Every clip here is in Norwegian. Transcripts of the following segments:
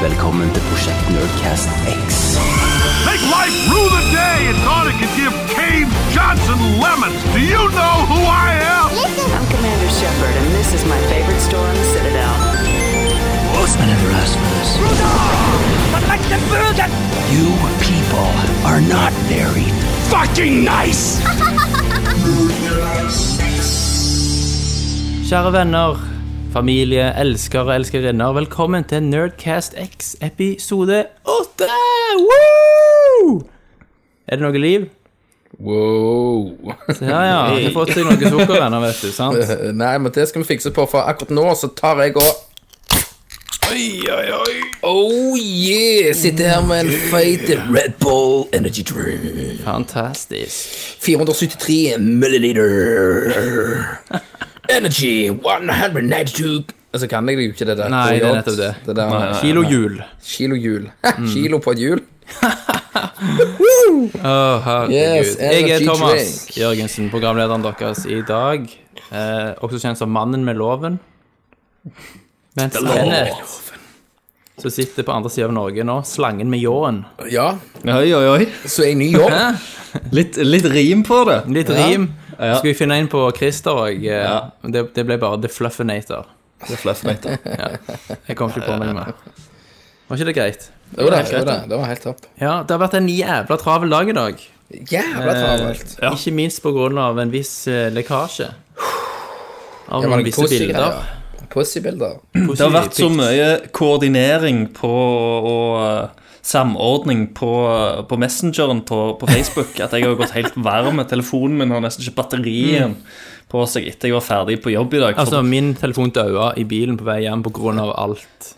velkommen til Prosjekt Nerdcast X. Make life rue the day and thought it could give Cave Johnson lemons. Do you know who I am? I'm Commander Shepard, and this is my favorite store on the Citadel. I never asked for this. You people are not very fucking nice! Kjære venner, familie, elskere, elskerinner. Velkommen til Nerdcast X episode 8! Woo! Er det noe liv? Wow. Ja, ja. Jeg har fått seg noe sukker ennå, vet du. sant? Eh, Nei, men det skal vi fikse på, for akkurat nå så tar jeg og Oi, oi, oi. Oh yeah! Sitter her med en feit Red Bull Energy Drink. Fantastisk. 473 milliliter. Energy 192 Altså kan jeg jo ikke det der. Nei, det er nettopp det. det der, Nei, Mm. Kilohjul. Kilohjul. Kilo på et hjul. Å, herregud. Yes, Jeg er energy Thomas drink. Jørgensen, programlederen deres i dag. Eh, også kjent som Mannen med låven. Mens Kenneth, som sitter på andre sida av Norge nå, Slangen med ljåen. Ja, Oi, oi, oi. så er jeg ny jobb. Hæ? Litt, litt rim på det. Litt rim. Skulle vi finne inn på Christer òg. Det, det ble bare The Fluffinator. Det er Fluffnator. Jeg kom ikke på noe mer. Var ikke det greit? Jo da, jo da, det var helt topp. Ja, det har vært en jævla travel dag i dag. Jævla travelt. Eh, Ikke minst på grunn av en viss eh, lekkasje. Av Det var noen noen visse bilder. pussy-greier. Pussy-bilder. Det har vært så mye koordinering på, og eh, samordning på, eh, på Messengeren på, på Facebook at jeg har gått helt varm. Telefonen min har nesten ikke batterien på seg etter jeg var ferdig på jobb i dag. Mm. Altså, min telefon daua i bilen på vei hjem på grunn av alt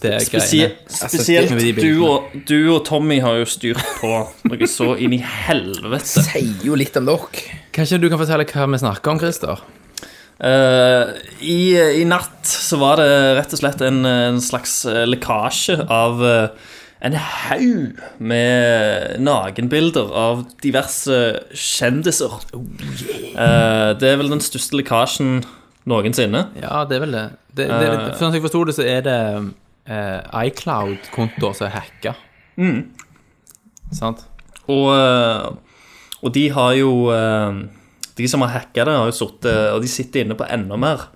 det Spesie- greiene. Altså, spesielt med de du bildene. og, du og Tommy har jo styrt på noe så inn i helvete. sier jo litt om dere. Kanskje du kan fortelle hva vi snakker om, Christer? Eh, i, I natt så var det rett og slett en, en slags eh, lekkasje av eh, en haug med nakenbilder av diverse kjendiser. Eh, det er vel den største lekkasjen noensinne. Ja, det er vel det. det, det, det sånn som jeg forsto det, så er det eh, iCloud-kontoer som er hacka. Sant? Og, eh, og de har jo eh, De som har hacka det, har jo sittet Og de sitter inne på enda mer,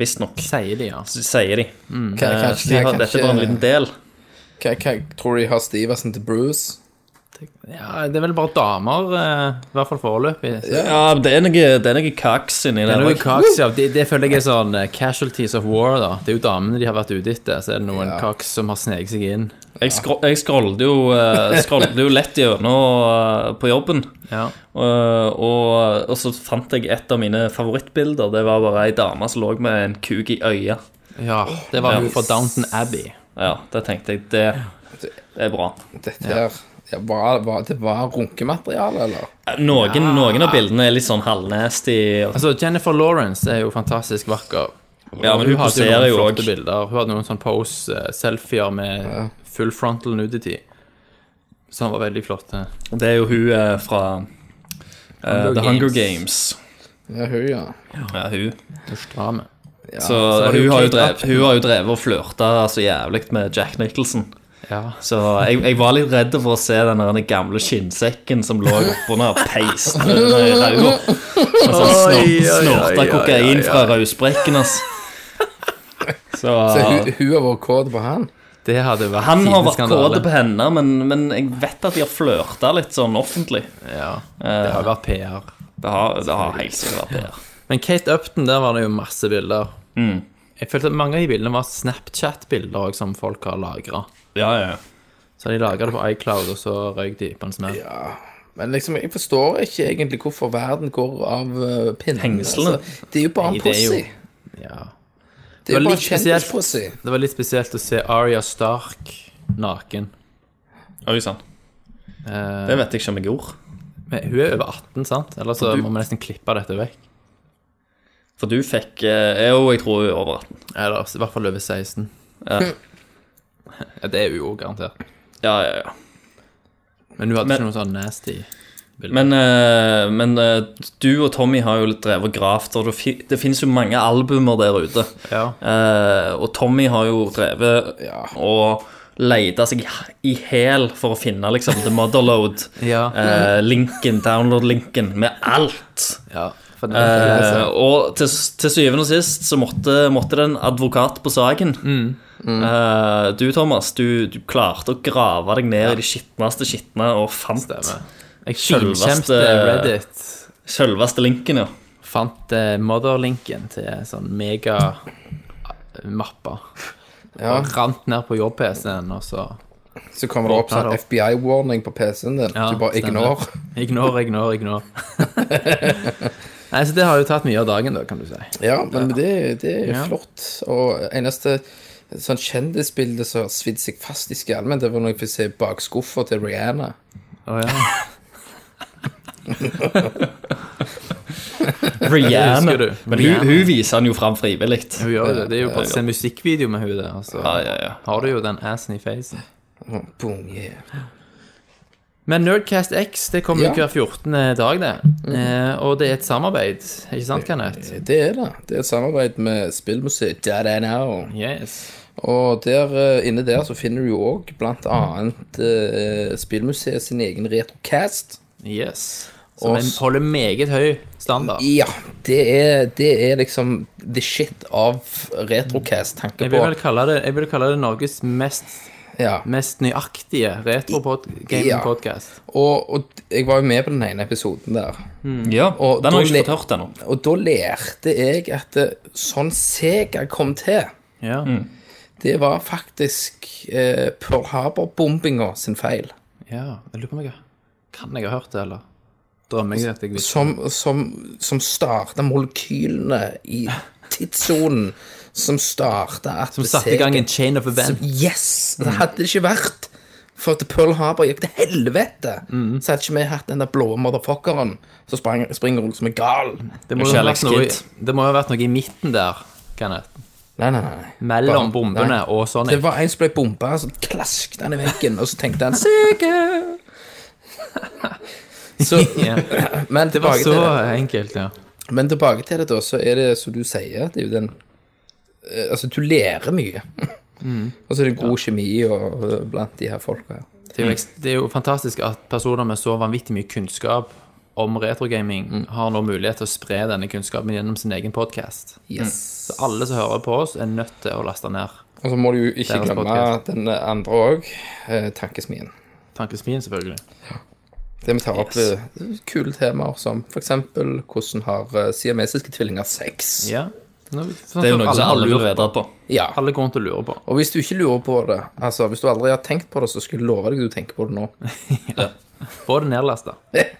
visstnok, Sier de, altså. ja. sier de. Kan- Eh, kanskje- så de har, dette er bare en kanskje- liten del. Hva, hva, tror du de har Stevenson til Bruce? ja. Det er vel bare damer, eh, i hvert fall foreløpig. Så Ja, det er noe, det er noe kaks inni Det, der er noe også. kaks, ja. det, det føler jeg er sånn eh, casualties of war, da. Det er jo damene de har vært ute etter, så er det noen kaks som har sneket seg inn. Jeg, skro jeg scrollet jo, eh, scrollet jo lett gjennom eh, på jobben. Ja. Eh, og, og så fant jeg et av mine favorittbilder. Det var bare ei dame som lå med en kuk i øyet. ja det var jo fra Downton Abbey. Ja, det tenkte jeg. Det, det er bra. Dette her ja, var, var, Det var runkemateriale, eller? Eh, Noen, noen av bildene er litt sånn halvnasty. og- Altså, Jennifer Lawrence er jo fantastisk vakker. Ja, men hun hadde noen poserer jo flotte òg. bilder. Hun hadde noen sånn pose-selfier med full frontal nudity. Som var veldig flotte. Det er jo hun eh, fra eh, Hunger The Hunger Games. Games. Ja, hun, ja. Ja, hun. Drame. Så, var det hun, jo har jo Kate drevet, hun har jo drevet og flørta så jævlig med Jack Nicholson. Ja. Så jeg, jeg var litt redd for å se den der gamle skinnsekken som lå oppunder peisen under i ræva. Og sånn snort- Snorta kokain fra rausprekken, altså. Så Så hun, hun har vært kåt på han? Det hadde vært han har tidens vært skandale. kåt på henne, men, men jeg vet at de har flørta litt sånn offentlig. Eh, Ja, det har vært PR. Det har, det har helt sikkert vært PR. Men Kate Upton, der var det jo masse bilder. Jeg følte at mange av de bildene var Snapchat-bilder også, som folk har lagra. Ja, ja. Så de lagra det på iCloud, og så røyk de på en smell. Men liksom, jeg forstår ikke egentlig hvorfor verden går av uh, pinnen. Hengslene. Altså, det er jo bare en Nei, det er jo- pussy. Ja. Det er var jo bare litt spesielt. kjendispussy. Det var litt spesielt å se Aria Stark naken. Eh, Oi sann. Det vet jeg ikke om jeg gjorde. Men hun er over 18, sant? Eller så må vi nesten klippe dette vekk. For du fikk eh, Jo, jeg tror jeg er over 18. Eller i hvert fall over 16. Ja. Ja, det er hun jo garantert. Ja, ja, ja. Men hun hadde Men- ikke noe sånn nasty Men, eh, men eh, du og Tommy har jo litt drevet gravt, og det, fi det finnes jo mange albumer der ute. Ja. Eh, og Tommy har jo drevet og leita seg i hæl for å finne liksom The Motherload. Ja. eh, linken, download-linken, med alt. ja. For den Eh, og til, til syvende og sist så måtte, måtte det en advokat på saken. Mm. Eh, du, Thomas, du, du klarte å grave deg ned i de skitneste skitne og fant Stemmer. jeg selveste- selvkjemte Reddit. selveste linken, ja. Fant eh, motherlinken til sånn mega-mappa. Ja, Og Rant ned på jobb-PC-en, og så Så kommer det opp sånn Åpner det opp. FBI-warning på PC-en din. Ja, du bare stemmer. Ignore, ignore. ignore, ignore. Nei, så det har jo tatt mye av dagen, da, kan du si. Ja, men det, det er jo Ja. flott. Og eneste sånn kjendisbilde som har svidd seg fast i skallen, det var når jeg fikk se bakskuffa til Rihanna. Å ja. Rihanna. husker du. Men Rihanna. hun, hun viser han jo fram frivillig. Hun gjør jo det. Det er jo bare å se musikkvideo med hun der, og så Ja, ja, ja. har du jo den assen i facen. Boom, yeah. Men Nerdcast X det kommer Ja. jo hver 14. dag, det. Eh, og det er et samarbeid, ikke sant, Kenneth? Det er det. Det er et samarbeid med spillmuseet Now. Yes. Og der, eh, inne der så finner du jo òg blant annet eh, spillmuseet sin egen retrocast. yes. Så Og vi s- holder meget høy standard. Ja, det er, det er liksom the shit av retrocast, tenker Jeg vil på. vel kalle det, jeg vil kalle det Norges mest, Ja. mest nøyaktige Ja. retro-gaming-podkast. Og, og jeg var jo med på den ene episoden der. Mm. Ja, Og den har jeg da ikke fått hørt ennå. Og da lærte jeg at eh, sånn Sega kom til, Ja. Mm. det var faktisk eh, Pearl Harbor-bombinga sin feil. ja. Jeg lurer på om jeg har- kan jeg ha hørt det, eller drømmer jeg at jeg visste Som, som, som starta molekylene i tidssonen. Som starta at Som satte i gang en Mm. chain of event. Yes! Det hadde det ikke vært for at Pearl Harbor gikk til helvete, Mm. så hadde ikke vi hatt den der blå motherfuckeren som sprang, springer rundt som en gal. Det må, jo ha Kjærlighet vært noe, Skid. det må jo ha vært noe i midten der, Kenneth. Nei, nei, nei. Mellom Bare- bombene nei. og Det Sonic. var en som ble bomba, så klasket han i veggen, og så tenkte han Sikker! Så, Ja. men, Det var tilbake så til det. enkelt, ja. men tilbake til det, da, så er det som du sier, det er jo den eh, Altså, du lærer mye. Mm. Og så er det god kjemi og, eh, blant de her folka her. Det er, Mm. jo, ekst- det er jo fantastisk at personer med så vanvittig mye kunnskap om retrogaming Mm. har nå mulighet til å spre denne kunnskapen gjennom sin egen podkast. Yes. Så alle som hører på oss, er nødt til å laste ned Og så må du jo ikke Deres glemme Mm. podcast. den andre òg, eh, Tankesmien. Tankesmien, selvfølgelig. Det vi tar opp eh, kule temaer som f.eks. hvordan har eh, siamesiske tvillinger sex? Ja. Nå, sånn Det er jo som noe som alle vil lurer, vite på. Ja. alle går rundt og lurer på. Og hvis du ikke lurer på det, altså hvis du aldri har tenkt på det, så skulle jeg love deg at du tenker på det nå. Få det nedlasta. Eh,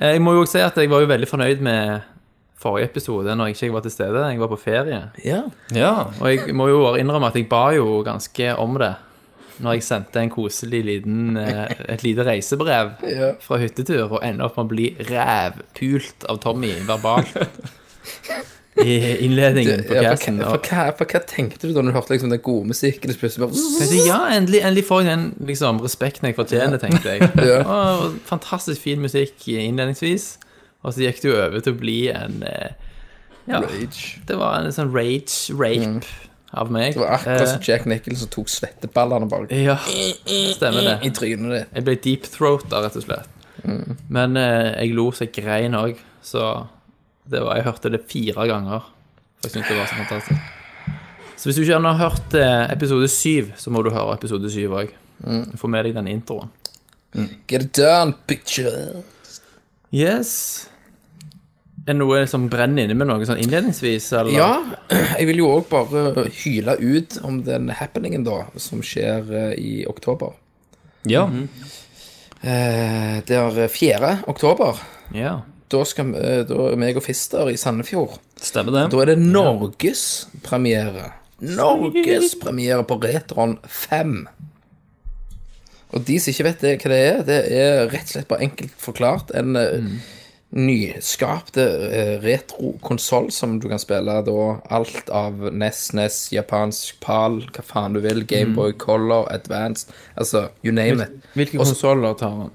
Jeg må jo også si at jeg var jo veldig fornøyd med forrige episode, når jeg ikke var til stede. Jeg var på ferie. Ja. Ja. Og jeg må jo bare innrømme at jeg ba jo ganske om det når jeg sendte en koselig liten, eh, et lite reisebrev Ja. fra hyttetur, og ender opp med å bli rævpult av Tommy verbalt i innledningen på for, casten. hva, Og for, hva, for hva tenkte du da når du hørte liksom den gode musikken? og så plutselig jeg bare... tenkte, ja, endelig, endelig får jeg den liksom, respekten jeg fortjener, tenkte jeg. Og, og fantastisk fin musikk innledningsvis, og så gikk det jo over til å bli en eh, ja, Rage. Mm. Det var en sånn rage-rape av meg. Det var akkurat Eh, som Jack Nicholson tok svetteballene bare Ja, stemmer det. i trynet ditt. Jeg ble deep throata, rett og slett. Men eh, jeg lo så jeg grein òg, så det var, jeg hørte det fire ganger. For jeg syntes det var så fantastisk. Så hvis du ikke har hørt eh, episode syv, så må du høre episode syv òg. Få med deg den introen. Get it done, picture! Yes. Er det noe som brenner inne med noe sånn innledningsvis, eller? Ja, jeg vil jo òg bare hyle ut om den happeningen da, som skjer eh, i oktober. ja. Eh, Det er 4. oktober. ja. Da skal vi, eh, da er meg og Fister i Sandefjord. Stemmer det. Da er det norgespremiere. Norgespremiere på Retron 5. Og de som ikke vet det, hva det er, det er rett og slett bare enkelt forklart en eh, nyskapte eh, retro-konsoll som du kan spille da alt av E NES, NES, japansk PAL, hva faen du vil, Gameboy Color, Advanced, altså you name it. E Hvilke Også- konsoller tar man?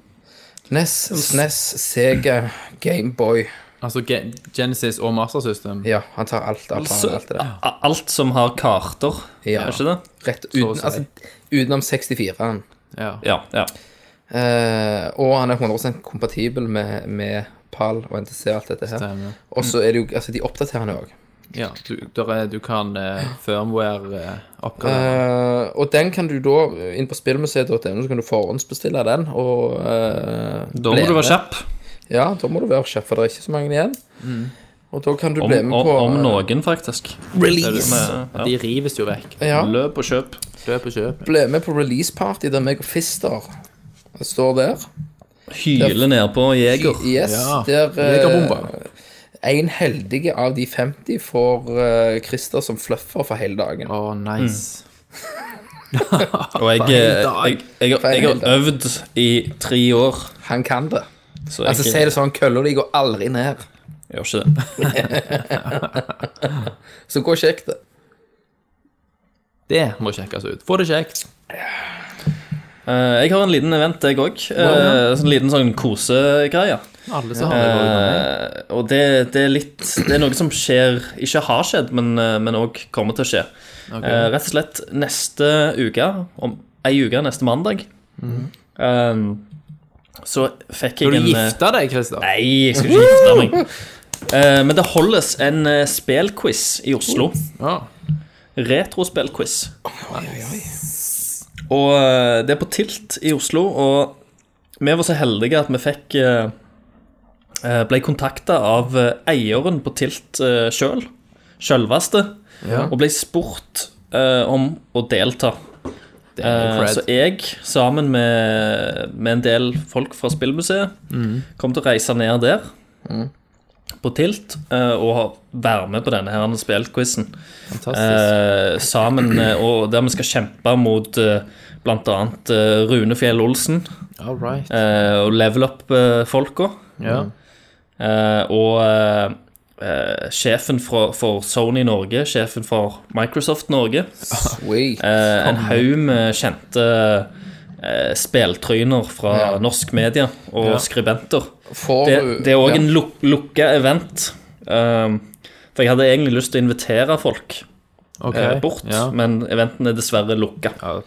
NES, SNES, Sega, Gameboy Altså Ge- Genesis og Master System? Ja, han tar alt av PAL Så, og alt det der. a- alt som har karter, Ja. er ikke det? Rett uten, å si. altså, utenom 64-en. Ja. Ja. ja. Eh, og han er 100 kompatibel med, med PAL og NTC og alt dette her. Stemmer. Og så er det jo Altså, de oppdaterer han jo òg. ja du, der er, du kan eh, firmware eh, oppgradere. Eh, og den kan du da inn på spillmuseet.no, så kan du forhåndsbestille den. Og eh, Da bli må du med. være kjapp, Ja, da må du være kjapp, for det er ikke så mange igjen. Og da kan du bli Mm. om, med om, på om eh, noen, faktisk. release. Ja. De rives jo vekk. Ja, Løp og kjøp. Løp og kjøp. ble med på release party der meg og Fister står der. Hyle nedpå jeger. Yes, Ja. der Jegerbomba. eh, en heldige av de 50 får eh, Christer som fluffer for hele dagen. Å, nice. Og jeg, jeg, jeg, jeg, jeg har øvd i tre år, Han kan det. så Altså, Si jeg, det sånn, kølla di går aldri ned. jeg gjør ikke det. Så gå og sjekk det. Det må sjekkes ut. Få det kjekt. Eh, Jeg har en liten event, jeg òg. En liten sånn kosegreie. Alle som har det. Eh, og det, det er litt Det er noe som skjer Ikke har skjedd, men eh, men òg kommer til å skje. Eh, rett og slett neste uke, om ei uke neste mandag, eh, så fikk Når Mhm. jeg du en eh, gifter deg, Christer. Nei, jeg skal ikke gifte meg. Eh, men det holdes en uh, spelquiz i Oslo. Ja. Retrospillquiz. Og eh, det er på Tilt i Oslo, og vi var så heldige at vi fikk eh, eh, Ble kontakta av eh, eieren på Tilt uh, sjøl, sjølveste, og ble spurt eh, om å delta. Det er Eh, Så cred. jeg, sammen med, med en del folk fra Spillmuseet, Mm. kom til å reise ned der på Tilt eh, og ha- være med på denne her spillquizen. Fantastisk. Eh, sammen, eh, og der vi skal kjempe mot eh, blant annet eh, Rune Fjell Olsen All right. eh, og Level Up-folka. Ja. Eh, og eh, eh, sjefen for, for Sony Norge, sjefen for Microsoft Norge. Sweet. Eh, en haug med kjente eh, speltryner fra Ja. norsk media og Ja. skribenter. Får Det, du- det er òg ja. en luk lukka event. Um, for jeg hadde egentlig lyst til å invitere folk Ok. eh, bort, Ja. men eventen er dessverre lukka.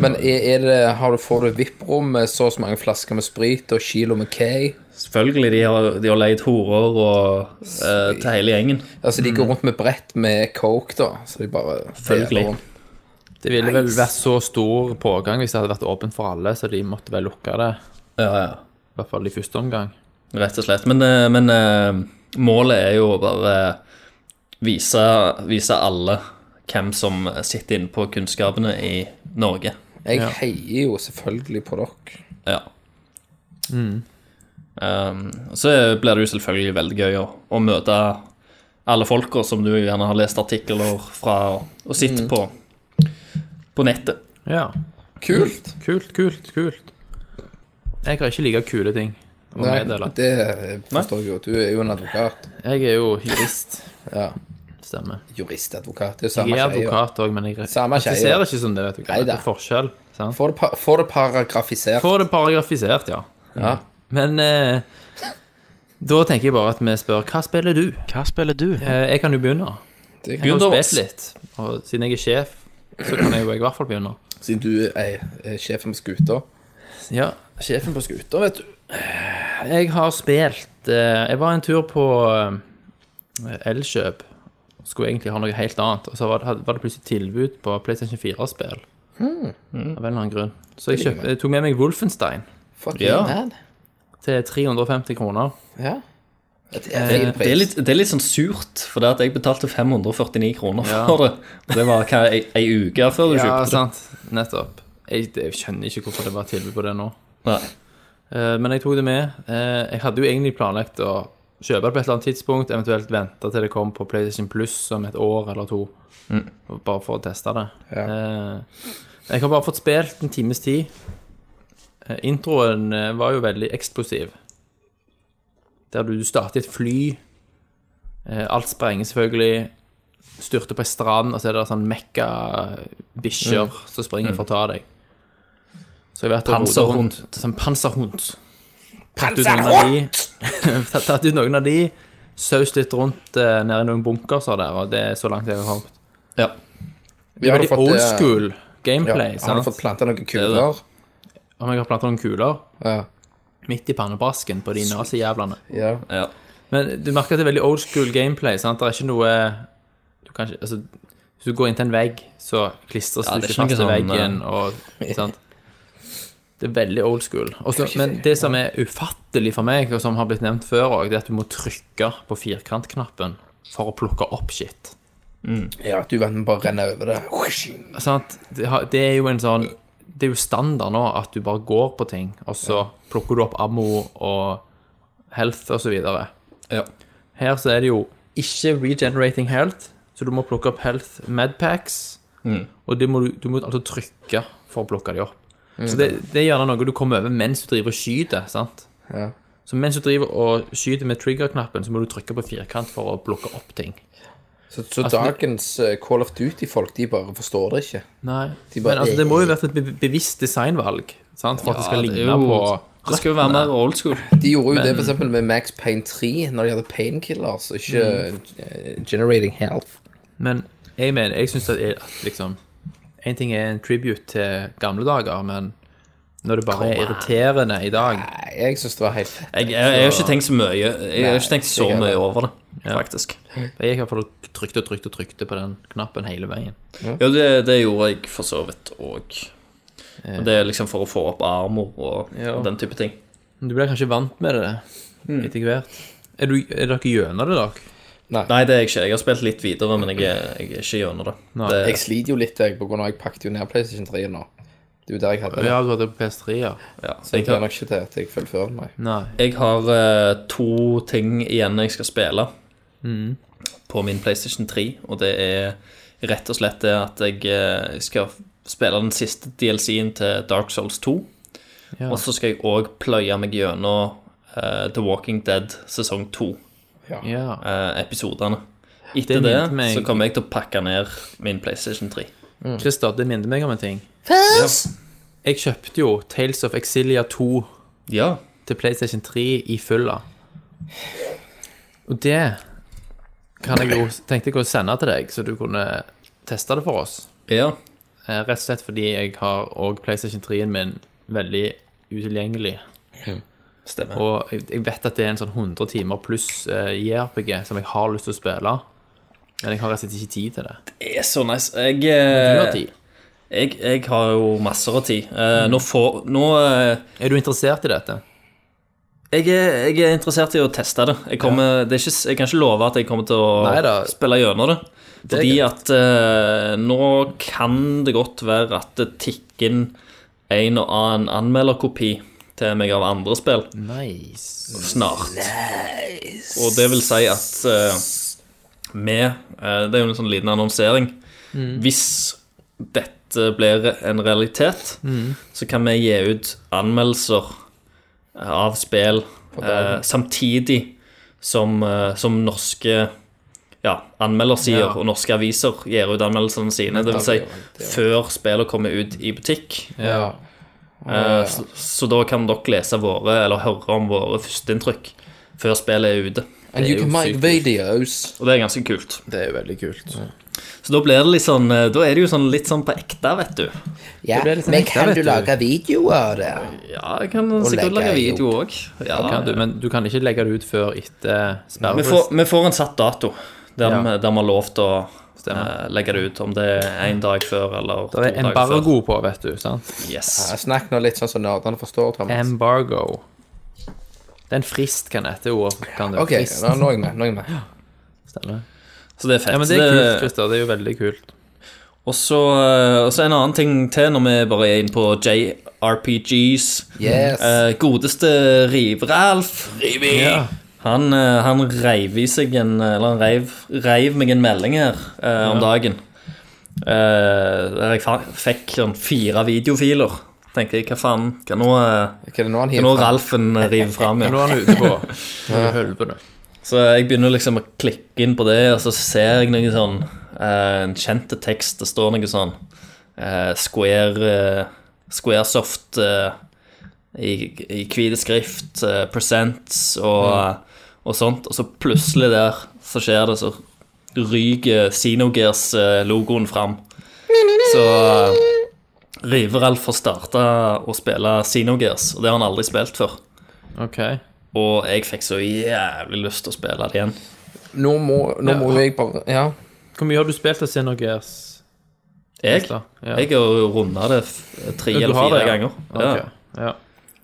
Men er, er det, har du, får du VIP-rom med så og så mange flasker med sprit og kilo med K? Selvfølgelig, de har, de har leid horer og, eh, til hele gjengen. Altså, de går rundt med brett med coke, da. Så de bare Selvfølgelig. deler rundt. Det ville vel vært så stor pågang hvis det hadde vært åpent for alle, så de måtte vel lukke det. Ja, ja. I hvert fall i første omgang. Rett og slett. Men, eh, men eh, målet er jo å bare vise, vise alle hvem som sitter inne på kunnskapene i Norge. Jeg heier jo selvfølgelig på dere. Ja. Um, så blir det jo selvfølgelig veldig gøy å, å møte alle folka som du gjerne har lest artikler fra og, og sitter på, på nettet. Ja. Kult. Kult, kult, kult. Jeg har ikke like kule ting å Nei, meddele. det forstår jeg jo. Du er jo en advokat. Jeg er jo jurist. Ja. Stemmer. Juristadvokat. Det er jo Jeg samme er greia. advokat òg, men jeg Samme jeg skjeia. ser ikke som det, vet du. hva. Neida. Det er forskjell. Sant? Får det, pa får det paragrafisert. Får det paragrafisert, ja. Ja. Men eh, da tenker jeg bare at vi spør hva spiller du? Hva spiller du? Eh, jeg kan jo begynne. Det Jeg kan, har jo Begynn da, spilt litt, og siden jeg er sjef, så kan jeg jo i hvert fall begynne. siden du er, er sjefen på skuta. Ja, sjefen på skuta, vet du. Jeg har spilt eh, Jeg var en tur på eh, Elkjøp. Skulle egentlig ha noe helt annet. Og så var det, had- var det plutselig tilbud på PlayStation 4-spill. Hmm. Av en eller annen grunn. Så jeg, kjøp, jeg tok med meg Wolfenstein Fuck Ja. man. til 350 kroner. Ja. Det Eh, er fin Det er, pris. litt, det er litt sånn surt, for det at jeg betalte 549 kroner for det. Og det var hva, ei, ei uke før du Ja, kjøpte det. sant. Nettopp. Jeg, jeg skjønner ikke hvorfor det var tilbud på det nå. Nei. Eh, Men jeg tok det med. Eh, Jeg hadde jo egentlig planlagt å kjøpe det på et eller annet tidspunkt, eventuelt vente til det kom på PlayStation Plus om et år eller to, Eh, og bare for å teste det. Eh, Jeg har bare fått spilt en times tid, eh, introen eh, var jo veldig eksplosiv. Der du starter et fly, eh, alt sprenger selvfølgelig, styrter på ei strand, og så er det sånn mekka-bikkjer som springer for å ta deg. Så jeg har vært og rodet Panserhund. rundt- Sånn panserhund. Tatt ut noen av de- Tatt tatt ut noen av de, saust litt rundt eh, nede i noen bunkerser der, og det er så langt jeg har kommet. Ja. Det er har veldig du fått, eh, old school Ja, gameplay. har du sant? fått planta noen kuler? Om jeg har plantet noen kuler Ja. midt i pannebrasken på de nazijævlene. ja. ja. Men du merker at det er veldig old school gameplay. sant? Det er ikke noe du kan ikke, altså, Hvis du går inntil en vegg, så klistres Ja, du det ikke er fast ikke til noe sånn, veggen. og sant? Det er veldig old school. Og så- men det som er ufattelig for meg, og som har blitt nevnt før òg, det er at du må trykke på firkantknappen for å plukke opp shit. ja du venter bare å renne over det. sant? Det har- det er jo en sånn Det er jo standard nå at du bare går på ting, og så plukker du opp ammo og health og så videre. Ja. Her så er det jo ikke regenerating health, så du må plukke opp health medpacks, og det må du, du må altså trykke for å plukke de opp. Så det, det er gjerne noe du kommer over mens du driver og skyter, sant? Ja. Så mens du driver og skyter med trigger-knappen, så må du trykke på firkant for å plukke opp ting. Så, Altså, så dagens eh, Call of Duty-folk, de bare forstår det ikke. Nei, De bare- men altså, det må jo vært et be bevisst designvalg sant? for at det skal det er ligne jo- på Det skal jo være mer old school. De gjorde jo det for eksempel med Max Payne 3, når de hadde painkillers, og ikke eh, Generating Health. Men jeg mener, jeg syns at, at liksom En ting er en tribute til gamle dager, men når det bare er irriterende i dag Nei, jeg syns det var helt Jeg, jeg, jeg har ikke tenkt så mye Jeg har ikke tenkt så Nei, jeg- mye over det, faktisk. Jeg gikk i hvert fall og trykte og trykte og trykte på den knappen hele veien. Ja, det, det gjorde jeg for så vidt òg. Det er liksom for å få opp armor og, og den type ting. Men Du blir kanskje vant med det Mm. etter hvert. Er, du, er dere gjennom det, dere? Nei, det er jeg ikke. Jeg har spilt litt videre, men jeg er, jeg er ikke gjennom det. det Jeg sliter jo litt, jeg, på grunn av at jeg pakket jo ned PlayStation 3 nå. Det er jo der jeg hadde det. Ja, du hadde på PS3, ja. ja. Jeg jeg, gleder har, nok ikke til at jeg fullfører den, nei. Nei. jeg har eh, to ting igjen jeg skal spille på min PlayStation 3, og det er rett og slett det at jeg eh, skal spille den siste DLC-en til Dark Souls 2. Ja. Og så skal jeg òg pløye meg gjennom eh, The Walking Dead sesong 2. Ja. eh, episodene. Etter Det det, minte meg- så kommer jeg til å pakke ned min PlayStation 3. Christer, det minner meg om en ting. Jeg kjøpte jo Tales of Exilia 2 Ja. til PlayStation 3 i fylla. Og det kan jeg jo, tenkte jeg å sende til deg, så du kunne teste det for oss. ja. Eh, Rett og slett fordi jeg har òg PlayStation 3-en min veldig utilgjengelig. Stemmer. Og jeg jeg vet at det er en sånn 100 timer pluss eh, JRPG som jeg har lyst til å spille. Men jeg har rett og slett ikke tid til det. Det er så nice. Jeg, Du har eh, tid. Mm. jeg, jeg har jo masser av tid. Eh, Nå får Nå eh, Er du interessert i dette? jeg er, jeg er interessert i å teste det. Jeg, kommer, det er ikke, s- jeg kan ikke love at jeg kommer til å Neida. spille gjennom det. er Fordi at eh, nå kan det godt være at det tikker inn en og annen anmelderkopi til meg av andre spill. Nice. snart. Og det vil si at eh, vi eh, Det er jo en sånn liten annonsering. Hvis dette blir en realitet, så kan vi gi ut anmeldelser av spill eh, samtidig som, eh, som norske ja, anmeldersider Ja. og norske aviser gir ut anmeldelsene sine. Det vil si før spillene kommer ut i butikk. Ja. Eh, Så, så da kan dere lese våre, eller høre om våre førsteinntrykk før spillet er ute. And you can make videos. Og det er ganske kult. Det er jo veldig kult. Så da blir det litt sånn eh, Da er det jo sånn litt sånn på ekte, vet du. Ja, ble litt men nekta, kan vet du du. lage videoer der? Ja, jeg kan legge sikkert lage jeg video òg. Ja, Kan du, men du kan ikke legge det ut før etter vi, sperrefrist. får, vi får en satt dato der Ja. vi der vi har lov til å Stemmer. eh, legge det ut. Om det er én dag før eller to Det er dager før. embargo på, vet du. sant? Yes. Snakk nå litt sånn som nerdene forstår, Thomas. Embargo. Det er en frist, kan dette ordet. Kan det. Ok, frist, nå, nå er jeg med. Nå er jeg med. stemmer. Så det er fett. Ja, men det er kult, Christer. Det er jo veldig kult. Og så eh, og så en annen ting til når vi bare er inne på JRPGs. Yes. Eh, godeste Riv-Ralf. Ja. Han, eh, han reiv i seg en Eller han reiv, reiv meg en melding her eh, om dagen. Eh, der jeg fa- fikk sånn fire videofiler. tenker jeg. Hva faen? Hva nå, eh, Hva er det nå han hva nå hiver? Ralfen river fram? Men Ja. nå er han ute på hølvene. Så jeg begynner liksom å klikke inn på det, og så ser jeg noe sånn eh, En kjente tekst. Det står noe sånn eh, Square eh, Squaresoft eh, i, i hvite skrift, eh, presents og, og sånt. Og så plutselig der så skjer det, så ryker Xenogears-logoen fram. Så eh, Riveralf får starta å spille Xenogears, og det har han aldri spilt før. Ok. Og jeg fikk så jævlig lyst til å spille det igjen. Nå må, nå må jo jeg bare Ja. Hvor mye har du spilt av Xenogears? Jeg, Tesla, ja. jeg har jo runda det f- tre Ja, du eller har det, fire ja. ganger. Ja. Ok, ja.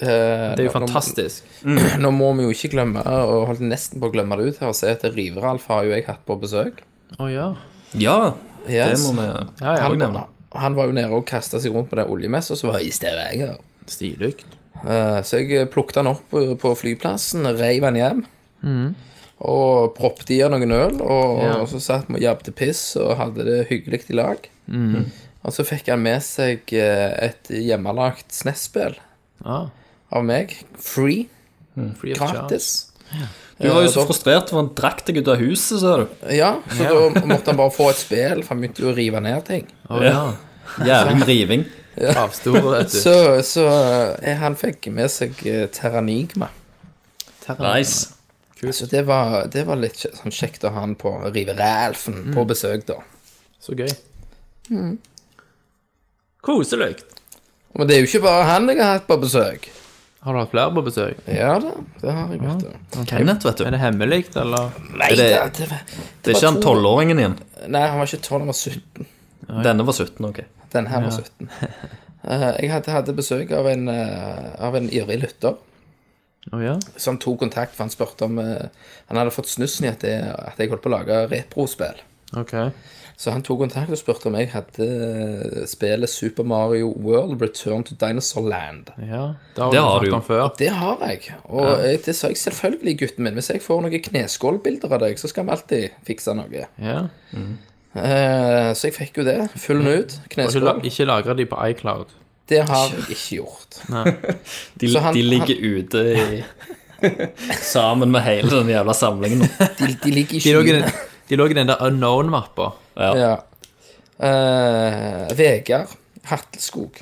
eh, Det er jo nå- nå- fantastisk. Nå må vi jo ikke glemme, og holdt nesten på å glemme det ut her, og se at Riveralf har jo jeg hatt på besøk. Å ja. ja, det Yes. må vi Ja, ja. også han, nevne. han var jo nede og kasta seg rundt på den oljemessa som var i Stavanger. Stilig. Eh, Så jeg plukket han opp eh, på flyplassen, reiv han hjem. Og proppet i han noen øl, og, Mm. Ja. og så satt vi og jabbet piss og hadde det hyggelig i lag. Mm. Og så fikk han med seg eh, et hjemmelagt SNES-spill Ah, av meg. Free. free of charge. Gratis. Du var jo Eh, så da- frustrert, for han drakk deg ut av huset, sa du. Ja, så da måtte han bare få et spill, for han begynte jo å rive ned ting. Å ja. Jævlig med riving. Avstore, vet du. Så, så eh, han fikk med seg eh, Terranigma. Nice. Så det var, det var litt kje- sånn kjekt å ha han på Riveralfen Mm. på besøk, da. Så gøy. Koselig. Men det er jo ikke bare han jeg har hatt på besøk. Har du hatt flere på besøk? Ja da, det har jeg, vet du. Kenneth, vet du. Er det hemmelig, eller? Nei, Er det- da, det var- Det var er ikke han to- tolvåringen igjen. Nei, han var ikke 12, han var 17. Denne var 17, ok. Den her var 17. Eh, Jeg hadde, hadde besøk av en, eh, av en ivrig lytter. Å ja. som tok kontakt, for han spurte om eh, Han hadde fått snussen i at jeg, at jeg holdt på å lage reprospill. Ok. Så han tok kontakt og spurte om jeg hadde eh, spillet Super Mario World Return to Dinosaur Land. Ja. Det har, Det har du du snakket jo. om før. Det har jeg, og jeg, det sa jeg selvfølgelig, gutten min. Hvis jeg får noen kneskålbilder av deg, så skal vi alltid fikse noe. Ja. Eh, så jeg fikk jo det. Full nude, Ikke, la, kneskål. ikke lagre de på iCloud. Det har jeg ikke gjort. De, Så han- de ligger ute i Sammen med hele den jævla samlingen. De, de ligger i De lå i skyen. den, de lå i den der unknown-mappa. Ja. Ja. Eh, Vegard Hatleskog.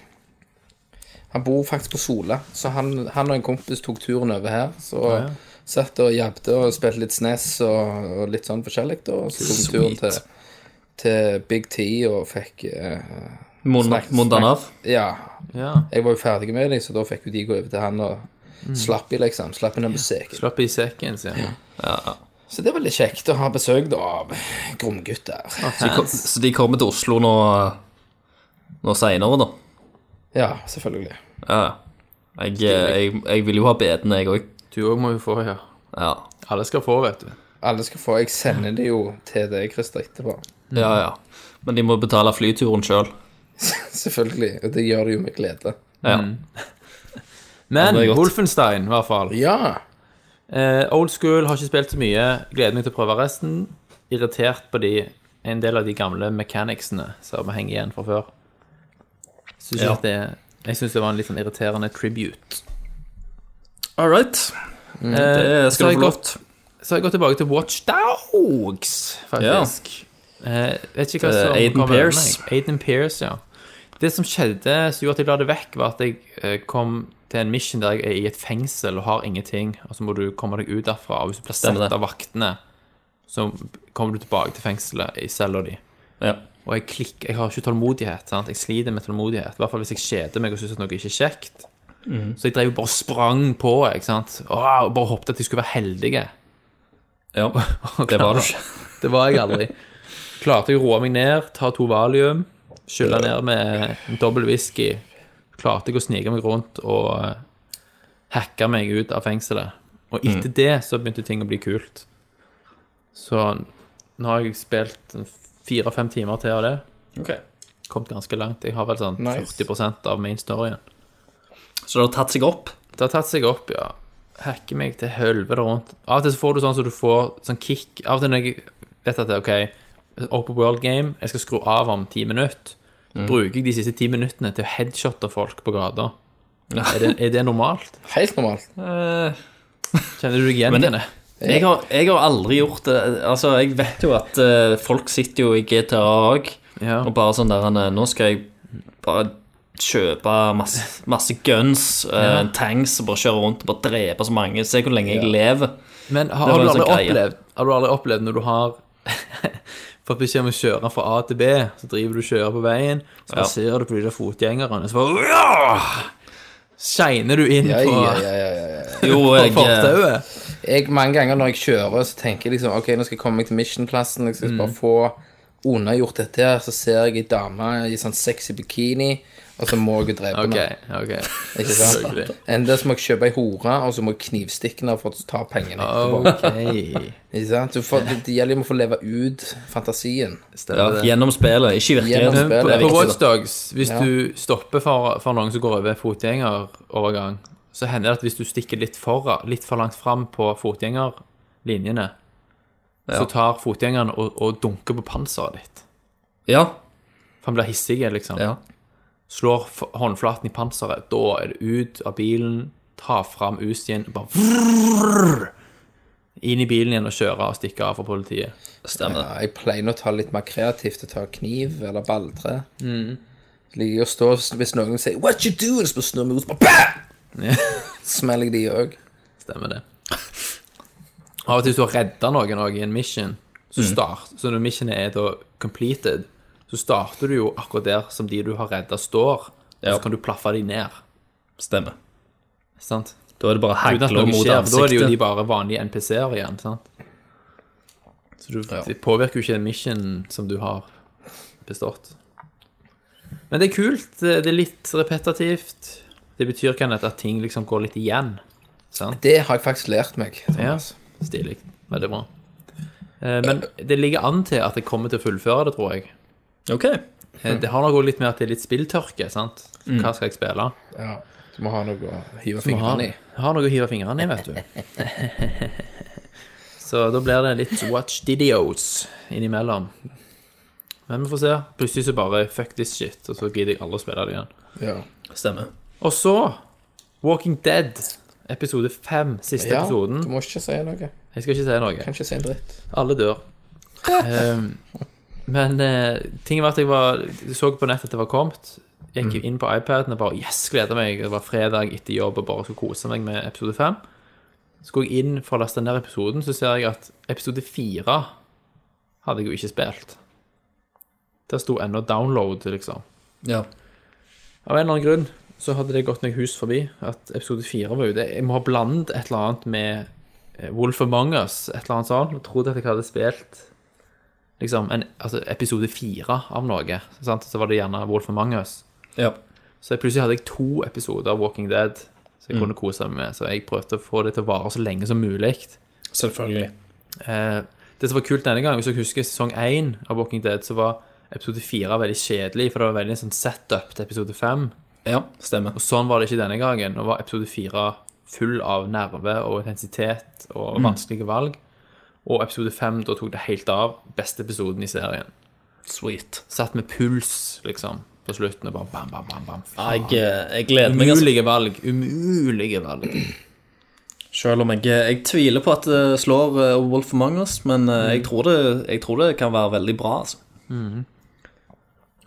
Han bor faktisk på Sola, så han, han og en kompis tok turen over her. Så satt og jabbet og spilte litt SNES og, og litt sånn forskjellig, da. Og så tok vi turen til, til Big T og fikk eh, Mon- Snakk- Mondanav. Ja. Ja. Jeg var jo ferdig med dem, så da fikk jo de gå over til han og slapp i, liksom. Slapp inn en besøk. Slapp i sekken sin. Så det var litt kjekt å ha besøk da av gromgutter. Så de kom- Så de kommer til Oslo nå, nå seinere, da. Ja, selvfølgelig. Ja. Jeg, eh, jeg, jeg vil jo ha beden, jeg òg. Du òg må jo få, ja. Ja. Alle skal få, vet du. Alle skal få. Jeg sender det jo til deg, Christer, etterpå. Ja, ja. Men de må betale flyturen sjøl. Selvfølgelig, og det gjør det jo med glede. Ja. Men det er godt. Wolfenstein, i hvert fall. Ja, Eh, old School har ikke spilt så mye. Gleder meg til å prøve resten. Irritert på de, en del av de gamle mechanicsene som henger igjen fra før. Synes Ja. at det, jeg syns det var en litt sånn irriterende tribute. All right. Eh, så, Det skal har jeg du få lov gått, så har jeg gått tilbake til Watch Dogs, faktisk. Eh, vet ikke hva Eh, som Aiden kom over Pierce. meg. Aiden Pierce, ja. Det som skjedde som gjorde at jeg la det vekk, var at jeg eh, kom til en mission der jeg er i et fengsel og har ingenting, og så må du komme deg ut derfra. Og hvis du blir Stemmer sett det. av vaktene, så kommer du tilbake til fengselet i cella di. Ja. Og jeg klikker, jeg har ikke tålmodighet. sant? Jeg sliter med tålmodighet. I hvert fall hvis jeg kjeder meg og syns noe ikke er kjekt. Så jeg drev jo bare og sprang på. ikke sant? Åh, og bare håpet at jeg skulle være heldig. ja. Det var du ikke. Det var jeg aldri. Klarte jeg å roe meg ned, ta to valium, skylle ned med en dobbel whisky. Klarte jeg å snike meg rundt og eh, hacke meg ut av fengselet. Og etter det så begynte ting å bli kult. Så nå har jeg spilt en fire-fem timer til av det. Kommet ganske langt. Jeg har vel sånn Nice. 40 av main storyen. Så det har tatt seg opp? Det har tatt seg opp, ja. Hacker meg til helvete rundt. Av og til så får du sånn som du får sånn kick. Av og til når jeg vet at det er OK, oppe på World Game, jeg skal skru av om ti minutter, Mm. bruker jeg de siste ti minuttene til å headshotte folk på gata. Er det, er det normalt? Helt normalt. Kjenner du deg igjen Men det- i det? Jeg har, jeg har aldri gjort det. Altså, Jeg vet jo at eh, folk sitter jo i GTA òg Ja. og bare sånn der han, eh, Nå skal jeg bare kjøpe masse, masse guns, eh, tanks, og bare kjøre rundt og bare drepe så mange. Se hvor lenge jeg lever. Men har, har, Det var du en aldri sånn greie. opplevd, har du aldri opplevd når du har fått beskjed om å kjøre fra A til B, så driver du og kjører på veien, så Ja. passerer du på de der fotgjengerne, så bare «Rah!» Shiner du inn Ja, på, ja, ja, ja, ja, ja. Jo, på jeg, eh, fortauet? Jeg, mange ganger når jeg kjører, så tenker jeg liksom OK, nå skal jeg komme meg til Mission-plassen. liksom, Jeg skal bare få unnagjort dette her. Så ser jeg ei dame i sånn sexy bikini, og så må jeg jo drepe Ok, henne. ok. Ikke sant? Selvfølgelig. Enda så må jeg kjøpe ei hore, og så må jeg knivstikke henne for å ta pengene. etterpå. Ok. Ikke sant? Du får, det, det gjelder jo å få leve ut fantasien. ja, Stemmer det. gjennom spillet, ikke i Gjennom Men virkeligheten. på, spillet, på riktig, Watch Dogs, hvis Ja. du stopper for, for noen som går over fotgjengerovergang, så hender det at hvis du stikker litt for, litt for langt fram på fotgjengerlinjene, så tar fotgjengeren og, og dunker på panseret ditt. Ja, For han blir hissig, liksom. ja. Slår f- håndflaten i panseret. Da er det ut av bilen, ta fram Uzien, bare vrrr, inn i bilen igjen og kjøre og stikke av for politiet. Stemmer. Ja, jeg pleier nå å ta litt mer kreativt og ta kniv eller balltre. Mm. Ligger jeg og står hvis noen sier 'What you doing?' så bare snur jeg meg ut bare bam! Smeller jeg de òg. Stemmer det. Av og til hvis du har redda noen også i en mission, så, Mm. start, så når missionet er da completed, så starter du jo akkurat der som de du har redda, står. Ja. Så kan du plaffe de ned. Stemmer. Sant? Da er det bare Uten at hagler noe mot skjer, for da er det jo de ansiktet. bare vanlige NPC-er igjen. sant? Så du, det påvirker jo ikke den mission som du har bestått. Men det er kult. Det det er litt repetitivt. Det betyr kan at ting liksom går litt igjen. Sant? Det har jeg faktisk lært meg. Ja, Thomas. Stilig. Veldig bra. Eh, Men det ligger an til at jeg kommer til å fullføre det, tror jeg. Ok. Eh, Mm. Det har nok også litt med at det er litt spilltørke. sant? Hva skal jeg spille? Ja. Du må ha noe Mm. å hive Du har, fingrene i. har noe å hive fingrene i, vet du. Så da blir det litt watch videos innimellom. Men vi får se. Plutselig så bare fuck this shit, og så gidder jeg aldri å spille det igjen. Ja. Stemmer. Og så Walking Dead, episode fem, siste ja. episoden. Du må ikke si noe. Jeg skal ikke si noe. Kan ikke si en dritt. Alle dør. Ehm, men eh, tingen var at jeg var, så på nettet at det var kommet. Gikk inn på iPaden og bare Yes, gleder meg. Det var fredag etter jobb og bare skulle kose meg med episode fem. Så går jeg inn for å laste ned episoden, så ser jeg at episode fire hadde jeg jo ikke spilt. Der sto ennå 'download', liksom. Ja. Av en eller annen grunn så hadde det gått meg hus forbi at episode 4 var ute. Jeg må ha blandet et eller annet med eh, Wolf Among Us, et eller annet sånt. Jeg trodde at jeg hadde spilt liksom en, altså episode 4 av noe. Sant? Så var det gjerne Wolf Among Us. ja. Så jeg plutselig hadde jeg to episoder av Walking Dead som jeg kunne kose meg med. Så jeg prøvde å få det til å vare så lenge som mulig. Selvfølgelig. Eh, det som var kult denne gangen, hvis dere husker sesong 1 av Walking Dead, så var episode 4 veldig kjedelig, for det var veldig sånn setup til episode 5. Ja, stemmer. Og sånn var det ikke denne gangen. Nå var episode fire full av nerve og intensitet og Mm. vanskelige valg. Og episode fem, da tok det helt av. Beste episoden i serien. Sweet. Satt med puls, liksom, på slutten og bare bam, bam, bam. bam. Jeg, eh, jeg gleder meg. altså. Umulige valg. Umulige valg. Selv om jeg, jeg tviler på at det slår eh, Wolf Among Us, men eh, jeg, tror det, jeg tror det kan være veldig bra. Altså.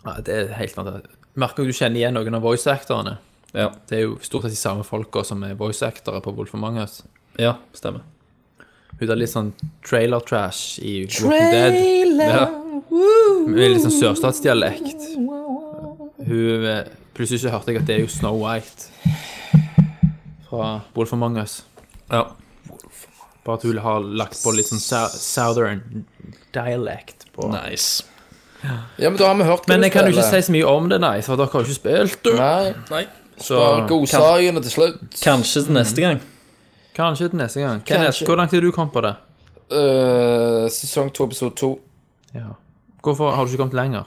Ja, det er helt fantastisk. Merker du kjenner igjen noen av voice-actorene. Ja, Det er jo stort sett de samme folka som er voice-actorer på Wolf of Mangas. ja stemmer. Hun har litt sånn trailer-trash i Walking Dead. Ja. Med litt sånn sørstatsdialekt. Hun eh, Plutselig så hørte jeg at det er jo Snow White fra Wolf of Mangas. Ja. Bare at hun har lagt på litt sånn sou- southern dialect på Nice. Ja, men da har vi hørt hva Men du jeg kan jo ikke si spiller. så mye om det, nei, for dere har jo ikke spilt. Nei. Nei. Så Bare godsakene til slutt. Kanskje til neste gang. kanskje til neste gang. Kenneth, Kanskje. hvor langt er du kommet på det? Øh, sesong to, episode to. Ja. Hvorfor har du ikke kommet lenger?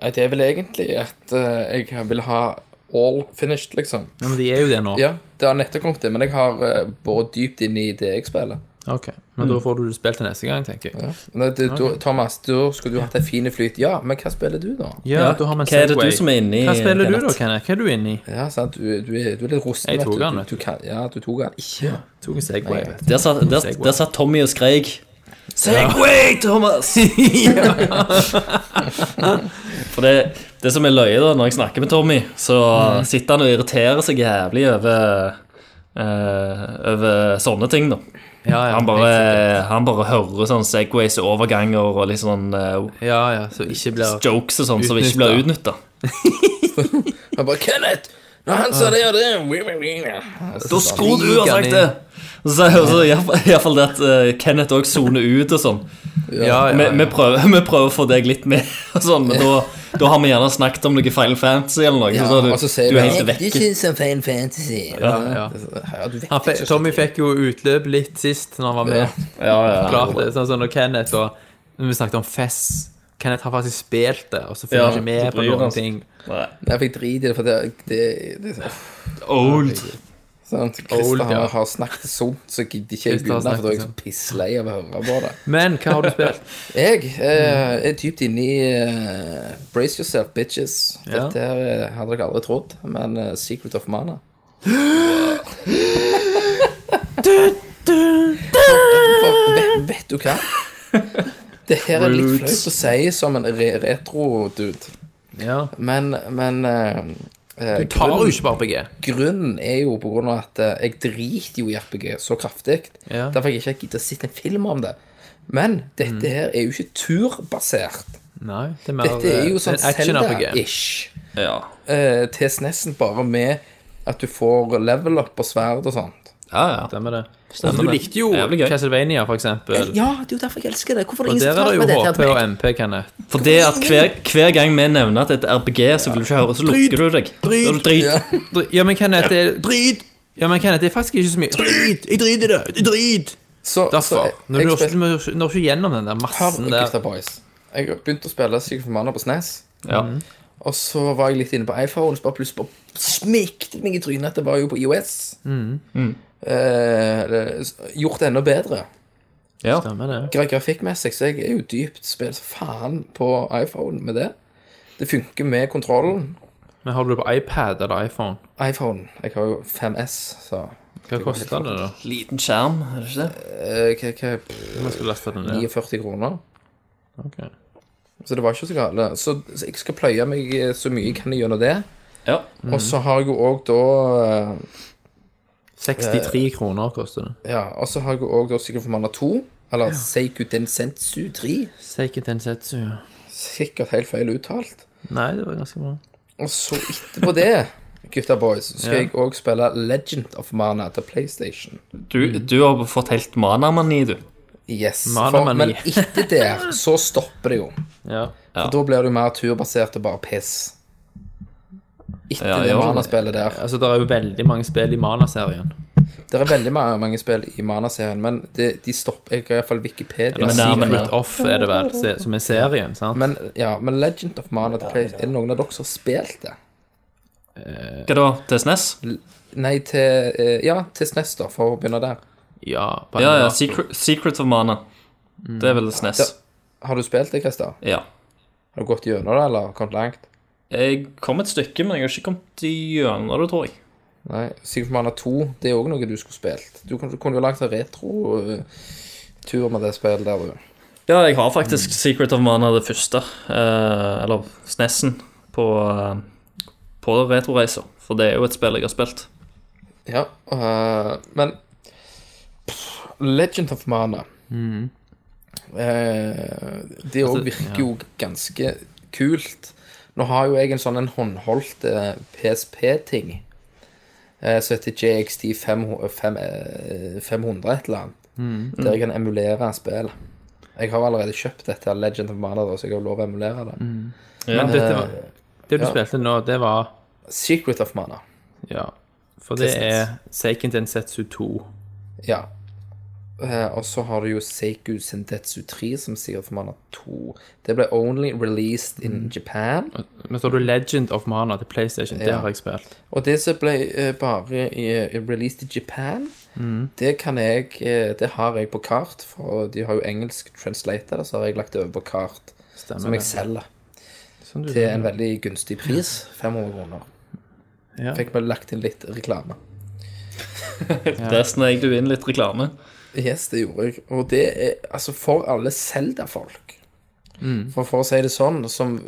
Nei, det er vel egentlig at øh, jeg vil ha all finished, liksom. Ja, men de er jo det nå. Ja, det har nettopp kommet det, men jeg har eh, vært dypt inn i det jeg spiller. Ok, Men da får du det spilt til neste gang, tenker jeg. Nei, det, da- Thomas, da skulle du hatt en fin flyt. Ja, men hva spiller du, da? Ja, da har vi en Hva er det Segway. du som er inni? Hva spiller du da, Kenneth? Kenneth? Hva er du inne i? Ja, sant, du, du, er, du er litt rusten. Jeg vet tok du. han, Du- vet du kan- Ja, du tok han ikke. Tok en Segway. vet du. Der satt, der, Segway. der satt Tommy og skrek. Segway, Thomas! For det, det som er løye, da, når jeg snakker med Tommy, så sitter han og irriterer seg jævlig over eh, over sånne ting, da. Ja, ja, helt Han bare, han bare hører sånn Segways og overganger og litt sånn eh, sikkert. Ja, ja, så ikke blir jokes og sånn som ikke blir utnytta. Han bare 'Kenneth!' Når han sa det og det Da skulle du ha sagt det! Så er det iallfall det at eh, Kenneth òg soner ut og sånn. Ja, ja, Vi, ja. vi, prøver, vi prøver å få deg litt med, og sånn, men da, da har vi gjerne snakket om noe Final Fantasy eller noe. Ja, så da er og så sier du, du er helt «Jeg- Du vekke. syns om Fan Fantasy. ja. ja du vet Han fe- ikke. Tommy fikk jo utløp litt sist når han var med. Ja, ja. Klart det, sånn som når Kenneth og Når vi snakket om Fess Kenneth har faktisk spilt det, og så følger Ja, han ikke med så på bryr noen han seg. ting. Jeg fikk drit i det, for det, det, det er Old. sant. Old, Christer har, ja. har snakket sånt, så gidder ikke jeg Christer har begynne, for da er jeg snakket så pisslei av å høre på det. Men hva har du spilt? Jeg eh, er dypt inne i eh, Brace Yourself, bitches. Ja. Dette her eh, hadde jeg aldri trodd, men eh, Secret of Mana. For vet, vet du hva? Det her er litt Roots. flaut å si som en re retro-dude, Ja. men, men eh, eh, Du tar jo ikke på RPG. Grunnen er jo på grunn av at eh, jeg driter jo i RPG så kraftig. Ja. Derfor har jeg ikke giddet å se en film om det. Men dette her er jo ikke turbasert. Nei, det er mer Dette er eh, jo sånn en action-RPG. Zelda-ish. Ja. Eh, til snessen bare med at du får level up og sverd og sånt. Ja, ja. Stemmer det. Og Stemmer Altså, du det. likte jo Jævlig gøy. Castlevania, for eksempel. Ja, det er jo derfor jeg elsker det. Hvorfor er Og det ingen der som er tar det jo med dette? HP til og meg? MP, Kenneth. For det at hver, hver gang vi nevner at det er et RPG, så vil du ikke høre, så lukker du deg. Da er du drit. Dri- Ja, men Kenneth, det er Drit! Ja, men Kenneth, det er faktisk ikke så mye Drit! Jeg driter i det! altså. Jeg drit! Så, så Derfor. jeg, Når du jeg når spilte du når du ikke gjennom den der massen Hør, der Gutter Boys. Jeg begynte å spille Secret of Mana på SNES. Ja. Og så var jeg litt inne på iPhone, så bare plutselig bare smikte det meg i trynet at det var jo på IOS. Eh, det- s- gjort det enda bedre. ja. Stemmer det. Gra- Grafikkmessig så jeg er jo dypt spilt som faen på iPhone med det. Det funker med kontrollen. Men har du det på iPad eller iPhone? iPhone. Jeg har jo 5S, så Hva koster det, da? Liten skjerm, er det ikke det? eh, hva- hva- pff, Om jeg skal laste den ned? 49 kroner. Ok. Så det var ikke så gale. Så, så jeg skal pløye meg eh, så mye jeg kan gjennom det. Ja. Og så har jeg jo òg da eh, 63 kroner koster det. Ja, og så har jeg jo òg sikkert Formanna 2, eller ja. Seikuten Sensu 3. Seiken Tensetsu. ja. Sikkert helt feil uttalt. Nei, det var ganske bra. Og så etterpå det, gutta boys, så skal Ja. jeg òg spille Legend of Mana til PlayStation. Du, du har fått helt manamani, du. Yes. For, Mana-mani. men etter der så stopper det jo. Ja. Ja. Da blir det jo mer turbasert og bare piss. Etter Ja, det ja. Mana-spillet der. Altså, det er jo veldig mange spill i Mana-serien. Det er veldig ma- mange spill i Mana-serien, men det, de stopper Jeg har iallfall Wikipedia. men det er- men- Secret Off er det vel, se- som er serien, sant? Men, ja, men Legend of Mana til PlayStation Er det noen av dere som har spilt det? Hva da? Til E SNES? Nei, til eh, Ja, til SNES, da, for å begynne der. ja, på Ja, ja. emulator. Secret, Secret of Mana. Det er vel SNES. Har du spilt det, Christer? Mm. Ja. Har du gått gjennom det, eller kommet langt? Jeg kom et stykke, men jeg har ikke kommet gjennom det, tror jeg. Nei, Secret Mana 2, det er òg noe du skulle spilt. Du kunne, kunne jo lagt en retro-tur med det spillet der, du. Ja, jeg har faktisk Secret of Mana det første, eh, eller SNES-en, på, eh, på retroreiser. For det er jo et spill jeg har spilt. Ja, øh, men pff, Legend of Mana eh, Det òg virker jo ganske kult. Nå har jo jeg en sånn en håndholdt eh, PSP-ting eh, som heter JXT 500, 500 eh, et eller annet. Der jeg kan emulere spill. Jeg har allerede kjøpt dette Legend of Mana, da, så jeg har lov å emulere det. Men dette var, det du ja. spilte nå, det var Secret of Mana. Ja. For det Til er Seiken Tensetsu 2. Ja. Eh, og så har du jo Seiku Sendetsu 3, som sier for Mana 2. Det ble only released in Mm. Japan. Men så har du Legend of Mana til PlayStation. Det Ja. har jeg spilt. Og det som ble eh, bare eh, released i Japan, Mm. Det kan jeg eh, Det har jeg på kart, for de har jo engelsk translator, så har jeg lagt det over på kart Stemmer som jeg det. selger Sånn du til sier. en veldig gunstig pris. 500 kroner. Ja. Fikk vel lagt inn litt reklame. Der snek du inn litt reklame. Yes, det gjorde jeg. Og det er altså for alle Zelda-folk. Mm. For, for å si det sånn, som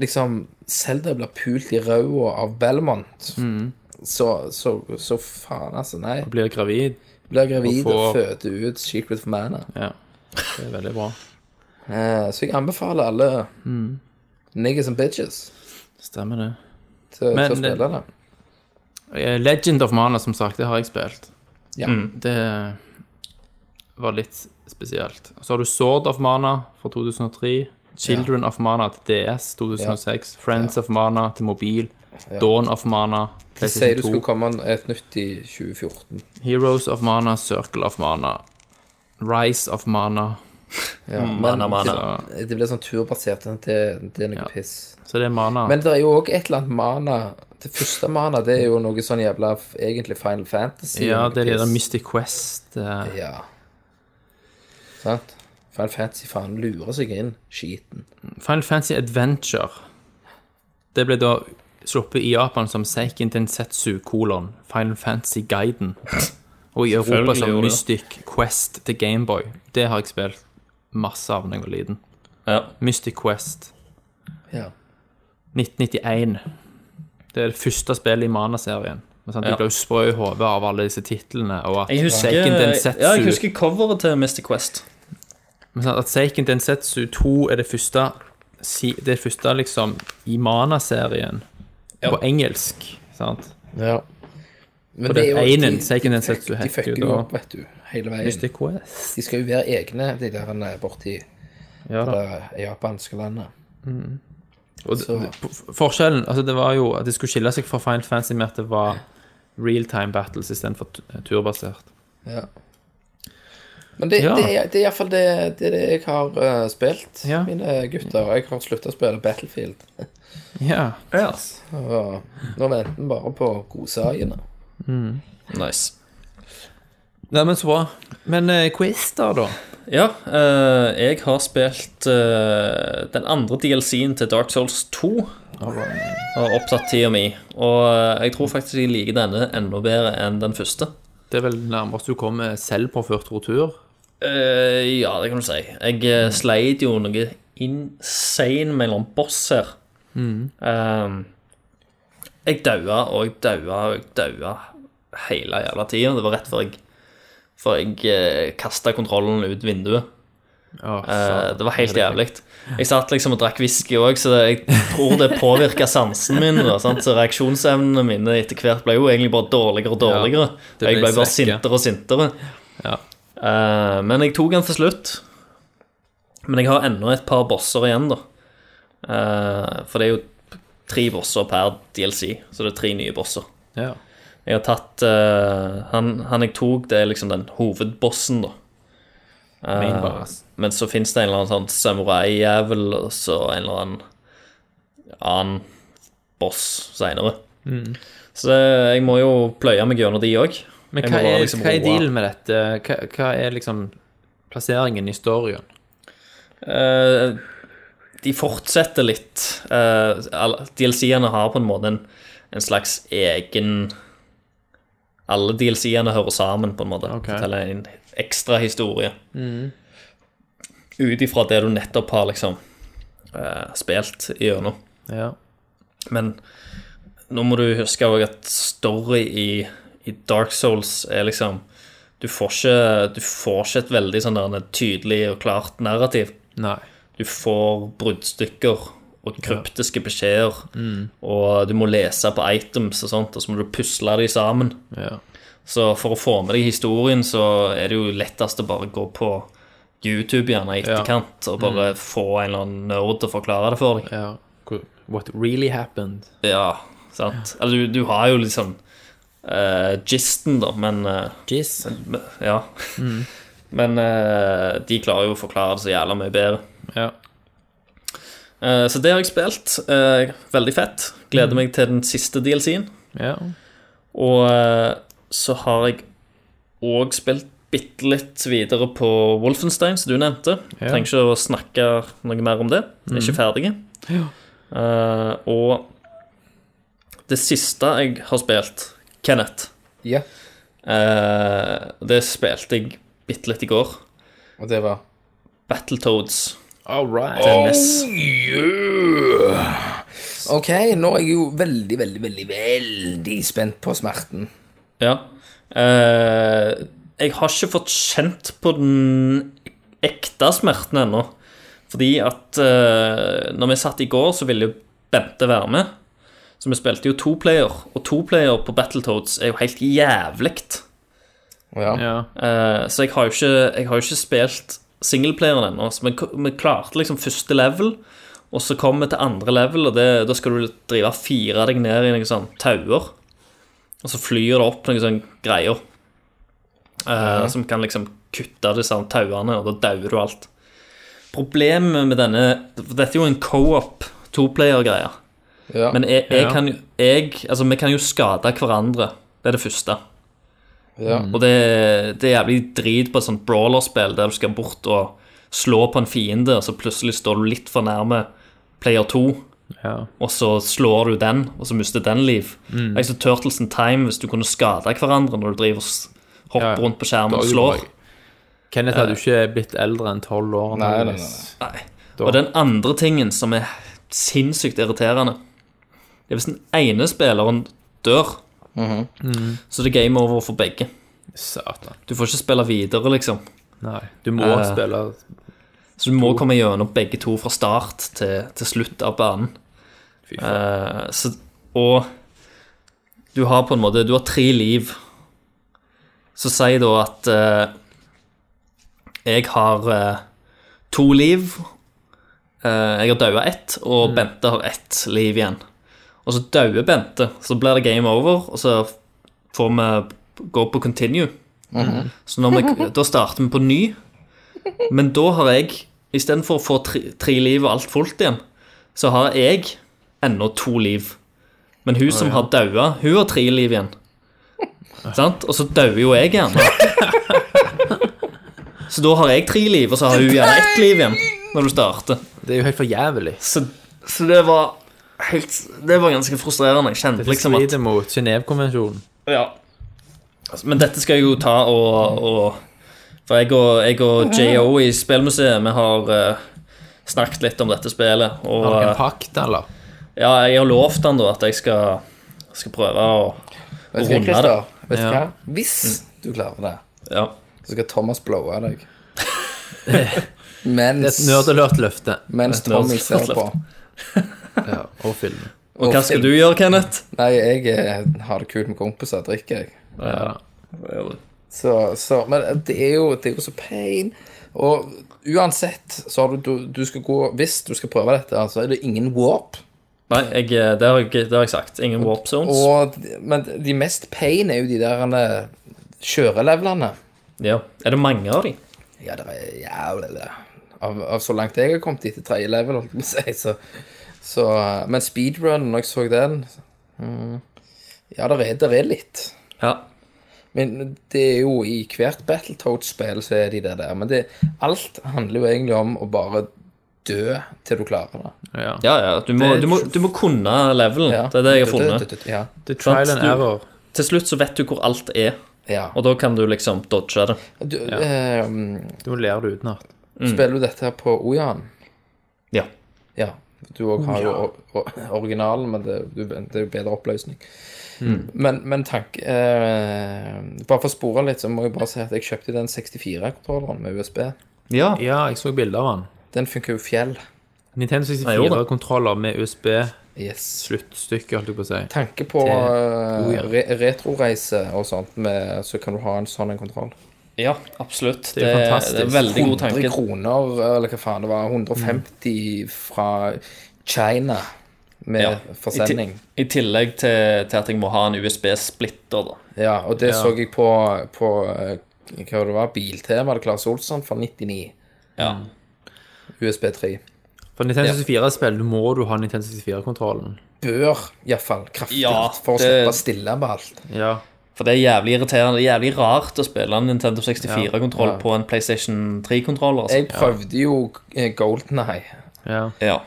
liksom Zelda blir pult i ræva av Belmont. Mm. Så, så, så faen, altså. Nei. Blir gravid. Blir gravid Og og, får- føder ut Secret of Mana. Ja. Det er veldig bra. Eh, så jeg anbefaler alle Mm. niggas and bitches Stemmer det. til, Men til å spille det. Eh, Legend of Mana, som sagt, det har jeg spilt. Mm, Ja. Det var litt spesielt. Så har du Sword of Mana fra 2003. Children of Mana til DS 2006. Friends of Mana til mobil. Dawn of Mana De sier eh, PlayStation du 2. skulle komme et nytt i 2014. Heroes of Mana, Circle of Mana. Rise of Mana. Ja, men Mana, mana. Det, det blir sånn turbasert. Det, det er Mm. noe Ja. piss. Så det er Mana. Men det er jo òg et eller annet mana Det første mana det er jo noe sånn jævla f- egentlig Final Fantasy. ja, noe det er det der piss. Mystic Quest. eh, Ja. Sant? Final Fantasy faen lurer seg inn. Skiten. Final Fantasy Adventure. Det ble da sluppet i Japan som Seiken Tensetsu kolon Final Fantasy Guiden. Og i Europa Selvfølgelig som gjorde det. Mystic Quest til Gameboy. Det har jeg spilt masse av da jeg var liten. Ja. Mystic Quest Ja. 1991. Det er det første spillet i Mana-serien. Men sant, Ja. De ble jo sprø i hodet av alle disse titlene. Og at Jeg husker, Seiken Densetsu ja, jeg husker coveret til Mr. Quest. Men sånn at Seiken Densetsu 2 er det første si- Det første liksom i Mana-serien på engelsk. Sant? ja. Men Og den jo- ene, de- Seiken de Densetsu, fuck- De heter fucker jo jo da- opp, vet du, hele veien. Mystic Quest. De skal jo være egne, de der eh, borti Ja da. det japanske landet. Og Så- det- p- forskjellen altså det var jo at det skulle skille seg fra Final Fantasy med at det var real-time battles istedenfor tu- turbasert. Ja. Men det, Ja. det, er- det er iallfall det, det, er det jeg har eh, spilt, Ja. mine gutter. Jeg har slutta å spille Battlefield. Ja. Ja. Og nå venter vi bare på godsakene. Nice. Nei, men så bra. Men eh, quiz der, da? Ja, eh, jeg har spilt eh, den andre DLC-en til Dark Souls 2. Har opptatt tida mi. Og eh, jeg tror faktisk jeg liker denne enda bedre enn den første. Det er vel nærmest du kommer selvpåført retur? Eh, ja, det kan du si. Jeg eh, sleit jo noe insane mellom boss her. Eh, jeg daua og jeg daua og jeg daua hele jævla tida. Det var rett før jeg, før jeg eh, kasta kontrollen ut vinduet. Å, Eh, satan. det var helt jævlig. Jeg satt liksom og drakk whisky òg, så det, jeg tror det påvirka sansen min. Da, sant? Så reaksjonsevnene mine etter hvert ble jo egentlig bare dårligere og dårligere. det jeg ble ble bare svekke. sintere og sintere. Ja. Eh, men jeg tok den til slutt. Men jeg har ennå et par bosser igjen, da. Eh, for det er jo tre bosser per DLC, så det er tre nye bosser. ja. Jeg har tatt eh, han, han jeg tok, det er liksom den hovedbossen, da. Eh, Main boss. Men så fins det en eller annen sånn samurai-jævel, og så en eller annen annen boss seinere. Mm. Så det, jeg må jo pløye meg gjennom de òg. Men hva er, liksom hva er dealen med dette? Hva, hva er liksom plasseringen i storyen? Eh, de fortsetter litt. Eh, alle- DLC-ene har på en måte en, en slags egen Alle DLC-ene hører sammen, på en måte. Ok. Mm. Forteller en ekstra historie. Ut ifra det du nettopp har liksom eh, spilt gjennom. Ja. Men nå må du huske også at story i, i Dark Souls er liksom Du får ikke, du får ikke et veldig sånn der, tydelig og klart narrativ. Nei. Du får bruddstykker og kryptiske beskjeder, og du må lese på items og sånt, og så må du pusle de sammen. Ja. Så for å få med deg historien, så er det jo lettest å bare gå på YouTube gjerne i etterkant, og bare få en eller annen nerd til å forklare det for deg. ja. What really happened? Ja, sant. Eller du, du har jo liksom uh, gisten, da, men eh, Jizz. Ja. Men eh, de klarer jo å forklare det så jævla mye bedre. Ja. Eh, så det har jeg spilt. eh, veldig fett. Gleder meg til den siste DLC-en. ja. Og eh, så har jeg og spilt bitte litt videre på Wolfenstein, som du nevnte. Ja. Trenger ikke å snakke noe mer om det. Jeg er ikke ferdig. Eh, og det siste jeg har spilt, Kenneth Ja, eh, Det spilte jeg bitte litt i går. og det var Battletoads. All right. NES. OK, nå er jeg jo veldig, veldig, veldig, veldig spent på smerten. Ja. Eh, jeg har ikke fått kjent på den ekte smerten ennå. Fordi at eh, når vi satt i går, så ville jo Bente være med. Så vi spilte jo toplayer, og toplayer på Battletoads er jo helt jævlig. Ja. Ja. Eh, så jeg har jo ikke, jeg har jo ikke spilt singleplayeren ennå. Så vi, vi klarte liksom første level, og så kom vi til andre level, og det, da skal du drive og fire deg ned i noen sånn tauer. Og så flyr det opp noen sånne greier eh, som kan liksom kutte disse her tauene, og da dauer du alt. Problemet med denne for Dette er jo en co-op toplayer-greie. Ja. Men jeg, jeg Ja. kan, jo- jeg, altså, vi kan jo skade hverandre. Det er det første. ja. Og det, det er jævlig drit på et sånt brawlerspill der du skal bort og slå på en fiende, og så plutselig står du litt for nærme player 2, ja. Mm. og så slår du den, og så mister den liv. Jeg så Turtles in Time hvis du kunne skade hverandre når du driver og s- hopper Ja, ja. rundt på skjermen og Da slår. Kenneth hadde jo ikke blitt eldre enn tolv år. Nei, nei, nei, antageligvis. Nei. Og den andre tingen som er sinnssykt irriterende, det er hvis den ene spilleren dør, Mm. så det er game over for begge. Satan. Du får ikke spille videre, liksom. Nei. Du må Eh. spille Så du må komme gjennom begge to fra start til, til slutt av banen. Fy faen. Eh, så, og du har på en måte Du har tre liv. Så si da at eh, jeg har eh, to liv. Eh, jeg har daua ett, Mm. og Bente har ett liv igjen. Og så dauer Bente, så blir det game over, og så får vi gå på continue. Mhm. Så når vi, da starter vi på ny, men da har jeg Istedenfor å få tre, tre liv og alt fullt igjen, så har jeg ennå to liv. Men hun som har daua, hun har tre liv igjen. Sant? Og så dauer jo jeg gjerne. Så da har jeg tre liv, og så har hun gjerne ett liv igjen når du starter. Det er jo helt for jævlig. Så, så det var helt Det var ganske frustrerende. Jeg kjente Det liksom at strider mot Genévekonvensjonen. ja. Altså, Men dette skal jeg jo ta og, og For jeg og, jeg og JO i Spillmuseet, vi har eh, snakket litt om dette spillet. Og Har dere en eh, pakt, eller? ja, jeg har lovt han da at jeg skal, skal prøve å Vet du hva, runde Christer? Vet du Ja. hva? Hvis du klarer det, Ja. så skal Thomas blowe deg. Mens, Et nerdelørt løfte. mens et nerd- Tommy ser på. Ja, og filmen. Og hva skal du gjøre, Kenneth? Nei, jeg eh, har det kult med kompiser, drikker jeg. Ja. Så, så, men det er, jo, det er jo så pain. Og uansett, så har du, du, du skal gå Hvis du skal prøve dette, så er det ingen warp. Nei, jeg, eh, det, har jeg, det har jeg sagt. Ingen warp zones. Og, men de mest pain er jo de der eh, kjørelevelene. Ja. Er det mange av de? Ja, det er jævlig det. Av, av så langt jeg har kommet dit, til tredje level, holdt jeg på å si. Så, så, eh, men speedrun, når jeg så den mm, Ja, det er, der er litt. Ja. Men det er jo i hvert Battletoads-spill så er de det der. Men det, alt handler jo egentlig om å bare dø til du klarer det. ja. ja, ja. Du må, du må, du må kunne levelen. Ja. Det er det jeg har Du- du- funnet. du- du- Ja. Det er trial Sant, and du- error. Til slutt så vet du hvor alt er, ja. og da kan du liksom dodge det. Du, ehm, Du må lære det utenat. spiller du dette her på Ojan? Mm. Ja. Ja. Du òg har jo or- or- originalen, men det, du, det er jo bedre oppløsning. Mm. Men, men tank eh, Bare for å spore litt, så må jeg bare si at jeg kjøpte den 64-kontrolleren med USB. Ja. Ja, jeg så bilder av han. Den funker jo fjell. Nintendo Jeg gjorde det. 64-kontroller med USB-sluttstykke, Yes. holdt jeg på å si. tanke på eh, re retroreise og sånt, med, så kan du ha en sånn en kontroll. Ja, absolutt. Det er jo fantastisk. Det er en veldig god 100 tanke. Mm. kroner, eller hva faen det var, 150 fra China med Ja. forsending. I, ti- I tillegg til, til at jeg må ha en USB-splitter, da. Ja, og det så jeg på, på eh, hva det var, Biltema eller Claes Olsson fra Mm. 99, Ja. USB 3. For Nintendo 64-spill må du ha Nintendo 64-kontrollen. Bør iallfall kraftig Ja, for å det- slippe stille på alt. Ja. For det er jævlig irriterende, det er jævlig rart å spille en Nintendo 64-kontroll Ja. på en PlayStation 3-kontroller. Altså. Jeg prøvde jo eh, Golden Eye, Ja. Ja.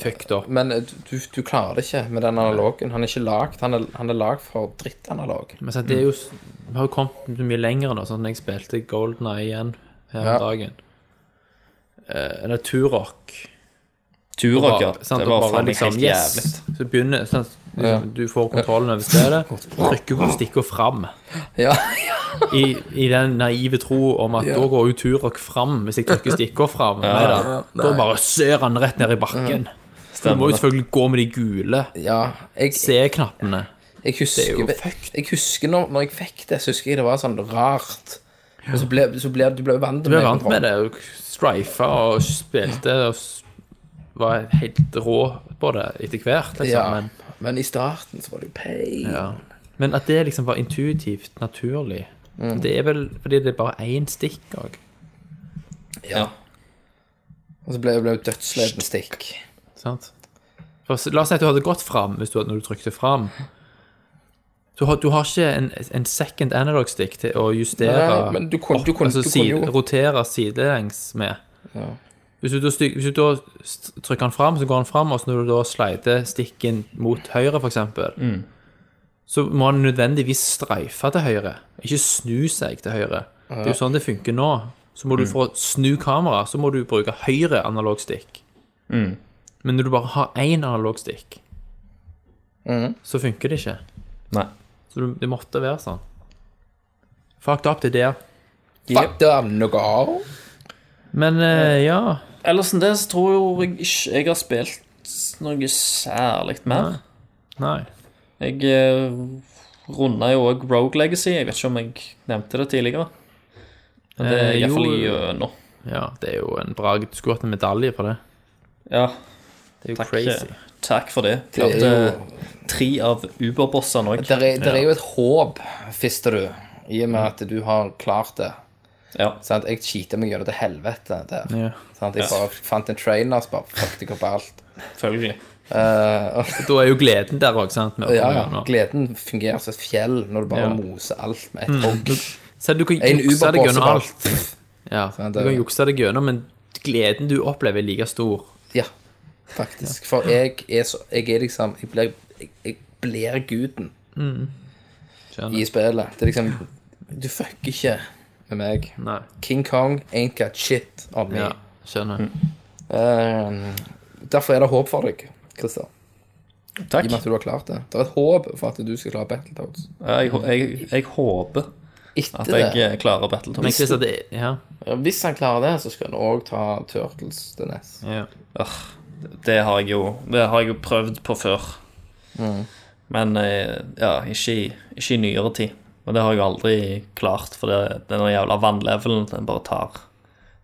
Fucked up. men eh, du, du klarer det ikke med den analogen. Han er ikke lagd. Han, er- han er lagd for drittanalog. Men så det er jo s- Vi har jo kommet mye lenger nå, sånn at jeg spilte Golden Eye igjen her om Ja. dagen. Eh, Eller Turok. Turok, ja. Bare- sant, Det og var bare faen meg liksom, helt yes. jævlig. Så begynner sant, liksom, Ja. Du får kontrollen over stedet, trykker på stikker fram. Ja. I, I den naive tro om at da går jo Turok fram hvis jeg trykker stikker fram. Nei da. Da bare ser han rett ned i bakken. Så Du må jo Stemmer det. selvfølgelig gå med de gule ja jeg, C-knappene. Jeg husker, jo jeg husker når, når jeg fikk det, så husker jeg det var sånn rart. Men så ble, så ble du ble vant Du ble vant med det, og strifa og spilte og s- var helt rå på det etter hvert. Liksom. Ja, Men, men i starten så var det jo pain. ja. men at det liksom var intuitivt, naturlig Mm. Det er vel fordi det er bare én stikk òg. Ja. Og så ble det dødssleden stikk. Sant? For, s- la oss si at du hadde gått fram hvis du, hadde- når du trykte fram. Du har, du har ikke en, en second analog stick til å justere Nei, men du kunne- du kunne- altså, du kunne side, jo- rotere sidelengs med. Hvis, du, da styr- hvis du da st- trykker den fram, så går den fram, og så når du da slider stikken mot høyre, f.eks., mm. så må den nødvendigvis streife til høyre, ikke snu seg til høyre. Det er jo sånn det funker nå. Så må du for å snu kameraet, så må du bruke høyre analog stick. Men når du bare har én analog stick, Mm. så funker det ikke. Nei. Så du, det måtte være sånn. Fucked up, det der. Fuck, det er noe av. Men eh, ja Ellers enn det så tror jeg ikke jeg har spilt noe særlig mer. Nei. Jeg eh, runda jo òg Rogue Legacy. Jeg vet ikke om jeg nevnte det tidligere. Men det er Eh, iallfall jo. gjennom. Ja, det er jo en bra Du skulle hatt en medalje for det. Ja, Det er jo takk, crazy. takk for det. Det er Klarte tre av Uber-bossene òg. Der er, der er jo et håp, fister du, i og med Mm. at du har klart det. Ja. Sant? Jeg cheater meg gjennom til helvete der. Ja. Sant? Jeg bare fant en trainer som bare fucket deg opp alt. Selvfølgelig. Da er jo gleden der òg, sant? Med å Ja, komme ja. gjennom. Gleden fungerer som et fjell når du bare Ja. moser alt med et hogg. Så du kan En jukse deg Uber-boss gjennom bare- alt. Ja, Sant, du det- kan jukse deg gjennom, men gleden du opplever, er like stor. Ja, faktisk. For jeg er, så, jeg er liksom Jeg blir, jeg, jeg blir guden Mm. Skjønner. i spillet. Det er liksom Du fucker ikke med meg. Nei. King Kong ain't got shit on me. Ja, skjønner. Mm. Eh, derfor er det håp for deg, Christer. I Takk. og med at du har klart det. Det er et håp for at du skal klare Battletoads. Jeg, jeg, jeg håper at Etter jeg det, eh, klarer Battletoads. Men Christer, det Ja. ja, hvis han klarer det, så skal han òg ta Turtles til E neste. ja. Det har jeg jo, det har jeg jo prøvd på før. Men eh, ja, ikke, i- ikke i nyere tid. Men det har jeg jo aldri klart, for det, den jævla vannlevelen den bare tar,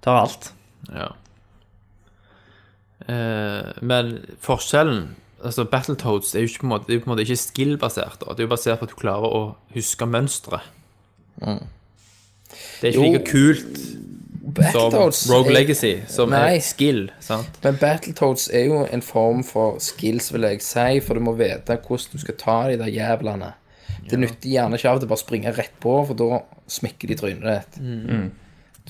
tar alt. ja. Eh, men forskjellen Altså, Battletoads er jo ikke på en måte, det er jo på en måte ikke skill-basert. da. Det er jo basert på at du klarer å huske mønstre. Det er ikke Mm. Jo, like kult som Battletoads Rogue er- Legacy, som Nei. er skill. sant? Men Battletoads er jo en form for skills, vil jeg si, for du må vite hvordan du skal ta de der jævlene. Det nytter gjerne ikke av at du bare springer rett på, for da smekker de trynet ditt.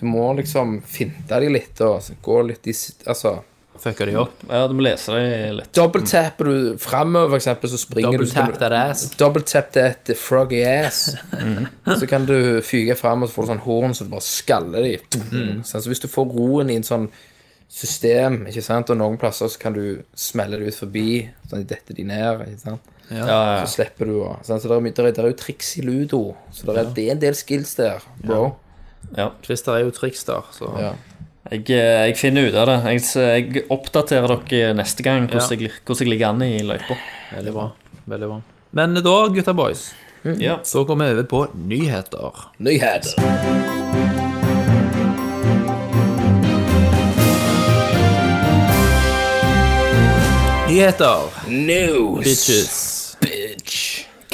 Du må liksom finte de litt og så gå litt i s- Altså Fucka de opp. Ja, du må lese det litt. Dobbelttapper du framover, for eksempel, så springer Double du så kan tap du that ass. Dobbelttapp det etter froggy ass. Mm. Så kan du fyke fram, og så får du sånn horn som så du bare skaller de. Sånn, Så hvis du får roen i en sånn system, ikke sant, og noen plasser så kan du smelle det ut forbi, sånn at de detter de ned, ikke sant. Ja, ja. Så slipper du å sånn, Så det er, mye- der er, der er jo triks i ludo, så der er, det er en del skills der, bro. ja. Christer er jo trickster, så Ja. Jeg, eh, jeg finner ut av det. Jeg, s- jeg oppdaterer dere neste gang hvordan, Ja. jeg, lig- hvordan jeg ligger an i løypa. veldig bra. Veldig bra. Men da, gutta boys, Ja. så går vi over på nyheter. Nyheter. Nyheter, News. bitches. Bitch.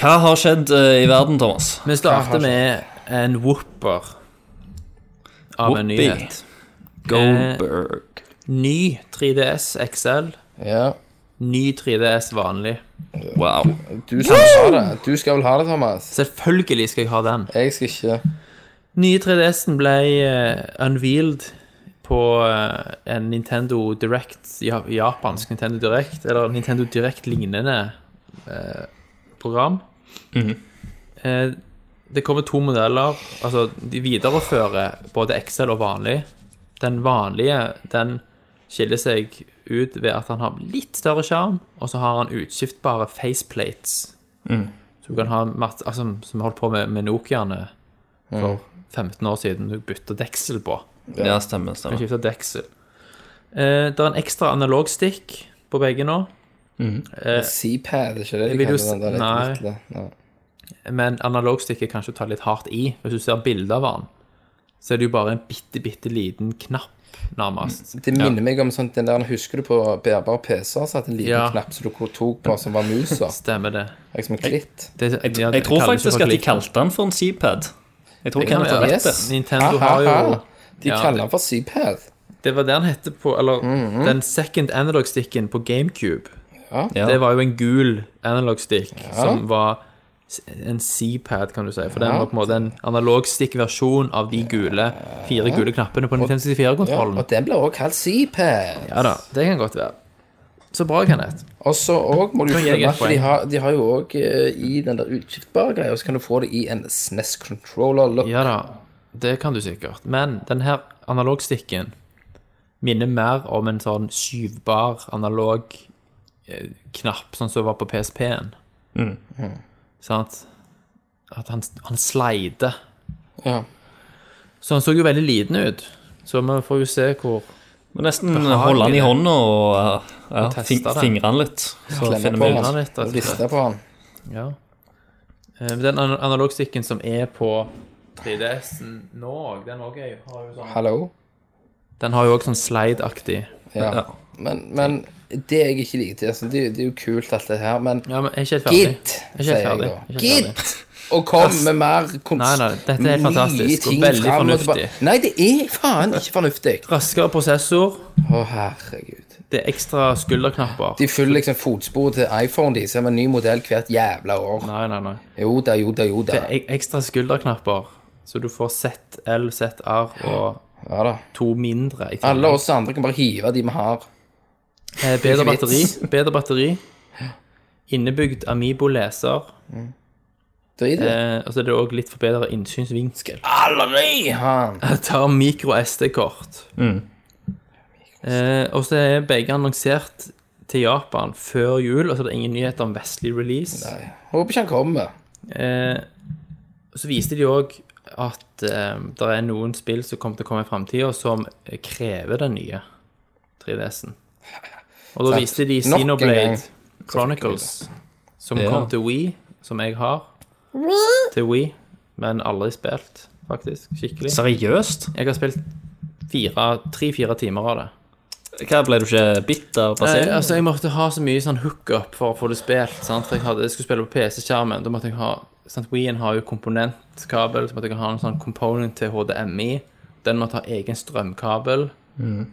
Hva har skjedd eh, i verden, Thomas? Vi starter med en whopper av en Whoopee. nyhet. Eh, Goldberg. Ny 3DS XL Ja. Ny 3DS vanlig. Wow. Du skal vel ha det, du skal vel ha det, Thomas. Selvfølgelig skal jeg ha den. Jeg skal ikke. Nye 3DS-en ble eh, unveiled på eh, en Nintendo Direct, ja, japansk Nintendo Direct, eller Nintendo Direct-lignende eh, program. Eh, det kommer to modeller, altså de viderefører både Excel og vanlig. Den vanlige, den skiller seg ut ved at han har litt større skjerm, og så har han utskiftbare faceplates. Så du kan ha, masse- altså, som holdt på med, med Nokiaene, 15 år siden du bytta deksel på. Ja, stemmer. Du stemmer. skifter deksel. Eh, det er en ekstra analog stick på begge nå, Seapad, ikke det de Vil du kaller s- den der? Nei. litt lille? Nei. men analog stick er kanskje å ta litt hardt i. Hvis du ser bilder av den, så er det jo bare en bitte, bitte liten knapp, Mm, nærmest. Det minner meg om sånn, den der, husker du på bærbare PC-er, så hadde en liten Ja. knapp som du tok på som var musa, Stemmer det. liksom en klitt. det ja, Jeg det tror kalles jo faktisk for at de klipp. kalte den for en Seapad. Jeg tror kan Kenneth har være. rett Yes. der. Nintendo har jo Aha. De Ja, kaller den for Seapad. Det var det han hette på Eller Mhm. den second analog sticken på GameCube. Ja. Det var jo en gul analog stick som var s- en C-pad, kan du si. For den var på en måte en analog stick-versjon av de gule, fire gule knappene på Nintendo Ja, 64-kontrollen. og den ble også kalt Seapad. Ja da, det kan godt være. Så bra, Kenneth. Og så også må du Kan jeg følge et at de poeng? har, de har jo også eh, i den der utskiftbare greia, så kan du få det i en E SNES controller look. Ja da, det kan du sikkert. Men den her analogstikken minner mer om en sånn skyvbar analog eh, knapp, sånn som var på PSP-en. Mm, Sant? At han, han slider. Ja. Så han så jo veldig liten ut. Så vi får jo se hvor Men nesten Behagelig, holde den i det. hånda og uh, ja, Og teste fing, det. fingre den litt. Så Klemme finner på vi ut. han. den, litt, rett og og slett. riste på den. Ja. Eh, Den an- analogstikken som er på 3DS-en nå òg, den også er- har jo sånn Hallo? Den har jo òg sånn slide-aktig. Ja. Men, men det jeg ikke liker til, altså, det, det er jo kult alt det her, men Ja, men jeg er ikke helt ferdig. gitt, Jeg er ikke helt sier jeg ferdig. da. Jeg er ikke helt ferdig. Gitt! Og kom med mer kunst. Nei, nei, dette er nye fantastisk, og ting veldig frem og tilbake. fornuftig. Nei, det er faen ikke fornuftig. Raskere prosessor, Å, herregud. det er ekstra skulderknapper. De følger liksom fotsporet til iPhone, de, som er en ny modell hvert jævla år. Nei, nei, nei. Jo da, jo da, jo da. Det er ek- ekstra skulderknapper, så du får ZL, ZR og Ja da. to mindre. i tillegg. Alle oss andre kan bare hive de vi har. Eh, Bedre Ikke batteri. vits. Bedre batteri. Innebygd Amibo-leser. Drit i det. Eh, og så er det òg litt forbedret innsynsvinkel. Eh. Aldri han! Jeg tar mikro SD-kort. Mm. Eh, og så er begge annonsert til Japan før jul, og så er det ingen nyheter om vestlig release. Håper ikke han kommer. Eh, så viste de òg at eh, det er noen spill som kommer til å komme i framtida, som krever den nye 3DS-en. Og da Sant. viste de Nok en gang. Xenoblade Chronicles, som Ja. kom til Wii, som jeg har. Til Wii, men aldri spilt, faktisk. Skikkelig. Seriøst? Jeg har spilt fire- tre-fire timer av det. Hva ble du ikke bitter? Nei, Basil? altså Jeg måtte ha så mye sånn hookup for å få det spilt. Sant? For jeg, hadde, jeg skulle spille på PC-skjermen. Da måtte jeg ha sant? Wien har jo komponentkabel, så måtte jeg ha en sånn component til HDMI. Den måtte ha egen strømkabel. Mm.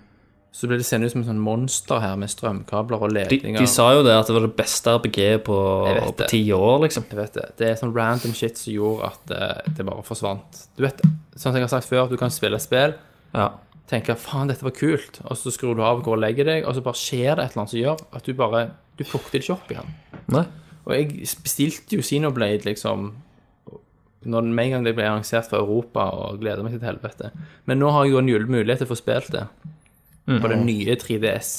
Så ble det sendt ut som et sånn monster her med strømkabler og de, ledninger. de sa jo det at det var det beste RPG på, Jeg vet på det. ti år, liksom. Jeg vet det. Det er sånn random shit som gjorde at eh, det bare forsvant. Du vet, sånn som jeg har sagt før, du kan spille et spill, Ja. tenke faen, dette var kult, og så skrur du av og går og legger deg, og så bare skjer det et eller annet som gjør at du bare Du plukker det ikke opp igjen. Nei. Og jeg bestilte jo Xenoblade, liksom, når den med en gang det ble arrangert fra Europa, og gleder meg til et helvete. Men nå har jeg jo en gyllen mulighet til å få spilt det. Mm. På den nye 3DS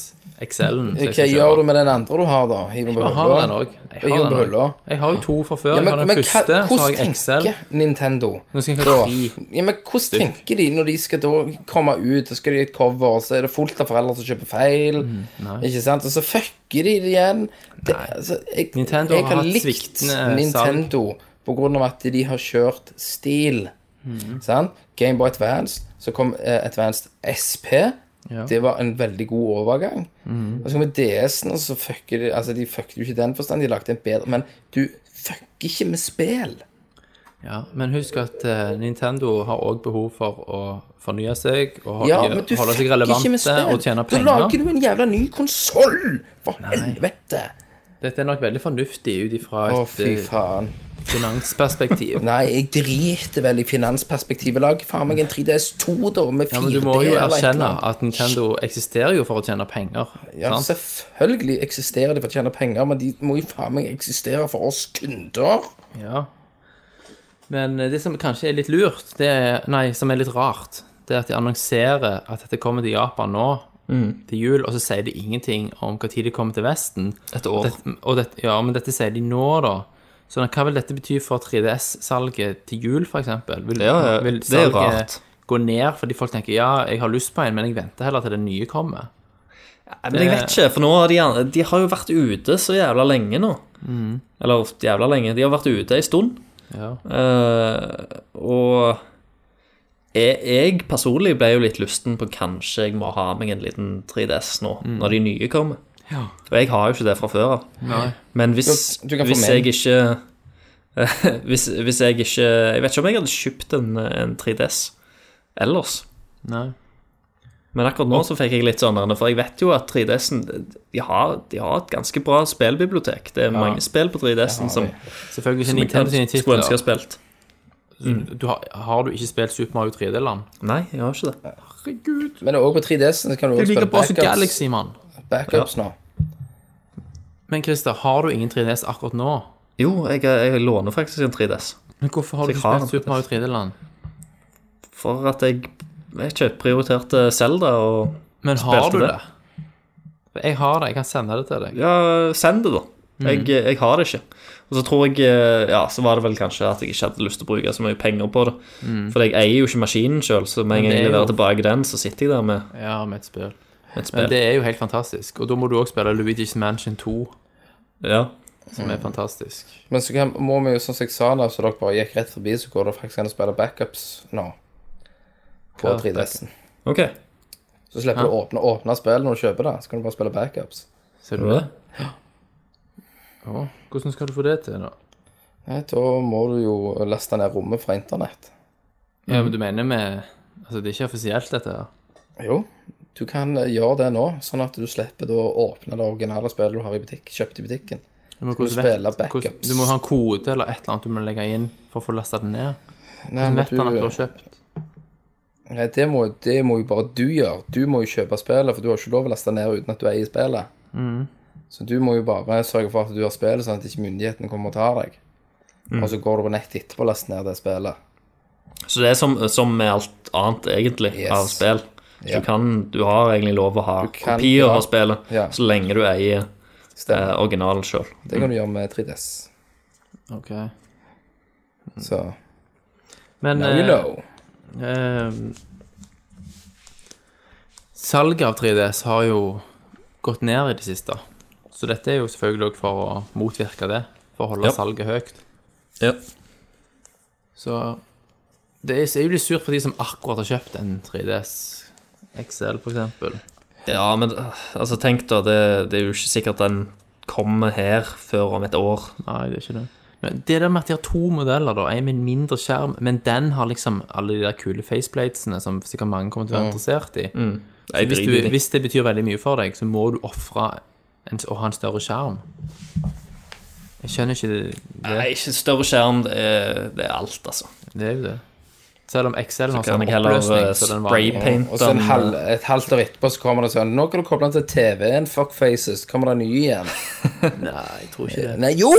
XL-en. som jeg Hva skal gjør kjøpe. du med den andre du har, da? Hiver på Jeg har den hylla? òg. Jeg Gi har den på den hylla. også. Jeg har jo to fra før. Ja, Jeg men, har den men hva, første, så har jeg hvordan XL. tenker Nintendo? Nå skal jeg ha Da, tre. ja, men hvordan tenker de når de skal da komme ut, og skal de gi et cover, og så er det fullt av foreldre som kjøper feil, Mm, ikke sant? Og så fucker de det igjen. Det, altså, jeg, Nintendo jeg har har hatt likt sviktende Nintendo på grunn av at de har kjørt stil. Mhm. Sant? Game Boy Advance, så kom eh, Advanced SP. Ja. Mhm. Det var en veldig god overgang. Og så kommer DS-en, og så fucker de Altså, de fucket jo ikke i den forstand, de lagde en bedre Men du fucker ikke med spill. Ja, men husk at eh, Nintendo har òg behov for å fornye seg og holde, Ja, men du holde fucker seg relevante ikke med og spill. tjene Da penger. lager du en jævla ny konsoll! For helvete! Dette er nok veldig fornuftig ut ifra Å, et fy eh, faen. finansperspektiv. Nei, jeg driter vel i finansperspektivet. Lag faen meg en 3DS2, da, med 4D. Ja, men du må jo eller et eller erkjenne annet. at Nintendo eksisterer jo for å tjene penger. Ja, sant? selvfølgelig eksisterer de for å tjene penger, men de må jo faen meg eksistere for oss kunder. Ja. Men eh, det som kanskje er litt lurt, det er, nei, som er litt rart, det er at de annonserer at dette kommer til Japan nå, Mm. til jul, og så sier de ingenting om hva tid det kommer til Vesten. Et år. Dette, og dette, ja, men dette sier de nå, da. Så hva vil dette bety for 3DS-salget til jul, for eksempel? Vil, Ja, ja, vil det er salget rart. gå ned fordi folk tenker ja, jeg har lyst på en, men jeg venter heller til den nye kommer? Nei, Men jeg vet ikke, for nå har de, de har jo vært ute så jævla lenge nå. Mm. Eller jævla lenge. De har vært ute en stund. Ja. Eh, og jeg, jeg personlig ble jo litt lysten på kanskje jeg må ha meg en liten 3DS nå, når de nye kommer. Mm. Ja. Og jeg har jo ikke det fra før av. Men hvis, Du- du kan få hvis med jeg ikke hvis, hvis jeg ikke Jeg vet ikke om jeg hadde kjøpt en, en 3DS ellers. Nei. Men akkurat nå så fikk jeg litt sånn, for jeg vet jo at 3DS-en de har, de har et ganske bra spillbibliotek. Det er mange spill på 3DS-en som, Selvfølgelig ikke som jeg kan- Nintendo sine skulle ønske jeg titler. har spilt. Du har, har du ikke spilt Super Mario 3D-land? Nei, jeg har ikke det. Herregud. Men også på 3DS-en kan du Jeg også liker spille bare som backups, Galaxy, mann. backups nå. Men Christer, har du ingen 3DS akkurat nå? Jo, jeg, jeg låner faktisk en 3DS. Men hvorfor har Så du jeg ikke har spilt den, Super Mario 3D-land? For at jeg vet ikke, prioriterte Zelda og Men har Spilte du det. det? For Jeg har det, jeg kan sende det til deg. Ja, send det, da. Mhm. Jeg, jeg har det ikke. Og så tror jeg eh, Ja, så var det vel kanskje at jeg ikke hadde lyst til å bruke så mye penger på det. For jeg eier jo ikke maskinen sjøl, så med Men en gang Mm. det jeg er leverer jo- tilbake den, så sitter jeg der med Ja, med et spill. et Men spill. det er jo helt fantastisk. Og da må du òg spille Luigi's Mansion 2, Ja. som er fantastisk. Men så kan, må vi jo, som jeg sa da, så dere bare gikk rett forbi, så går det faktisk an å spille backups nå. På Hva er 3DS-en. OK. Så slipper du å åpne, åpne spill når du kjøper det, så kan du bare spille backups. Ser du Gjorde det? det? Å, Hvordan skal du få det til, da? Nei, da må du jo laste ned rommet fra internett. Ja, men du mener med Altså, det er ikke offisielt, dette her. Jo, du kan eh, gjøre det nå, sånn at du slipper da å åpne det originale spillet du har i butikk, kjøpt i butikken. Du må, Skal du hvordan vet- spille backups? hvordan- du må ha en kode eller et eller annet du må legge inn for å få lasta den ned. Nei, Hvordan men vet han at du eh, du, eh, har kjøpt? nei det, må, det må jo bare du gjøre. Du må jo kjøpe spillet, for du har ikke lov å laste ned uten at du eier spillet. Mm. Så du må jo bare sørge for at du har spillet, sånn at ikke myndighetene kommer og tar deg. Mm. Og så går du på nettet etterpå og laster ned det spillet. Så det er som, som med alt annet, egentlig, Yes. av spill. Så Ja. du, kan, du har egentlig lov å ha kan- kopier ja. av spillet, Ja. så lenge du eier eh, Stemmer. originalen sjøl. Det Mm. kan du gjøre med 3DS. Ok. Så Mm. Men Now you eh, know. Ehm, Salget av 3DS har jo gått ned i det siste. Så dette er jo selvfølgelig også for å motvirke det, for å holde Ja. salget høyt. Ja. Så det er, er jo litt surt for de som akkurat har kjøpt en 3DS XL, for eksempel. ja, men øh, altså, tenk da, det, det er jo ikke sikkert den kommer her før om et år. Nei, det er ikke det. Men det der med at de har to modeller, da, en med en mindre skjerm, men den har liksom alle de der kule faceplatesene som sikkert mange kommer til å være interessert i. Så Jeg hvis, driter i du, det. hvis det betyr veldig mye for deg, så må du ofre en- å ha en større skjerm. Jeg skjønner ikke det. Det, Nei, ikke større skjerm. Det er, det er alt, altså. det er jo det. Selv om Excel har Kan sånn jeg heller oppløsning eh, så den var Og spraypainte så en halv, den? et halvt år etterpå så kommer det sånn Nå kan du koble den til TV-en, fuckfaces. Kommer det en ny igjen? Nei, jeg tror ikke det. Nei, jo!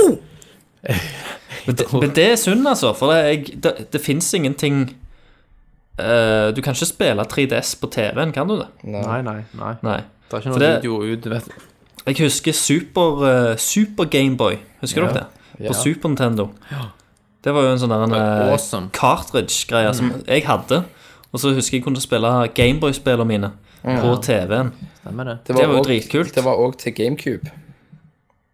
Men det, men det er synd, altså. For det, jeg, det, det fins ingenting eh, Du kan ikke spille 3DS på TV-en, kan du det? Nei, nei, nei. Nei. Det er ikke For noe det- video ut, vet du. Jeg husker Super, eh, Super Gameboy. Husker dere det? På Super Nintendo. Det var jo en sånn der en, eh, Awesome. Mm. cartridge-greie som jeg hadde. Og så husker jeg kunne spille Gameboy-spillene mine på TV-en. Stemmer det. Det var jo også- dritkult. Det var òg til GameCube.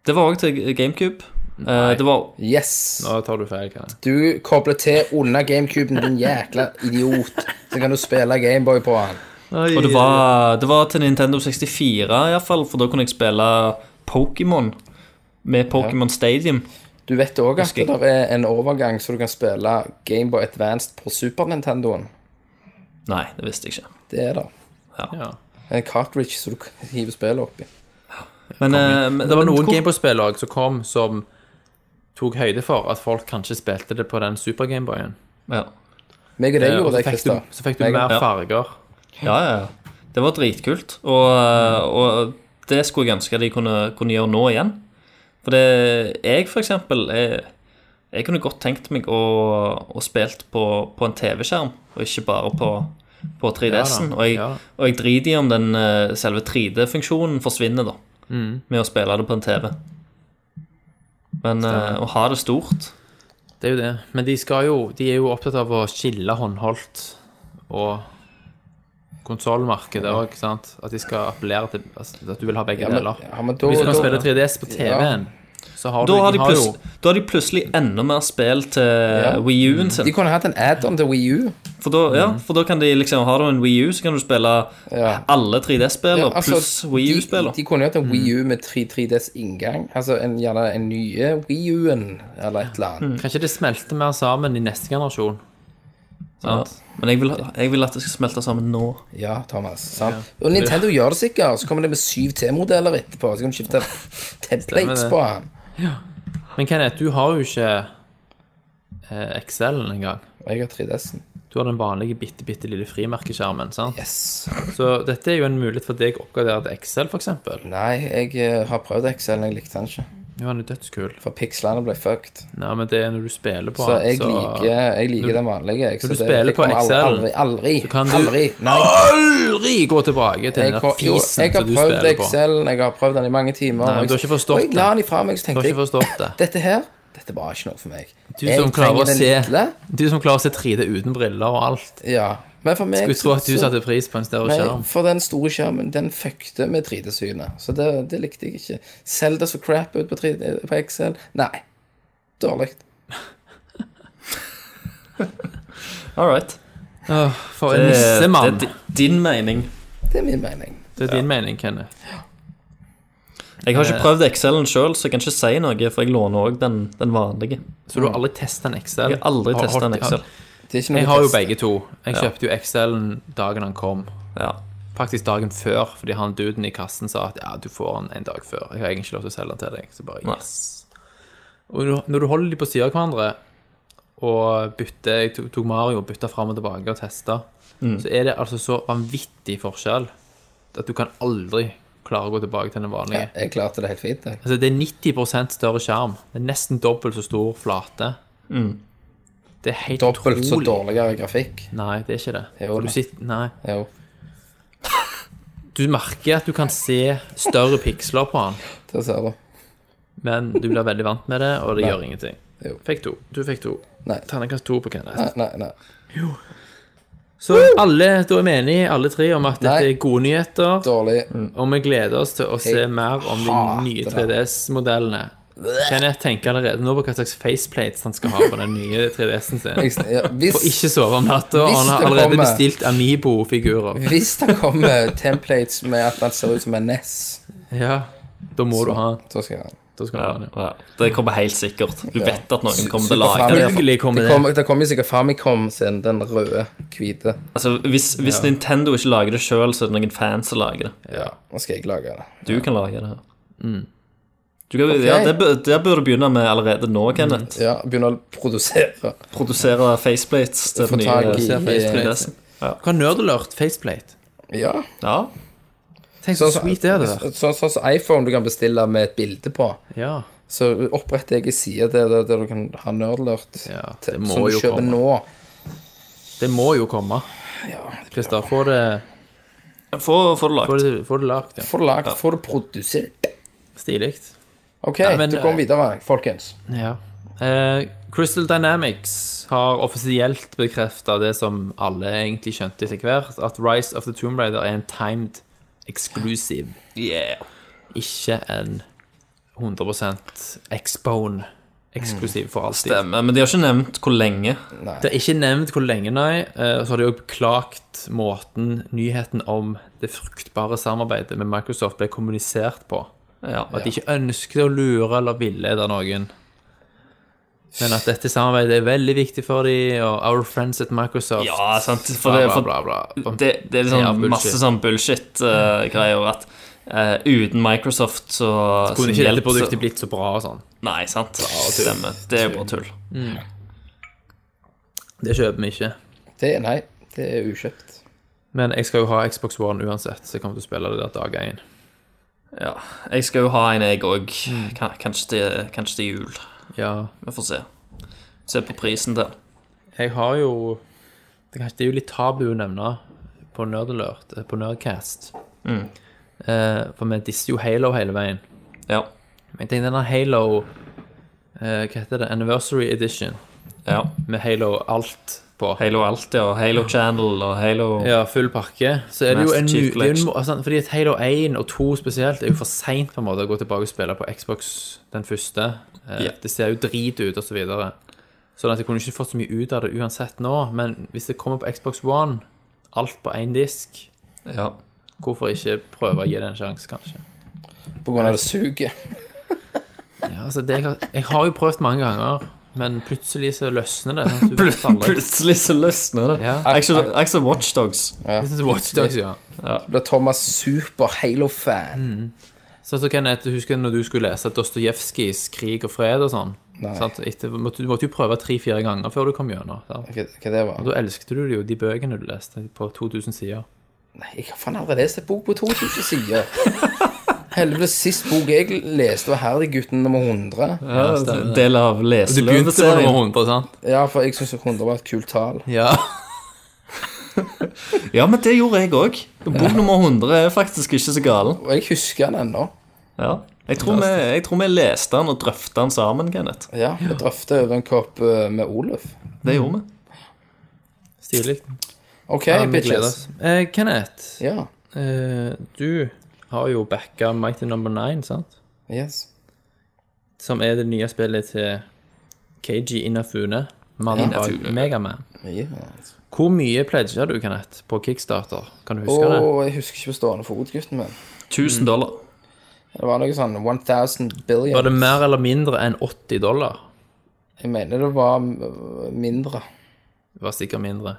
Det var òg til GameCube. Eh, det var Yes! Nå tar du feil, Karin. Du kobler til under GameCuben, din jækla idiot. Så kan du spille Gameboy på han. Og det var, det var til Nintendo 64 iallfall, for da kunne jeg spille Pokémon med Pokémon Stadium. Du vet òg at det der er en overgang så du kan spille Gameboy Advanced på Super Nintendoen. Nei, det visste jeg ikke. Det er det. Ja. En cartridge som du kan hive spillet oppi. Men, eh, men Det var men noen hvor- Gameboy-spill også som kom som tok høyde for at folk kanskje spilte det på den Super Gameboyen. Ja. Meg og deg Og gjorde så fikk det, du, Christer. så fikk du Jeg- mer Ja. farger. Ja, ja, ja. Det var dritkult. Og, og det skulle jeg ønske de kunne, kunne gjøre nå igjen. For det, jeg, for eksempel, jeg, jeg kunne godt tenkt meg å, å spilt på, på en TV-skjerm, og ikke bare på, på 3DS-en. Ja da, og, jeg- ja. og jeg driter i om den eh, selve 3D-funksjonen forsvinner, da, Mm. med å spille det på en TV. Men eh, å ha det stort Det er jo det. Men de, skal jo, de er jo opptatt av å skille håndholdt og konsollmarkedet òg, ikke sant? At de skal appellere til altså, at du vil ha begge Ja, men- deler. ja, men da- Hvis du kan da- spille 3DS på TV-en, så har du da har, de har jo- plutselig, da har de plutselig enda mer spill til ja. Wii U-en sin. De kunne hatt en add-on til Wii U. For da, ja, for da kan de liksom Har du en Wii U, så kan du spille Mm. Ja. alle 3D-spiller Ja, altså, pluss Wii U-spiller. De, de kunne jo hatt en Wii Mm. U med 3 3Ds inngang. Altså en, gjerne en nye Wii U-en, eller et eller annet. Kanskje det smelter mer sammen i neste generasjon. Ja. Men jeg vil, jeg vil at det skal smelte sammen nå. Ja, Thomas. sant? Og Nintendo gjør det sikkert. Så kommer det med 7T-modeller etterpå. Så kan du skifte templates det. på den. Men Kenneth, du har jo ikke eh, Excel engang. Og jeg har 3DS-en. Du har den vanlige bitte, bitte lille frimerkeskjermen. sant? Yes. Så dette er jo en mulighet for deg å oppgradere til Excel, f.eks. Nei, jeg eh, har prøvd Excel, men jeg likte den ikke. Jo, han er dødskul. For pikslene ble fucked. Nei, men det er når du spiller på Så han, jeg liker, jeg liker den vanlige. Jeg, så du det- spiller jeg på kommer aldri- Excel, Aldri, aldri. så kan du- aldri. Nei. aldri gå tilbake til den Jeg, har- der jo, fisen jeg har som du prøvd spiller på. Excel, jeg har prøvd den i mange timer. men og jeg- du har ikke forstått og jeg la det. den ifra meg, så Du tenkte har jeg ikke forstått det. dette her dette var ikke noe for meg. Du som, jeg klarer trenger å den se, lille. du som klarer å se 3D uten briller og alt. Ja. Men for meg Skulle tro at du så- satte pris på en større Nei, skjerm. for den store skjermen, den fuckte med 3D-synet. Så det, det likte jeg ikke. Zelda så crap ut på, 3D, på Excel. Nei. Dårlig. All right. Åh, For en Det, nissemann. det er di- din mening. Det er min mening. Det er din mening, Kenneth. Jeg Eh. har ikke prøvd Excelen sjøl, så jeg kan ikke si noe, for jeg låner òg den, den vanlige. Så Mm. du har aldri testa en Excel? Jeg har aldri testa en Excel. Det er ikke noe Jeg har jo test. begge to. Jeg kjøpte jo Excelen dagen han kom. Ja. Faktisk dagen før, fordi han duden i kassen sa at ja, du får den en dag før. Jeg har egentlig ikke lov til å selge den til deg. Så bare Nei. yes. Og når- når du holder de på siden av hverandre, og bytter Jeg tok- tok Mario og bytta fram og tilbake og testa, Mm. så er det altså så vanvittig forskjell at du kan aldri klare å gå tilbake til den vanlige. Ja, jeg klarte det helt fint. Jeg. Altså, det er 90 større skjerm. Det er nesten dobbelt så stor flate. Det er helt Mm. Dobbelt så utrolig. dårligere grafikk. Nei, det er ikke det. Jo, du da. sitter, nei. Jo. Du merker at du kan se større piksler på den, Det ser du. men du blir veldig vant med det, og det gjør ingenting. Jo. Fikk to. Du fikk to. Nei. Terningkast to på Kenneth. Nei, nei, nei. Så alle, da er vi enige, alle tre, om at dette Nei. er gode nyheter. Dårlig. Og vi gleder oss til å se Jeg mer om de hater nye det. 3DS-modellene. Kenneth tenker allerede nå på hva slags faceplates han skal ha på den nye 3DS-en sin. Jeg- ja, Hvis, Og ikke sove om natta, og Hvis han har det allerede kommer- bestilt Amibo-figurer. Hvis det kommer templates med at den ser ut som en NES, Ja, da må du ha den. så skal jeg Da skal du ha den. ja. Ja. Det kommer helt sikkert. Du Ja. vet at noen kommer til å Super lage det. Famicom. Selvfølgelig kommer det det. kommer, det kommer sikkert Famicom sin, den røde, hvite. Altså, hvis, hvis Nintendo ikke lager det sjøl, så er det noen fans som lager det. Ja, nå skal jeg lage det. Du kan lage det. Mm. Du kan, ja, det, bør- det bør du begynne med allerede nå, Kenneth. Ja, Begynne å produsere. Produsere faceplates til Få den tak nye i- serien på 3DS-en. Hva har nerdelert faceplate? Ja. Ja. Tenk så Sånn som sweet det hadde vært. så- så- sånn som iPhone du kan bestille med et bilde på. Ja. Så oppretter jeg en side der, der, der du kan ha nerdlert Ja, det til- må som du jo kjøper komme. nå. Det må jo komme. Christer, få det, Få, få det få lagt. det, få det lagt. Ja. Får du lagd, får du produsert. Stilig. OK, Nei, men, du går eh, videre, folkens. Ja. Eh, Crystal Dynamics har offisielt bekrefta det som alle egentlig skjønte etter hvert, at Rise of the Tomb Raider er en timed exclusive, Yeah. ikke en 100 expone eksklusiv for alltid. Stemmer. Men de har ikke nevnt hvor lenge. Det er ikke nevnt hvor lenge, nei. Eh, og Så har de òg beklagt måten nyheten om det fruktbare samarbeidet med Microsoft ble kommunisert på. Ja. At de ikke ønsket å lure eller villede noen. Men at dette samarbeidet er veldig viktig for dem, og Our Friends at Microsoft Ja, sant. For bla, det, bla, for bla, bla. det, det er sånn Ja, bullshit. masse sånn Mm. bullshit-greier. at eh, uten Microsoft så Kunne sin ikke dette hjelp, så- produktet blitt så bra og sånn? Nei, sant. Stemmer. Det er jo bare tull. Det kjøper vi ikke. Det, nei, det er ukjøpt. Men jeg skal jo ha Xbox One uansett, så jeg kommer til å spille det der dag én. Ja. Jeg skal jo ha en, jeg òg. Mm. Kanskje, til- kanskje til jul. Ja. Vi får se. Se på prisen der. Jeg har jo Det er kanskje- det er jo litt tabu å nevne på Nerdalert, eh, på Nerdcast. Eh, for vi disser jo Halo hele veien. Ja. Men jeg tenkte denne Halo eh, Hva heter det? Anniversary Edition ja. med Halo alt på. Halo alt, ja. Halo Channel og Halo Ja, full pakke. Så er det jo en, Master Chief det er jo en, Collection. må- altså, Fordi at Halo 1 og 2 spesielt er jo for seint å gå tilbake og spille på Xbox den første. Eh, Ja. Det ser jo drit ut, og Så videre Sånn at jeg kunne ikke fått så mye ut av det uansett nå. Men hvis det kommer på Xbox One, alt på én disk, Ja. hvorfor ikke prøve å gi det en sjanse, kanskje? På grunn av det suget. Ja, altså, det, jeg, har, jeg har jo prøvd mange ganger, men plutselig så løsner det. Sånn, at du vet aldri. Plutselig så løsner det. Ja. Jeg så Watchdogs. Det synes jeg Watch Dogs, ja. Da er Thomas super Halo-fan. Sånn som Kenneth, husker når du skulle lese Dostojevskijs 'Krig og fred' og sånn. Sant? Etter, måtte, du måtte jo prøve tre-fire ganger før du kom gjennom. sant? Hva, hva det var? Da elsket du jo de bøkene du leste på 2000 sider. Nei, jeg har faen aldri lest et bok på 2000 sider. Helvete, sist bok jeg leste, var 'Herliggutten nummer 100'. Ja, stemmer. del av leseløveserien. 100, sant? Ja, for jeg syns 100 var et kult tall. Ja. Ja, men det gjorde jeg òg. Bok nummer 100 er faktisk ikke så galen. Og jeg husker den ennå. Ja. Jeg tror, vi, jeg tror vi leste den og drøfta den sammen, Kenneth. Ja, vi drøftet over en kopp eh, med Oluf. Det gjorde vi. Stilig. OK, Ja, vi gleder bitches. oss. Eh, Kenneth, Ja, eh, du har jo backa Mighty Number 9, sant? yes. Som er det nye spillet til KG Inafune, mannen bak Inafune. Megaman. yes. Hvor mye pledga du, Kenneth, på kickstarter? Kan du huske det? Og jeg husker ikke på stående fot, gutten min. 1000 dollar. Det var noe sånn 1000 billion. Var det mer eller mindre enn 80 dollar? Jeg mener det var øh, mindre. Det var sikkert mindre.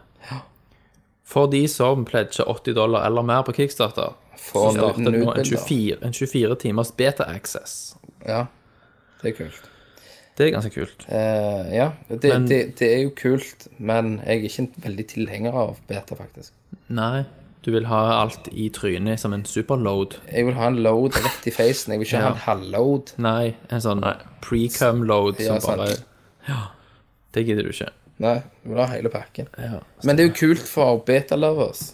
For de som pledger 80 dollar eller mer på Kickstarter, For så starter en nå en nude-bilder. 24, en 24 timers beta-access. Ja, det er kult. Det er ganske kult. Eh, ja, det, Men- det, det er jo kult, men jeg er ikke en veldig tilhenger av beta, faktisk. Nei, du vil ha alt i trynet som en superload. Jeg vil ha en load rett i facen. Jeg vil ikke Ja. ha en halvload. Nei, en sånn pre-cum-load som Ja, sant. bare Ja, det gidder du ikke. Nei, jeg vil ha hele pakken. Ja. Men det er jo kult for beta-lovers.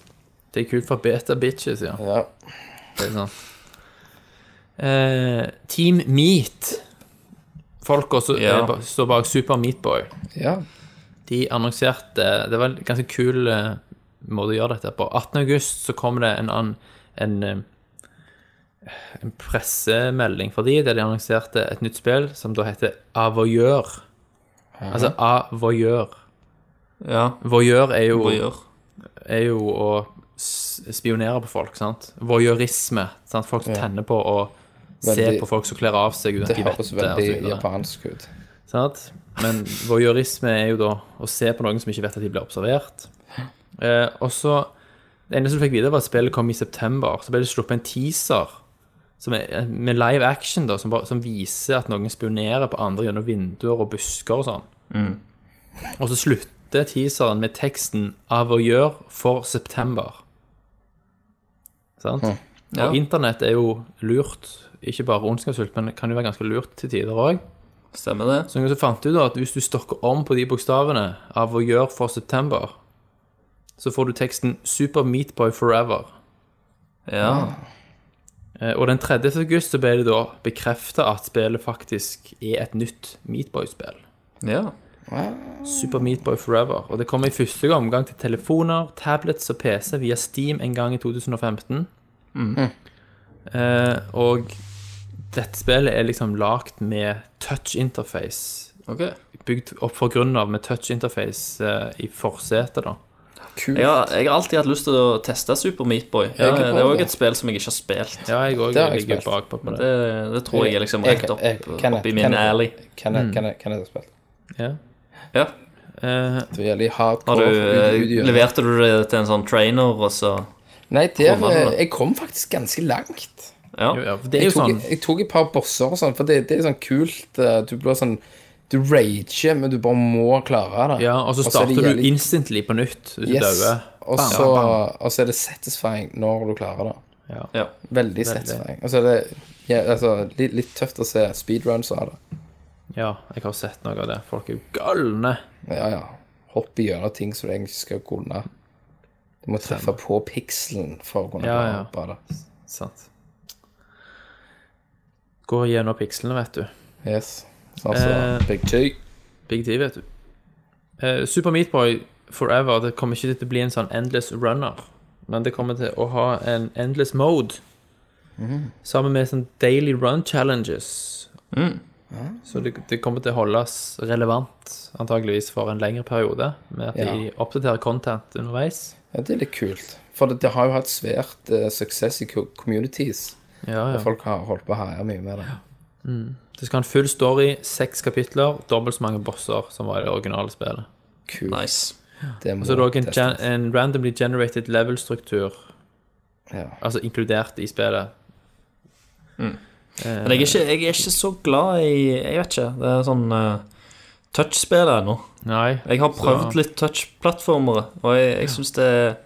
Det er kult for beta-bitches, ja. Ja. Det er sant. Eh, Team Meat. Folka som Ja. eh, ba- står bak Super Meatboy. ja. De annonserte Det var en ganske kul eh, måte å gjøre dette på. 18. august så kom det en, ann- en, eh, en pressemelding for de, der de annonserte et nytt spill som da heter Avoyeur. Altså Avoyeur. Ja. Voyeur er jo, Hva gjør? er jo å s- spionere på folk, sant? Voyeurisme. Sant? Folk som tenner på å se Veldig- på folk som kler av seg uten at Det de vet høres det. og så veldig videre. japansk ut. Sant? Men voyeurisme er jo da å se på noen som ikke vet at de blir observert. Eh, og så Det eneste du fikk vite, var at spillet kom i september. Så ble det sluppet en teaser som er, eh, med live action da, som, bare, som viser at noen spionerer på andre gjennom vinduer og busker og sånn. Og så slutter teaseren med teksten 'Avoyeur for september'. Sant? Ja. Og internett er jo lurt. Ikke bare ondskapsfullt, men kan jo være ganske lurt til tider òg. Stemmer det? Så noen som fant ut da at hvis du stokker om på de bokstavene av å gjøre for september, så får du teksten Super Meat Boy Forever. Ja. Eh, Og den 30. august så ble det da bekreftet at spillet faktisk er et nytt Meat Boy-spill. ja. Super Meat Boy Forever. Og det kommer i første omgang til telefoner, tablets og PC via Steam en gang i 2015. Eh, og dette spillet er liksom lagt med touch interface Ok. bygd opp fra grunnen av med touch interface eh, i forsetet, da. Kult. Jeg har, jeg har alltid hatt lyst til å teste Super Meatboy. Ja, kan det prøve er òg det. et spill som jeg ikke har spilt. Ja, jeg òg Det har jeg ligger spilt. bakpå på det. Det, det tror jeg er liksom Jeg- rett opp, jeg- Kenneth, opp i min Kenneth. alley. Mm. Kan jeg, kan jeg, kan jeg ha spilt? Ja. Ja. Eh, Det var jævlig Har hardcore. du, eh, ut- ut i øynene. leverte du det til en sånn trainer, og så Nei, der, Kom an, da. eh, jeg kom faktisk ganske langt. Ja. jo, ja, for det er Jeg jo tok, sånn jeg tok et par bosser og sånn, for det, det er sånn kult. eh, Du blir sånn Du rager, men du bare må klare det. Ja, og så er det starter du jævlig- instantly på nytt hvis du Yes. dauer. Og Bam, så, bam, bam. og så er det satisfying når du klarer det. ja. Veldig satisfying. Og så er det ja, altså, litt, litt tøft å se speedruns av det. Ja, jeg har sett noe av det. Folk er jo galne. Ja, ja. Hoppe gjennom ting som du egentlig skal kunne. Du må treffe på pikselen for å kunne Ja, bare ja. hoppe av det. Sant. Går gjennom pikslene, vet du. Yes. Sånn som Eh, Big Two. Big T, vet du. Eh, Super Meat Boy Forever det kommer ikke til å bli en sånn endless runner, men det kommer til å ha en endless mode. Sammen med sånn daily run challenges. Så det, det kommer til å holdes relevant, antageligvis for en lengre periode, med at Ja. de oppdaterer content underveis. Ja, det er litt kult. For det, det har jo hatt svært eh, suksess i co- communities. Ja, ja. Folk har holdt på å herje mye med det. Det skal ha en full story, seks kapitler, dobbelt så mange bosser som var i det originale spillet. Kult. Nice. Det må Så det er òg en, testes. gen en randomly generated level-struktur, Ja. altså inkludert i spillet. Men jeg er, ikke, jeg er ikke så glad i Jeg vet ikke. Det er sånn eh, touch-spill ennå. Nei. Jeg har prøvd litt touch-plattformere, og jeg, jeg syns det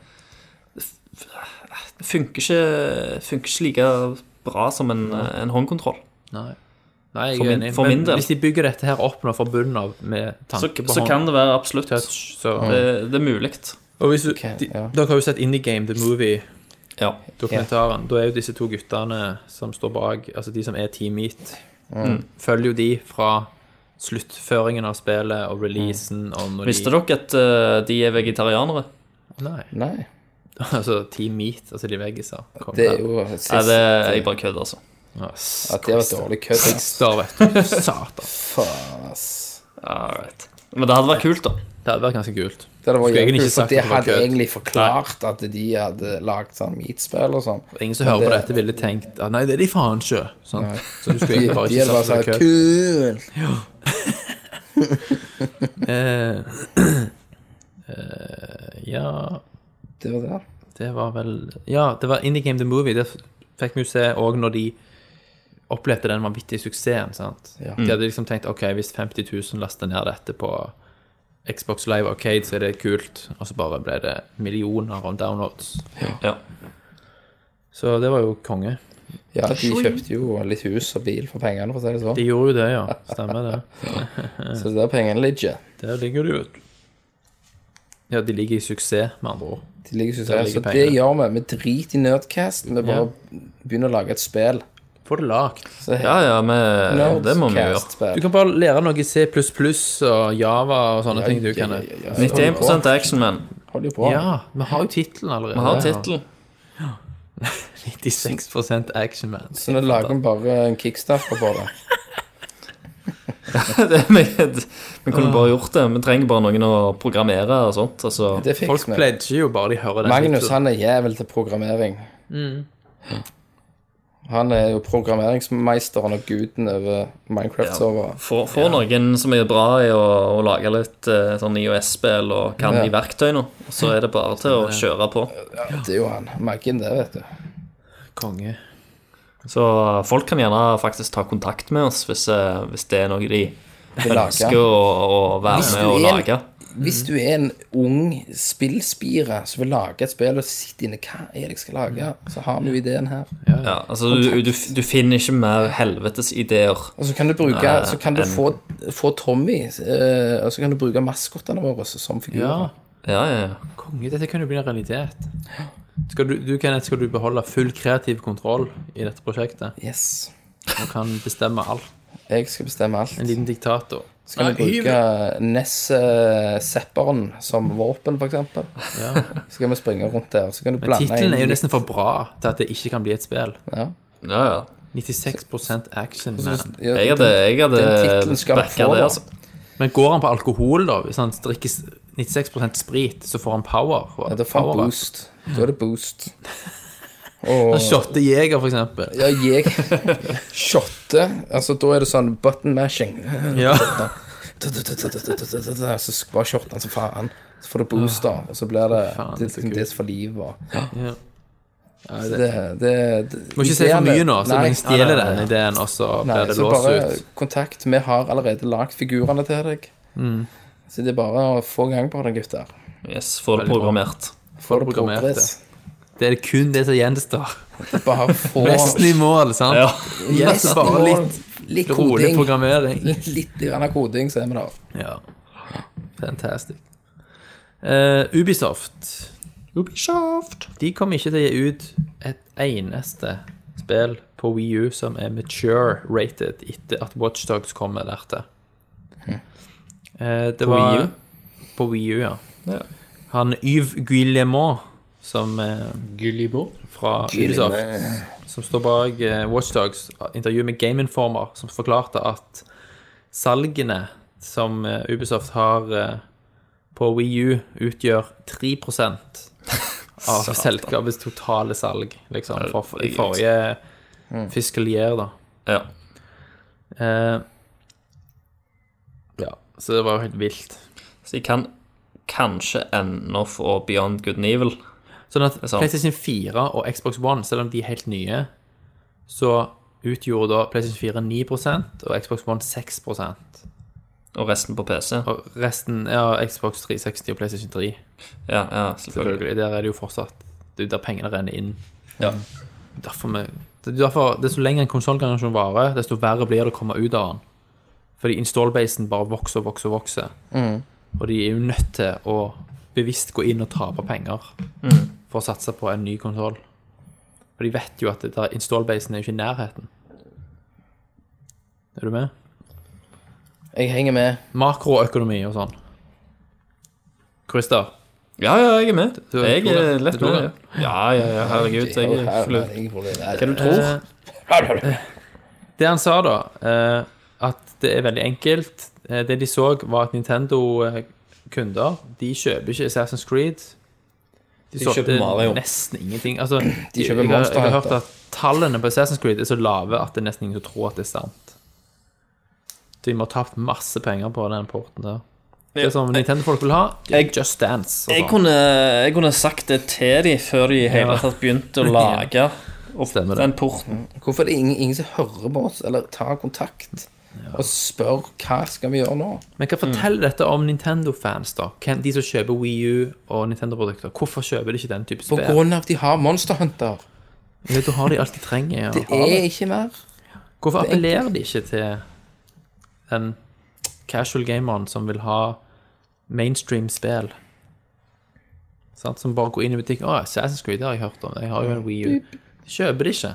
Det funker ikke, funker ikke like bra som en, en håndkontroll. Nei. Nei, jeg For er min- enig. for min Men del. Hvis de bygger dette her opp nå fra bunnen av med Så, tanke på så kan det være absolutt. håndtouch, så Eh, Det, det er mulig. Mm. Og hvis du, Ok, de, ja. Dere har jo sett Indie Game, The Movie, Ja. dokumentaren. Da er jo disse to guttene som står bak, altså de som er Team Meat, følger jo de fra sluttføringen av spillet og releasen og når de Visste dere at eh, de er vegetarianere? Nei. Nei. Altså Team Meat, altså de veggiser. kom Det er der. jo sist Nei, det jeg bare kødder, altså. Ja, At det var et dårlig kødd. ass. Star, vet du. Satan. Faen, ass. All right. Men det hadde vært kult, da. Det hadde vært ganske kult. Det hadde vært Skulle egentlig jævlig, ikke for sagt det at det var hadde kødd. egentlig forklart at de hadde lagd sånn meatspill og sånn. Ingen som hører på det- dette, ville tenkt at nei, det er de faen ikke. Sant? Så du skulle De, de egentlig bare hadde ikke bare sagt sagt det var kødd. Kul! Eh, eh, ja Det var det. Det var vel Ja, det var Indie Game The Movie. Det fikk vi jo se òg når de opplevde den vanvittige suksessen. sant? Ja. De hadde liksom tenkt ok, hvis 50 000 laster ned dette på Xbox Live Arcade, så er det kult. Og så bare ble det millioner av downloads. Ja. Så det var jo konge. Ja, de kjøpte jo litt hus og bil for pengene, for å si det sånn. De gjorde jo det, ja. Stemmer det. Så det der pengene ligger. Der ligger de jo Ja, de ligger i suksess, med andre ord. De ligger, synes Der jeg. ligger Så det pengene. gjør vi. Vi driter i Nerdcast. Vi bare begynner å lage et spill. Få det lagt. Så Ja, ja, men det må vi Du gjøre. Nerdcast-spill. kan bare lære noe i C++ og Java og sånne ting du ja, kan. ja, Ja, ja, ja. 91 action, man. Holder jo på. vi har jo tittelen allerede. Vi har tittelen. 96 Action Man. Så nå lager vi bare en kickstarter på det. Det- Vi vi kunne bare gjort det. Vi trenger bare noen å programmere og sånt. Altså, Det fikk Folk vi. pledger jo bare de hører den Magnus tittelen. han er jævel til programmering. Han er jo programmeringsmeisteren og guden over Minecraft-servere. få, få noen som er bra i å, å lage litt eh, sånn IOS-spill og kan de verktøyene. Og så er det bare til å kjøre på. Det er jo han. Maggen, det, vet du. Konge. Så folk kan gjerne faktisk ta kontakt med oss hvis, eh, hvis det er noe de Vil ønsker lage. å, å være Hvis med du og er- lage. Hvis du er en ung spillspire som vil lage et spill og sitter inne Hva er det jeg skal lage? Så har vi jo ideen her. Ja, altså, du, du, du finner ikke mer helvetes ideer. Og så kan du bruke Nei, Så kan du en- få, få Tommy, eh, og så kan du bruke maskottene våre som Ja, figurer. Ja, ja, ja. konge. Dette kan jo bli en realitet. Skal du, du Kenneth, skal du beholde full kreativ kontroll i dette prosjektet? Yes. Og kan bestemme alt? Jeg skal bestemme alt. En liten diktator. Så kan vi bruke Ness-sepperen som våpen, for eksempel. Så kan vi springe rundt der, så kan du Men blande tittelen er jo inn nesten for bra til at det ikke kan bli et spill. ja. ja, ja. 96 action man. Ja, Jeg hadde, jeg titlen hadde skal han backa få, det, da. altså. Men går han på alkohol, da? Hvis han drikker s- 96 sprit, så får han power? ja, Da får power up. han boost. Da er det boost. Og Han shotter jeger, for eksempel. ja, jeg shotte. Altså, da er det sånn button mashing. Ja. Så sk- bare shorter han som faen. Så får du booster, og så blir det faen, det, så det, kult. er for livet. og- Ja. Ja, Det, det, det, det, må ikke si for mye nå, så Nei. jeg stjeler Nei, nei, den nei. ideen, og så Nei, blir det så låst bare ut. kontakt. Vi har allerede lagd figurene til deg. Så det er bare å få gang på det, gutter. Yes, Få det Veldig bra. programmert. Få det Programmert, progress. Det er kun det som gjenstår. Bare få Resten i mål, sant? Ja. Yes, Nesten bare mål. litt litt rolig koding. programmering. Litt, litt grann koding, så er vi der. Ja. Fantastic. Eh, Ubisoft Ubisoft De kommer ikke til å gi ut et eneste spill på Wii U som er mature-rated etter at Watchdogs kommer der til. Eh, det på var, Wii U? På Wii U, ja. Han Yves Guillemot, som eh, fra Ubisoft, som står bak eh, Watchdogs, intervju med Game Informer, som forklarte at salgene som eh, Ubisoft har eh, på Wii U, utgjør 3 av selskapets totale salg, liksom, for, for, i forrige Mm. fiscal year, da. Ja. Eh, ja, så det var jo helt vilt. Så jeg kan kanskje ennå få Beyond Good and Evil. Sånn at er sant. PlayStation 4 og Xbox One, selv om de er helt nye, så utgjorde da PlayStation 4 9 og Xbox One 6 og Og resten på PC. resten ja, Xbox 360 og PlayStation 3. Ja, ja, selvfølgelig. Selvfølgelig. Der er det jo fortsatt Det er jo der pengene renner inn. Ja. Derfor vi, det er derfor, desto lenger en konsollgenerasjon varer, desto verre blir det å komme ut av den. Fordi installbasen bare vokser og vokser og vokser. Mm. Og de er jo nødt til å bevisst gå inn og tape penger Mm. for å satse på en ny konsoll. For de vet jo at det der installbasen er jo ikke i nærheten. Er du med? Jeg henger med. Makroøkonomi og sånn. Christer, Ja, ja, jeg er med. du tror Jeg er det. lett Du tror med. det. ja. Ja, ja, ja, herregud. Jeg er flau. Hva du tror? Eh, Det han sa, da, eh, at det er veldig enkelt Eh, Det de så, var at Nintendo-kunder De kjøper ikke Assassin's Creed. De, kjøper solgte Mario. nesten ingenting. Altså, De jeg kjøper har- Jeg har Monster hørt at tallene på Assassin's Creed er så lave at det er nesten ingen som tror at det er sant. De må ha tapt masse penger på den porten der. Det som Nintendo-folk vil ha, Jeg- Just Dance. og Jeg sånn. kunne, jeg kunne sagt det til dem før de i hele Ja. tatt begynte å lage opp Stemmer det. den porten. Hvorfor er det ingen, ingen som hører på oss, eller tar kontakt og spør hva skal vi gjøre nå? Men hva Mm. forteller dette om Nintendo-fans, da? Hvem, de som kjøper Wii U og Nintendo-produkter. Hvorfor kjøper de ikke den type På spill? grunn av at de har Monster Hunter. Ja, Da har de alt de trenger. Ja. Det er ikke mer. Hvorfor appellerer de ikke til den casual gameren som vil ha mainstream spill? Sant? Som bare går inn i butikken Å, Assassin's Creed det har jeg hørt om. Jeg har jo en Wii U. De kjøper det ikke.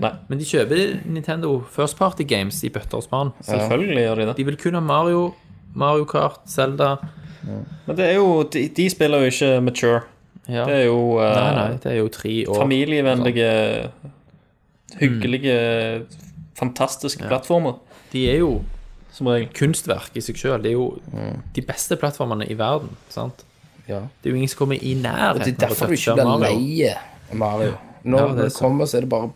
Nei, Men de kjøper Nintendo First Party Games i bøtter og spann. selvfølgelig gjør de det. De vil kun ha Mario, Mario Kart, Zelda Men det er jo, de, de spiller jo ikke mature. ja. Det er jo eh, Nei, nei, det er jo tre år. familievennlige, Mm. hyggelige, fantastiske plattformer, De er jo som regel. kunstverk i seg sjøl. Det er jo Mm. de beste plattformene i verden. sant? Ja. Det er jo ingen som kommer i Det er nærheten derfor du ikke blir lei av Mario. Når Ja, det er det sant. kommer, så er det bare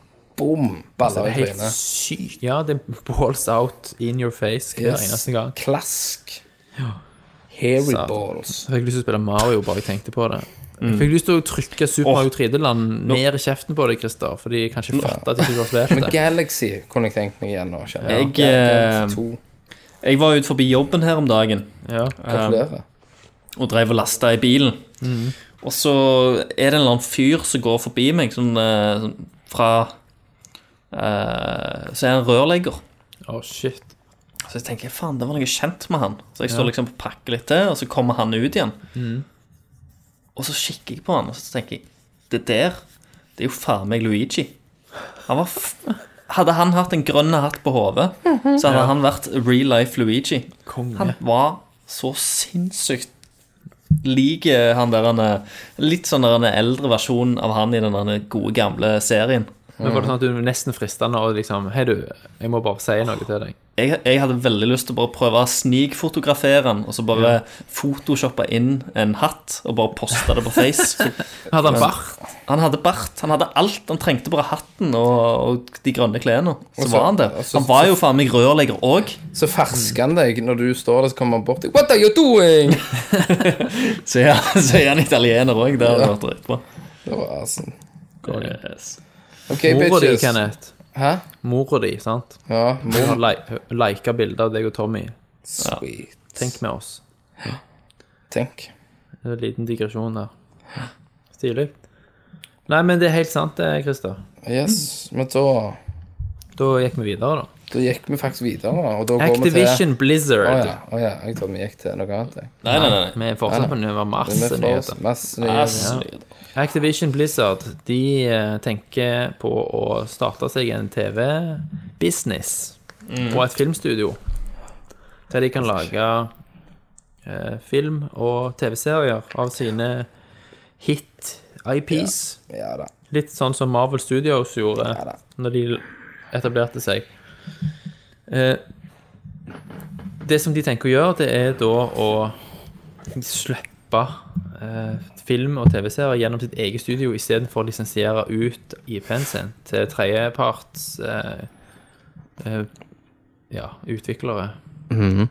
Altså, bom, Det baller er i helt trynet. sykt. Ja, det er balls out in your face hver Yes. eneste gang. Klask. Hairy Satan. balls. Så fikk jeg lyst til å spille Mario bare jeg tenkte på det. Jeg Mm. fikk lyst til å trykke Super Mario 3D-land ned i kjeften på deg, Christer, for de kan ikke fatte at de ikke har Men spilt det. Galaxy kunne jeg tenkt meg igjen nå. kjenner Jeg, Galaxy 2, Jeg var ute forbi jobben her om dagen. Ja. gratulerer. og drev og lasta i bilen. Og så er det en eller annen fyr som går forbi meg, sånn, eh, sånn fra eh, Så er han rørlegger. Å, shit. Så jeg tenker faen, det var noe kjent med han. Så jeg står liksom og pakker litt til, og så kommer han ut igjen. Og så kikker jeg på han, og så tenker jeg Det der, det er jo faen meg Luigi. Han var f hadde han hatt en grønn hatt på hodet, så hadde han vært real life Luigi. Han var så sinnssykt lik eh, han der han er- Litt sånn der han er eldre versjonen av han i den der gode, gamle serien. Mm. Men var det sånn at du var nesten fristende og liksom Hei, du, jeg må bare si noe til deg. jeg, jeg hadde veldig lyst til å bare prøve å snikfotografere den, og så bare photoshoppe inn en hatt og bare poste det på Face. Hadde han bart? Han hadde bart, han hadde alt. Han trengte bare hatten og, og de grønne klærne. Og Så så- var han der. og så- Han var jo faen meg rørlegger òg. Så fersker han deg når du står der, så kommer han bort til What are you doing? Så er han- så er han italiener òg. Det hadde vært dritbra. Det var awesome. Yes. OK, Mora di, bitches. Kenneth. Hæ? Mora di, sant? Ja, Hun mor. har li- liket bilder av deg og Tommy. Sweet. Tenk med oss. Tenk. Det er En liten digresjon der. Stilig. Nei, men det er helt sant, det, Christer. Yes, men da Da gikk vi videre, da. Da gikk vi faktisk videre, og da går vi til Activision Å Blizzard. ja, å ja, jeg trodde vi gikk til noe annet. jeg. Nei, nei, nei. Vi er fortsatt på nummer Men masse vi får oss nyheter. masse nei. nye Ass. Activision Blizzard de eh, tenker på å starte seg en TV-business og et filmstudio. Der de kan lage eh, film og TV-serier av sine hit-IPs. Ja da. Litt sånn som Marvel Studios gjorde Ja da. når de etablerte seg. Eh, det som de tenker å gjøre, det er da å slippe eh, film og TV-serier gjennom sitt eget studio istedenfor å lisensiere ut IP-en sin til tredjeparts eh, eh, ja, utviklere. eh,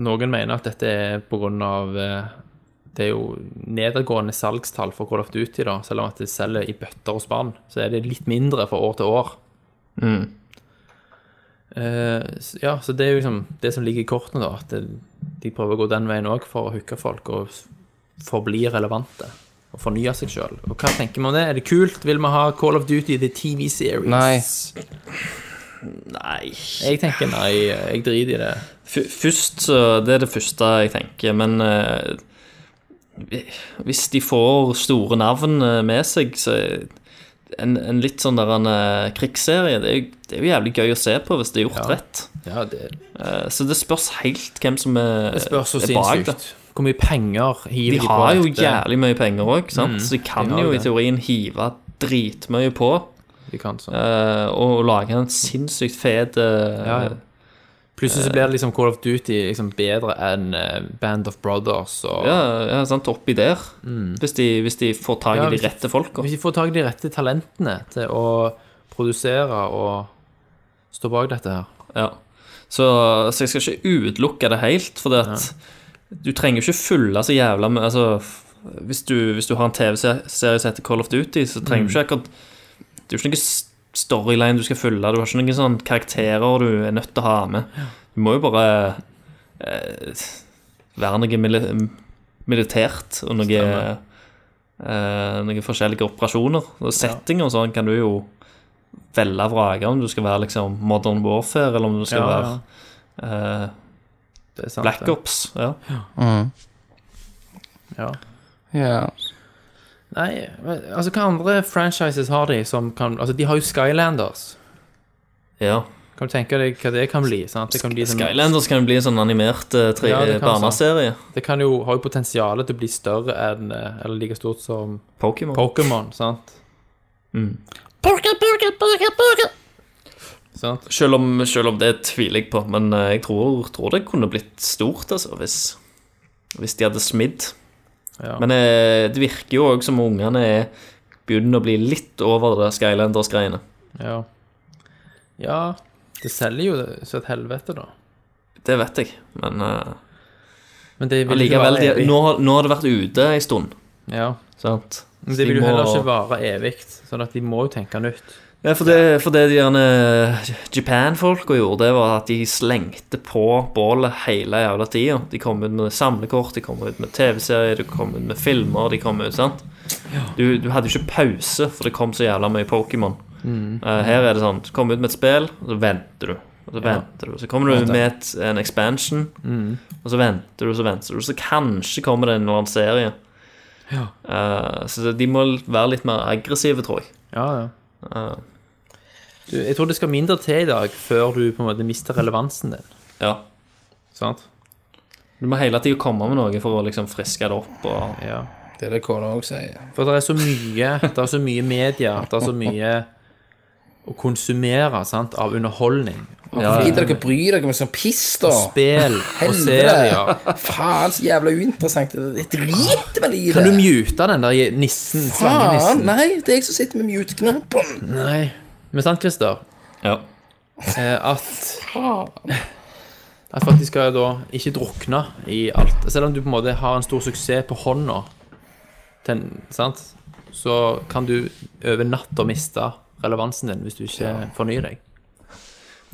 noen mener at dette er på grunn av eh, det er jo nedadgående salgstall for Call of Duty, da. Selv om at de selger i bøtter og spann, så er det litt mindre fra år til år. Eh, s- ja, så det er jo liksom det som ligger i kortene, da. At det, de prøver å gå den veien òg for å hooke folk og s- forbli relevante. Og fornye seg sjøl. Og hva tenker vi om det? Er det kult? Vil vi ha Call of Duty the TV series? Nei. nei. Jeg tenker nei, jeg driter i det. F- Først, så Det er det første jeg tenker, men eh, vi- hvis de får store navn eh, med seg, så er en, en litt sånn der en eh, krigsserie det er, jo, det er jo jævlig gøy å se på hvis det er gjort rett. Ja, det Eh, Så det spørs helt hvem som er, spørs så er bak det. sinnssykt. Hvor mye penger hiver De de på? eh, har jo dette? jævlig mye penger òg, sant? så de de kan har jo i det. teorien hive dritmye på De kan sånn. eh, og lage en sinnssykt fet eh, Ja, ja. Plutselig så blir det liksom Call of Duty liksom bedre enn eh, Band of Brothers. Og, ja, ja, sant, oppi der. Hvis, de, hvis de får tak i Mm. Ja, hvis de de- rette folka. Hvis de får tak i de rette talentene til å produsere og stå bak dette her. Ja. Så, så jeg skal ikke utelukke det helt, for det at du trenger jo ikke fylle så jævla med altså, f- hvis, du, hvis du har en TV-serie som heter Call of Duty, så trenger Mm. du ikke akkurat Det er jo ikke noen s- storyline du skal fylle, du har ikke noen sånne karakterer du er nødt til å ha med. Du må jo bare eh, være noe mili militært og noe Stemmer. eh, noen forskjellige operasjoner. Og settinger og sånn kan du jo velge og vrake om du skal være liksom Modern Warfare, eller om du skal Ja, være ja. eh, Det er sant, Black det. Ops. Ja. Ja. Ja. Nei, men, altså hva andre franchises har de som kan Altså, de har jo Skylanders. ja. Kan du tenke deg hva det kan bli? sant? Det kan, bli som, Skylanders kan bli en sånn animert eh, tre- Ja, det kan barneserie. det kan jo ha jo potensial til å bli større enn eh, Eller like stort som Pokémon. Pokémon, sant? Mm. Sant? selv, om- selv om det tviler jeg på, men eh, jeg tror, tror det kunne blitt stort altså, hvis, hvis de hadde smidd. Ja. Men eh, det virker jo òg som ungene er begynner å bli litt over det Skylanders-greiene. Ja. ja, det selger jo det- så et helvete, da. Det vet jeg, men eh, Men det vil ikke allikevel vare de, evig. nå, har- nå har det vært ute en stund, Ja. sant? Men Så det de vil jo må- heller ikke vare evig, sånn at de må jo tenke nytt. Ja, for det, for det de gjerne Japan-folka gjorde, det var at de slengte på bålet hele jævla tida. De kom ut med samlekort, de kom ut med TV-serier, de kom ut med filmer. de kom ut, sant? Du, du hadde jo ikke pause, for det kom så jævla mye Pokémon. Eh, her er det sånn Du kommer ut med et spill, og så venter du. Og så venter du, Så kommer du med et, en expansion, Mm. og så venter du, så venter du. Så kanskje kommer det en eller annen serie. Eh, så de må være litt mer aggressive, tror jeg. Eh, Ja, ja. Du, jeg tror det skal mindre til i dag før du på en måte mister relevansen din. Ja Sant? Du må hele tida komme med noe for å liksom friske det opp. Og... Ja. Det er det kona òg sier. For det er så mye, det er så mye media, det er så mye å konsumere sant, av underholdning. Av Ja, Gidder dere bry dere med sånn piss, da? spill og Helvete. serier. Faen, så jævla uinteressant. Jeg driter vel i det. Kan du mute den der nissen? Faen, Slangenissen? nei, det er jeg som sitter med mute-knappen. Nei. Men sant, Christer? Ja. Eh, at At for at de skal da ikke drukne i alt. Selv om du på en måte har en stor suksess på hånda, til en- sant? så kan du over natta miste relevansen din hvis du ikke fornyer deg.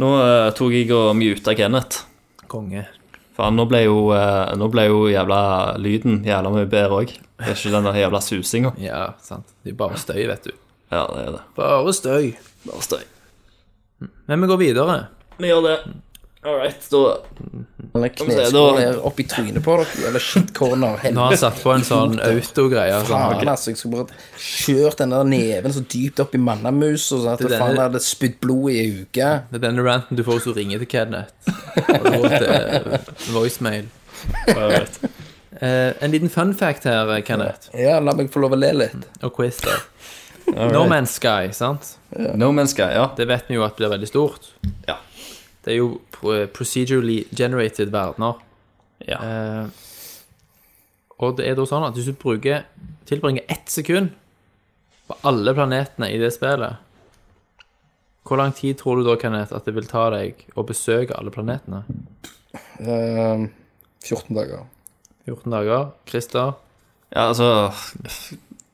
Nå eh, tok jeg og muta Kenneth. Konge. For nå ble jo, eh, nå ble jo jævla lyden jævla mye bedre òg. Det er ikke den der jævla susinga. Ja, sant. Det er bare støy, vet du. Ja, det er det. Bare støy. Bare støy. Men vi går videre. Vi gjør det. All right, da Eller kneskål her opp i trynet på dere, eller shitcorner. Nå har han satt på en sånn autogreie. Sånn, Faen, altså, jeg skulle bare kjørt den der neven så dypt opp i mannamus, og sånn at Det det der- faen hadde spydd blod i ei uke. Det er denne ranten du får hvis du ringer til Kenneth. Og du går til eh, voicemail. Eh, en liten fun fact her, eh, Kenneth, Ja, la meg få lov å le litt. og quiz der. No Man's Sky, sant? No Man's Sky, ja. Det vet vi jo at blir veldig stort. Ja. Det er jo pro- eh, procedurally generated verdener. Ja. Eh, og det er da sånn at hvis du bruker, tilbringer ett sekund på alle planetene i det spillet, hvor lang tid tror du da, Kenneth, at det vil ta deg å besøke alle planetene? Ehm, 14 dager. 14 dager. Christer? ja altså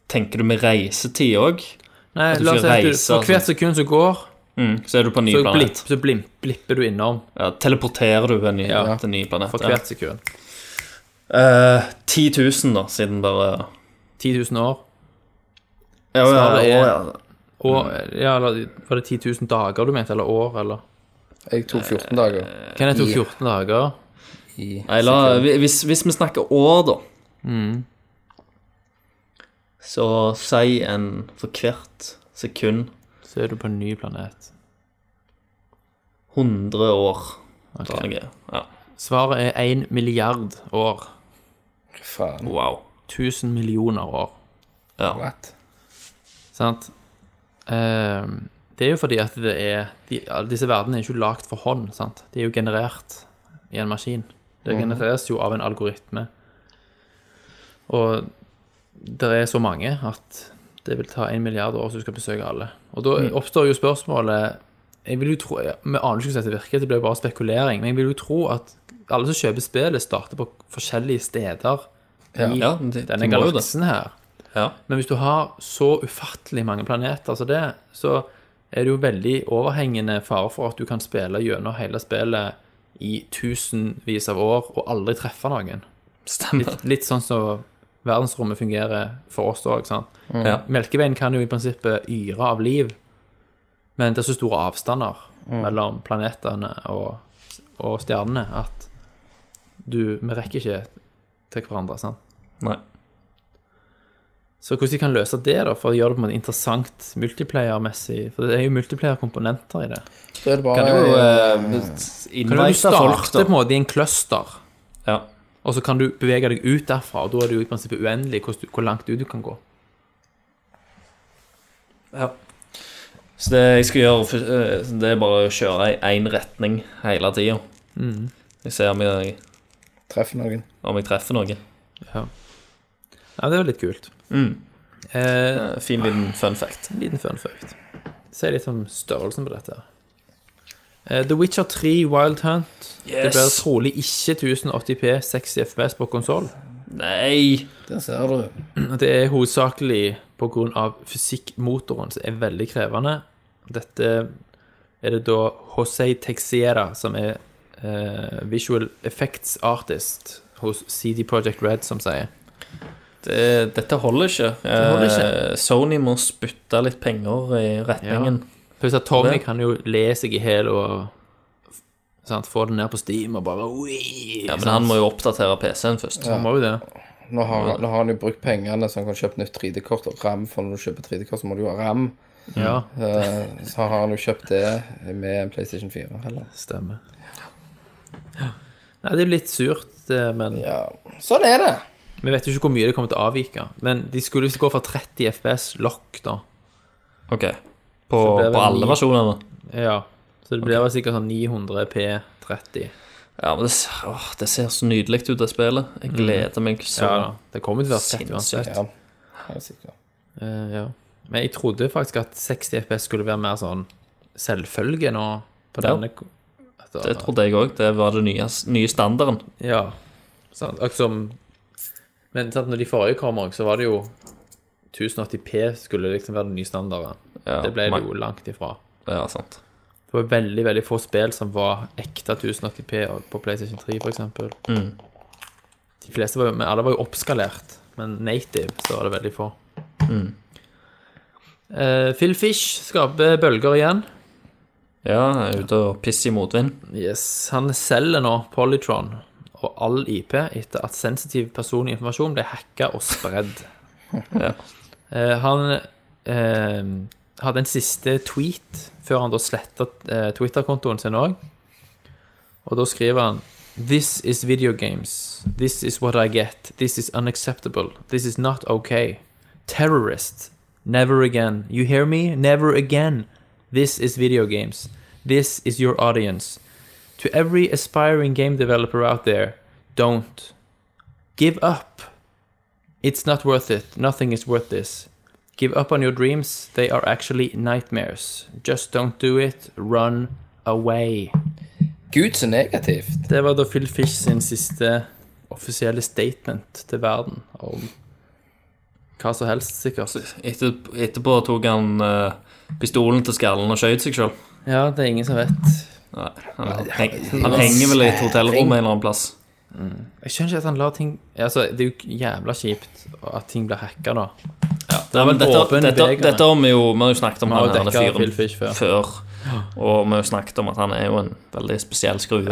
Tenker du med reisetid òg? Nei, At du la oss ikke si at du, reiser, for hvert altså. sekund som går, Mm, så er du på en ny så, blipp, planet. så blim, blipper du innom Ja, teleporterer du en ny, Ja. til en ny planet. for ja. hvert sekund. Eh, 10 000, da, siden bare 10 000 år. Ja, ja, det ja, er- ja. Og, ja, eller, var det 10 000 dager du mente, eller år, eller? Jeg tok 14 dager. Kan jeg ta 14 dager? I Nei, la, hvi- hvis, hvis vi snakker år, da Mm. Så si en for hvert sekund Så er du på en ny planet. 100 år. Ok. Da er det gøy. Ja. Svaret er 1 milliard år. Faen. Wow. 1000 millioner år. Ja. What? Sant? Ehm, det er jo fordi at det er de, alle Disse verdenene er ikke lagd for hånd. sant? De er jo generert i en maskin. Det genereres jo av en algoritme. Og det er så mange at det vil ta en milliard år hvis du skal besøke alle. Og da oppstår jo spørsmålet jeg vil jo tro, ja, Vi aner ikke hvordan dette virker, det blir jo bare spekulering. Men jeg vil jo tro at alle som kjøper spillet, starter på forskjellige steder i Ja, de- de denne må jo det. galaksen her. Ja. Men hvis du har så ufattelig mange planeter som det, så er det jo veldig overhengende fare for at du kan spille gjennom hele spillet i tusenvis av år og aldri treffe noen. Stemmer. Litt, litt sånn som verdensrommet fungerer for oss òg. Ja. Melkeveien kan jo i prinsippet yre av liv, men det er så store avstander Mm. mellom planetene og, og stjernene at du, vi rekker ikke til hverandre. sant? Nei. Så hvordan de kan løse det, da, for å gjøre det på en måte interessant multiplayer-messig? For det er jo multiplayer-komponenter i det. Så er det bare Kan jo eh, Kan du invite folk, starte på en da. måte i en cluster, Ja. og så kan du bevege deg ut derfra, og da er det jo i prinsippet uendelig hvor, hvor langt ut du kan gå. Så det jeg skal gjøre, for- eh, det er bare å kjøre i én retning hele tida. Jeg ser om jeg, treffe noen. om jeg treffer noe. Ja, det er jo litt kult. Mm. Eh, Eh, Fin liten fun fact. en liten fun fact. Si litt om størrelsen på dette. her. Eh, The Witcher 3 Wild Hunt. Det Yes. blir trolig ikke 1080p 60 FPS på konsoll. Nei! Der ser du. Det er hovedsakelig pga. fysikkmotoren, som er veldig krevende. Dette er det da José Texiera, som er eh, visual effects artist hos CD Projekt Red, som sier. Det, Eh, dette holder ikke. holder Eh, Sony må spytte litt penger i retningen. Pluss at Tommy Det- kan jo le seg i hæl og sant, få det ned på Steam og bare «Oi!» Ja, men sant? han må jo oppdatere PC-en først. Han må jo det. Nå har, nå har han jo brukt pengene så han kan kjøpe nytt 3D-kort og RAM, for når du kjøper 3D-kort, så må du jo ha RAM. Ja, Eh, så har han jo kjøpt det med en PlayStation 4, heller. stemmer. Ja. Nei, det er litt surt, eh, men Ja. Sånn er det! Vi vet jo ikke hvor mye det kommer til å avvike, men de skulle visst gå for 30 FPS lock da, Ok. På, det er på vel alle ni. versjonene. Ja. Så det blir vel sikkert sånn 900 P30. Ja, men det, ser- åh, det ser så nydelig ut, det spillet. Jeg gleder meg Mm. så Ja, da. det kommer til å være fett uansett. sinnssykt. Ja, jeg er sikker. Eh, ja. Men jeg trodde faktisk at 60 FPS skulle være mer sånn selvfølge nå på Ja. denne at Det trodde jeg òg. Det var den nye, nye standarden. Ja. Sant? Akkurat som Men sant, når de forrige kom òg, så var det jo 1080P skulle liksom være den nye standarden. Ja, det ble det men- jo langt ifra. Ja, sant. Det var veldig veldig få spill som var ekte 1080P og- på PlayStation 3, f.eks. Mm. De fleste var jo, men alle var jo oppskalert, men native så var det veldig få. Eh, Phil Fish skaper bølger igjen. Ja, jeg er ute og pisser i motvind. Yes, Han selger nå Polytron og all IP etter at sensitiv personlig informasjon ble hacka og spredd. Eh, han eh, hadde en siste tweet før han da sletta eh, Twitter-kontoen sin òg. Og da skriver han This is video games. This is what I get. This is unacceptable. This is not okay. Terrorist. Never again. You hear me? Never again. This is video games. This is your audience. To every aspiring game developer out there, don't. Give up. It's not worth it. Nothing is worth this. Give up on your dreams. They are actually nightmares. Just don't do it. Run away. Gud, så negativt. Det var da Phil Fish sin siste offisielle statement til verden om hva som helst, sikkert. Etter, etterpå tok han eh, pistolen til skallen og skjøt seg sjøl. Ja, det er ingen som vet. Han, heng, han henger vel i et hotellrom en eller annen plass. Jeg skjønner ikke at han lar ting Altså, det er jo jævla kjipt at ting blir hacka, da. Nei, men dette, Åpen dette, beger. dette har vi jo Vi har jo snakket om Vi har han denne dekket Phil fyren Fish før. Og vi har jo snakket om at han er jo en veldig spesiell skrue.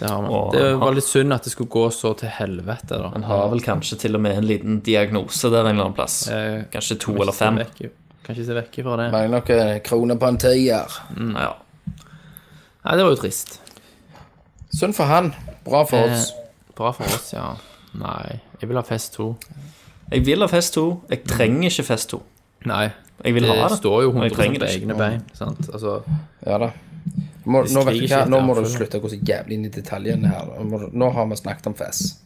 Det, har man. Og det han- var litt synd at det skulle gå så til helvete, da. Han har vel kanskje til og med en liten diagnose der en eller annen plass. Eh, Kanskje to eller fem. Kan ikke se vekk fra det. Mangler noen kroner på en tier. Ja. Nei, det var jo trist. Synd for han. Bra for oss. Bra for oss, ja. Nei, jeg vil ha Fest 2. Jeg vil ha Fest 2. Jeg trenger ikke Fest 2. Nei, Jeg vil det ha det. står jo men jeg 100 trenger på det ikke. egne bein. Sant? Altså, Ja da. Må, nå, vet du hva, skriker nå ikke må du etter han, slutte å gå så jævlig inn i detaljene her. Nå må du- Nå har vi snakket om fest.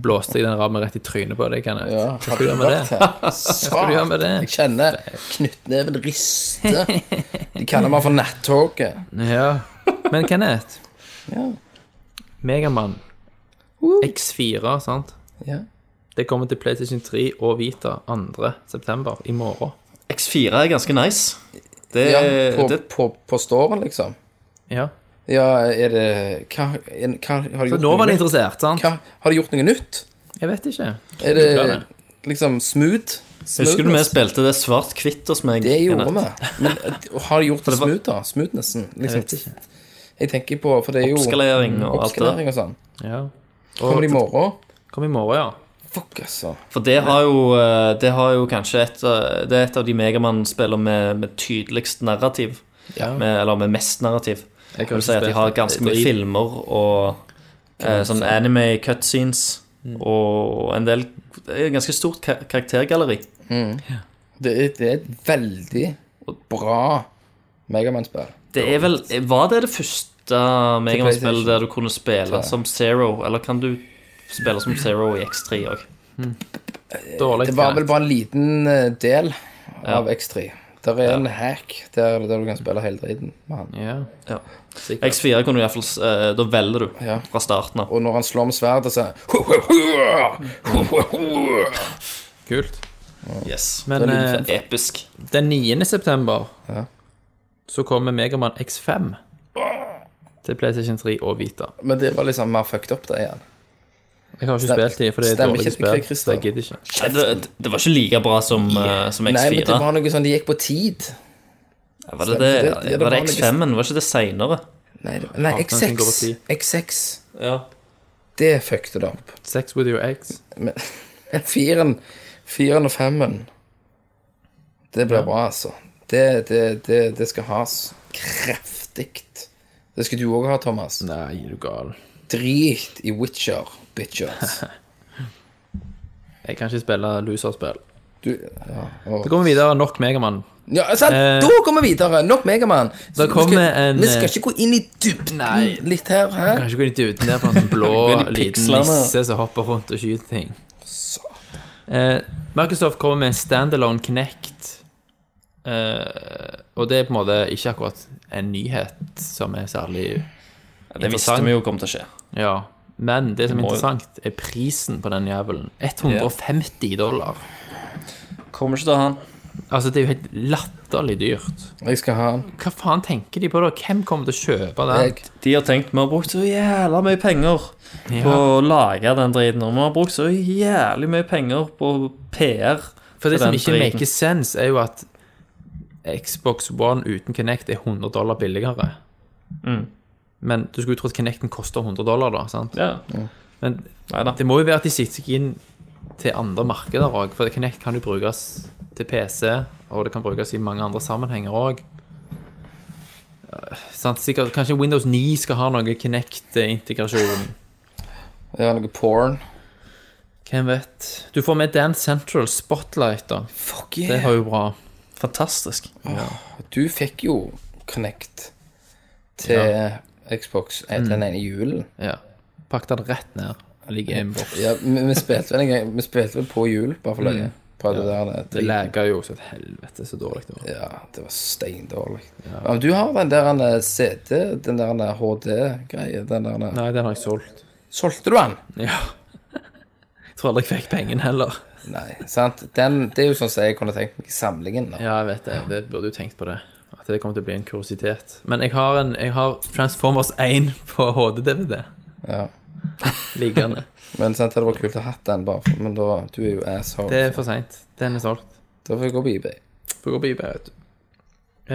blåste jeg den rammen rett i trynet på deg, Kenneth. Ja, Hva skal du gjøre med det? Hva skal du gjøre med det? Jeg kjenner knyttneven rister. De kaller meg for nattoget. Ja. Men Kenneth. Megamann. X4, sant? Ja. Det kommer til PlayStation 3 og Vita 2. september, i morgen. X4 er ganske nice. Det, Eh, Ja, på, det, på, på storen, liksom. Ja. Ja, er det Hva, en, hva har de Så gjort nå var han noe nytt? interessert, sant? Hva, har de gjort noe nytt? Jeg vet ikke. Er Forklar det liksom smooth? husker du vi Smoothness? spilte det svart-hvitt hos meg? Det gjorde vi. Kenneth? Men eh, har de gjort det det var- smooth, da? Smoothnessen? Jeg vet Liksom. ikke. Jeg tenker på For det er jo Oppskalering og alt det der. oppskalering og sånn. Ja. Kommer det i morgen? Kom i morgen, ja. Fuck, altså. For det har jo, eh, det har jo kanskje et, eh, Det er et av de Megamann-spiller med, med tydeligst narrativ. Ja. Med, eller med mest narrativ. Jeg Det vil si at de har ganske mye filmer og eh, sånn anime cutscenes og en del Det er et ganske stort ka- karaktergalleri. Det er, det er et veldig bra Megaman-spill. Det er vel eh, Var det det første Megaman-spillet PlayStation. der du kunne spille som Zero? Eller kan du spille som Zero i X3 òg? Dårlig. Eh, Det var vel Kenneth. bare en liten eh, del av X3. Der er en hack der, der du kan spille hele driten med han. Ja. Ja. Sikkert. X4 kunne du iallfall uh, Da velger du Ja. fra starten av. Og når han slår med sverdet, så Kult. Kult. Yes. Men eh, liksom- Episk. den 9. september så kommer Megaman X5 til PlayStation 3 og Vita. Men det var liksom mer fucked up, det igjen. Jeg har ikke Stem- spilt de, for det er stemmer dårlige ikke det, spill. Så Christer? jeg gidder ikke. Nei, Det, det var ikke like bra som, eh, som X4. Nei, men det var noe sånn de gikk på tid. Var det, det, Det- det- det var det var noe- X5-en? Var ikke det seinere? Nei, det, nei Alt annet enn går på X6. tid. X6. Ja. Det fucket det opp. Sex with your eggs. Men firen, firen og femmen Det blir bra, altså. Det, det, det, det skal has kraftig. Det skal du òg ha, Thomas. Nei, er du gal. Drit i Witcher, bitches. Jeg kan ikke spille loserspill. Du, ja, og, Så går vi videre. Nok Megamann. ja, sant, Eh, da går vi videre. Nok Megamann. Da kommer en, eh, Vi skal ikke gå inn i dybden Nei. litt her. Hæ? Kanskje gå litt uten der på en sånn blå Gå inn i liten pikslene. nisse som hopper rundt og skyter ting. Eh, Microsoft kommer med standalone Kinect. Eh, og det er på en måte ikke akkurat en nyhet som er særlig Det visste Interessant. vi jo kom til å skje. Ja. Men det som er må jo- interessant, er prisen på den jævelen. 150 dollar. Kommer ikke til å ha han. Altså, det er jo helt latterlig dyrt. Jeg skal ha den. Hva faen tenker de på da? Hvem kommer til å kjøpe den? Jeg- De har tenkt vi har brukt så jævla mye penger Ja. på å lage den driten. Og vi har brukt så jævlig mye penger på PR. For det på som den ikke driten. makes sense, er jo at Xbox One uten Kinect er 100 dollar billigere. Mm. Men du skulle jo tro at Kinecten koster 100 dollar, da. sant? Ja. Men Neida. det må jo være at de sitter seg inn til andre markeder òg. For Kinect kan jo brukes til PC, og det kan brukes i mange andre sammenhenger òg. Sikkert, kanskje Windows 9 skal ha noe Kinect-integrasjon. Jeg har noe porn. Hvem vet. Du får med Dan Central Spotlight, da. Fuck Det yeah. var jo bra. Fantastisk. Du fikk jo Connect til Xbox eh, den ene julen. Ja. Pakket den rett ned. Den ligger i en boks. Ja, vi, vi spilte vel en gang Vi spilte vel på jul, bare for å løye. Prøvde der Det det. lager jo så et helvete så dårlig det var. Ja, det var steindårlig. Ja. Men du har den der en CD, den der en HD-greie, den der en- Nei, den har jeg solgt. Solgte du den? Ja. Jeg tror aldri jeg fikk pengene heller. Nei, sant? Den, det er jo sånn som jeg kunne tenkt meg i samlingen. Da. Ja, jeg vet det. Det burde jo tenkt på det. At det kommer til å bli en kuriositet. Men jeg har, en, jeg har Transformers 1 på HD-DVD. Ja. Liggende. Men sant, det hadde vært kult å ha hatt den, bare, for- men da, du er jo asshole. Det er for seint. Den er solgt. Da får jeg gå på eBay. Får gå på eBay, vet du.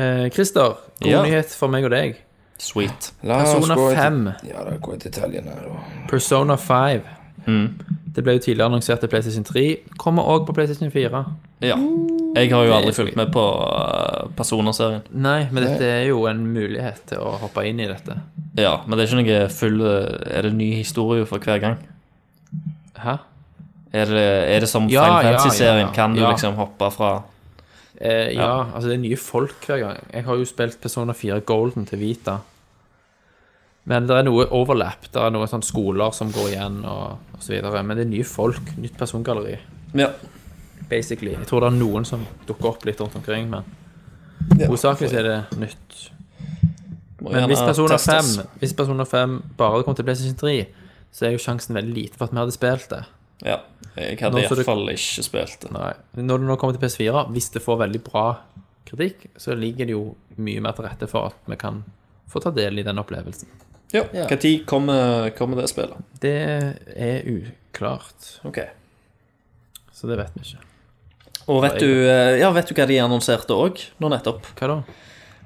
Eh, Christer, god Ja. nyhet for meg og deg. Sweet. La oss Persona gå i- 5. Ja, da går jeg i detaljene. Da. Persona 5. Det ble jo tidligere annonsert til PlayStation 3. Kommer òg på PlayStation 4. Ja. Jeg har jo aldri fulgt med på uh, Personer-serien. Nei, men dette er jo en mulighet til å hoppe inn i dette. Ja, men det er ikke noe full uh, Er det ny historie for hver gang? Hæ? Er det, er det som Ja, Final ja, Fantasy-serien? ja, ja. Kan du Ja. liksom hoppe fra Eh, ja, altså det er nye folk hver gang. Jeg har jo spilt Persona 4 Golden til Vita. Men det er noe overlap. Det er noen sånne skoler som går igjen, og, og så videre. Men det er nye folk. Nytt persongalleri, Ja. basically. Jeg tror det er noen som dukker opp litt rundt omkring, men hovedsakelig så er det nytt. Må Men hvis gjerne Persona, testes. 5, hvis Persona 5 bare kom til PlayStation 3, så er jo sjansen veldig liten for at vi hadde spilt det. Ja. Jeg Nå hadde så det- iallfall ikke spilt det. Nei. Når det nå kommer til PS4, hvis det får veldig bra kritikk, så ligger det jo mye mer til rette for at vi kan få ta del i den opplevelsen. Ja. Når kommer, kommer det spillet? Det er uklart, Ok. så det vet vi ikke. Og vet du, uh, ja, vet du hva de annonserte òg nå nettopp? Hva da?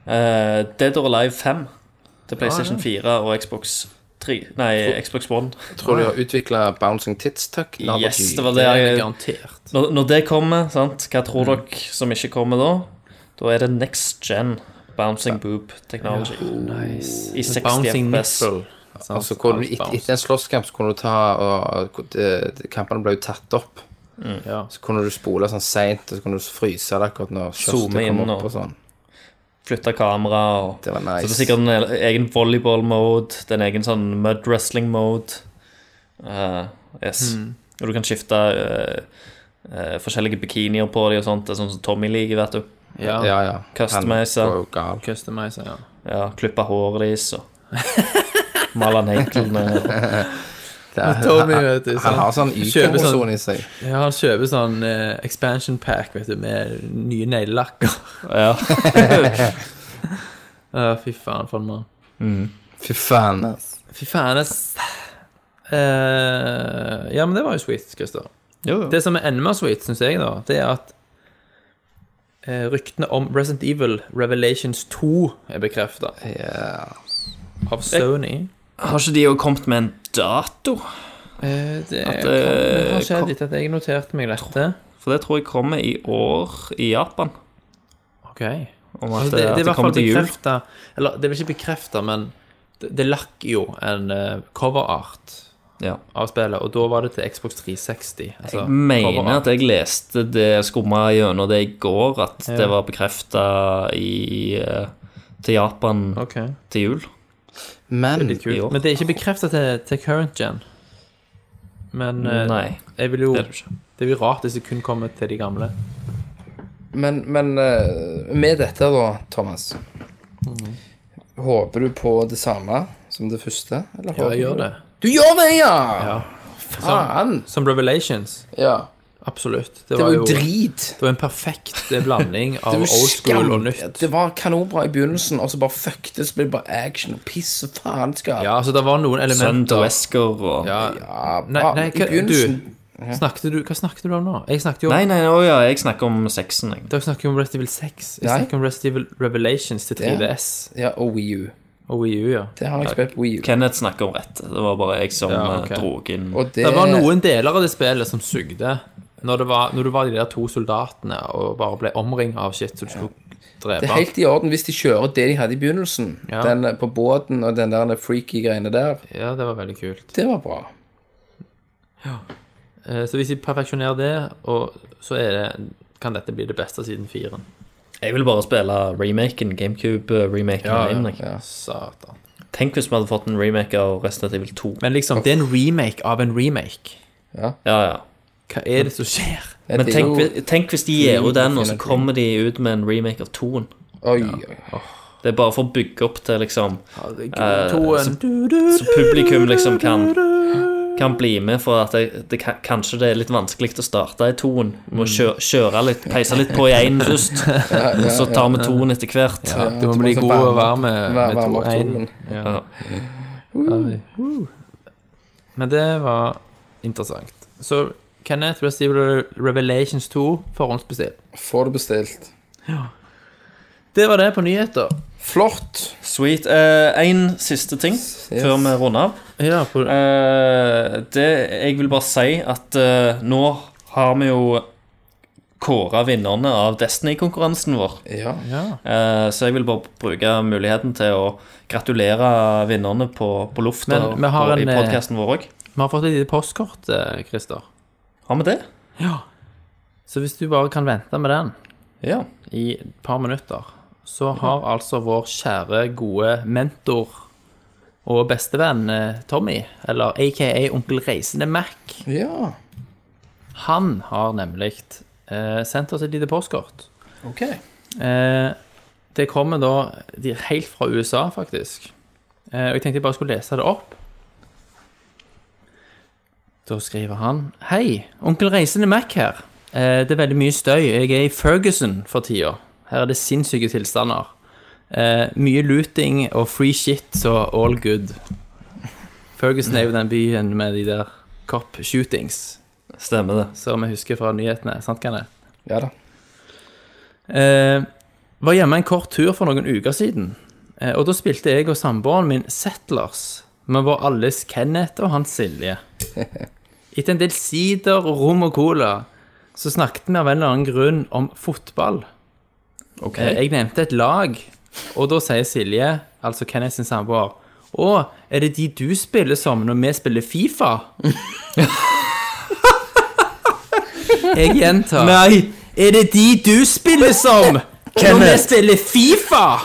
Eh, Dead or Alive 5 til PlayStation 4 og Xbox 3 Nei, Xbox One. Tror du har utvikla Bouncing Tits Tuck? Yes, det var det jeg garantert. Når, når det kommer, sant, hva tror dere som ikke kommer da? Da er det next gen bouncing boob technology. Nice. I 60 Bouncing FPS. nipple. Altså, kunne du, et, etter en slåsskamp så kunne du ta og, og eh, Kampene ble jo tatt opp. Ja. Så kunne du spole sånn seint, og så kunne du fryse det akkurat når Zoome kjøstet kom inn opp og- og sånn. Flytta kamera og Det var Så det nice. er sikkert en e- egen volleyball-mode, det er en egen sånn mud wrestling-mode. Eh, yes. Og du kan skifte eh, eh, forskjellige bikinier på dem og sånt. Det er sånn som Tommy liker, vet du. Ja. Ja, ja. Customizer. Han var jo gal. Customizer, ja. Ja, Klippe håret deres og male neglene. Det er- Tommy, vet du, Han har sånn Kjøper sånn- Y-kromoson i seg. Ja, han kjøper sånn eh, expansion pack, vet du, med nye neglelakker. Ja. Ja, fy faen, for en mann. Fy faen. ass. Fy faen, ass. Eh, ja, men det var jo sweet, Christer. Det som er enda mer sweet, syns jeg, da, det er at eh, ryktene om Resident Evil Revelations 2 er bekrefta Ja. av Sony. Har ikke de jo kommet med en dato? Eh, det At, kan- det har eh, skjedd kom- litt at jeg noterte meg dette. For det tror jeg kommer i år i Japan. Ok. Det, Om at, altså, det, det, det er i at det hvert fall kommer til jul. bekrefta Eller det er vel ikke bekrefta, men det, det lakk jo en eh, coverart Ja. av spillet, og da var det til Xbox 360. Altså, Jeg mener cover-art. at jeg leste det skumma gjennom det i går, at det var bekrefta til Japan Ok. til jul. Men Litt kult. I år. Men det er ikke bekreftet til, til current gen. Men eh, Nei, jeg vil jo det er det ikke. Det blir rart hvis det kun kommer til de gamle. Men, men eh, med dette da, Thomas Håper du på det samme som det første? Eller håper jeg gjør du- det. Du gjør det, ja! Ja. Faen! Som Revelations. Ja. Absolutt. Det var jo drit. Det var en perfekt eh, blanding av Det var, old school og skam. nytt. det var kanonbra i begynnelsen, og så bare fuck det, så ble det bare action og piss og faenskap. Ja, altså, det var noen Sønn til elementer Wesker og ja. Ja, Nei, bra. nei I hva, begynnelsen du, snakket du Hva snakket du om nå? Jeg snakket jo om Nei, nei, å ja, jeg snakker om sexen, jeg. Dere snakker jo om Rest Evil 6. Jeg Nei. snakker om Rest Evil Revelations til 3DS Ja, og Wii U. og Wii U, ja. Det har jeg spilt på Wii U. Kenneth snakker om rett. Det var bare jeg som Ja, eh, ok. dro inn Og det, Det var noen deler av det spillet som sugde. Når, det var, når du var de der to soldatene og bare ble omringet av shit som du skulle drepe. det er helt i orden hvis de kjører det de hadde i begynnelsen. Ja. Den eh, på båten og den der freaky greiene der. Ja, det var veldig kult. Det var bra. Eh, Så hvis vi perfeksjonerer det, og så er det, kan dette bli det beste siden 4. Jeg vil bare spille remaken, eh, GameCube-remaken. Satan. Tenk hvis vi hadde fått en remake av Resident Evil 2. Men liksom, det er en remake av en remake. Ja, ja. Hva er det som skjer? Men Det er tenk, jo- vi- tenk hvis de gir ut den, og så Remake. kommer de ut med en remake av 2-en. Oi, oi, oi. Det er bare for å bygge opp til liksom Eh, Toen. Så publikum liksom kan kan bli med, for at det, det, kan- kanskje det er litt vanskelig å starte i toen. Vi Mm. må kjøre, kjøre litt, peise litt på i én først, så tar vi toen etter hvert. Du må du må bli liksom god og varm varme- med, Vær- med varm opp 2-1. solen. Ja. Men det var interessant. Så Kenneth Rest Evil Revelations 2 forhåndsbestilt. Får det bestilt. Det var det på nyheter. Flott. Sweet. Én siste ting før vi runder av. Ja, på, Eh, det, jeg vil bare si at eh, nå har vi jo kåra vinnerne av Destiny-konkurransen vår. Ja. Eh, så jeg vil bare bruke muligheten til å gratulere vinnerne på, på lufta Men vi har og en, i eh, podkasten vår òg. vi har fått et lite postkort, eh, Christer. Har vi det? Så hvis du bare kan vente med den Ja. i et par minutter, så har altså vår kjære, gode mentor og bestevenn eh, Tommy, eller aka Onkel Reisende Mac, ja. han har nemlig eh, sendt oss et lite postkort. OK. Eh, det kommer da de- helt fra USA, faktisk. Eh, og jeg tenkte jeg bare skulle lese det opp. Da skriver han Hei, onkel Reisende Mac her. Eh, det er veldig mye støy. Jeg er i Ferguson for tida. Her er det sinnssyke tilstander. Eh, mye looting og free shit, så all good. Ferguson er jo den byen med de der cop shootings Stemmer det. som vi husker fra nyhetene. Sant, Kenneth? Ja da. Eh, var hjemme en kort tur for noen uker siden. Eh, og da spilte jeg og samboeren min Settlers med vår alles Kenneth og hans Silje. Etter en del sider og rom og cola så snakket vi av en eller annen grunn om fotball. Eh, Jeg nevnte et lag, og da sier Silje, altså Kenneth sin samboer, å, er det de du spiller som når vi spiller Fifa? Jeg gjentar. Nei! Er det de du spiller som når vi spiller Fifa?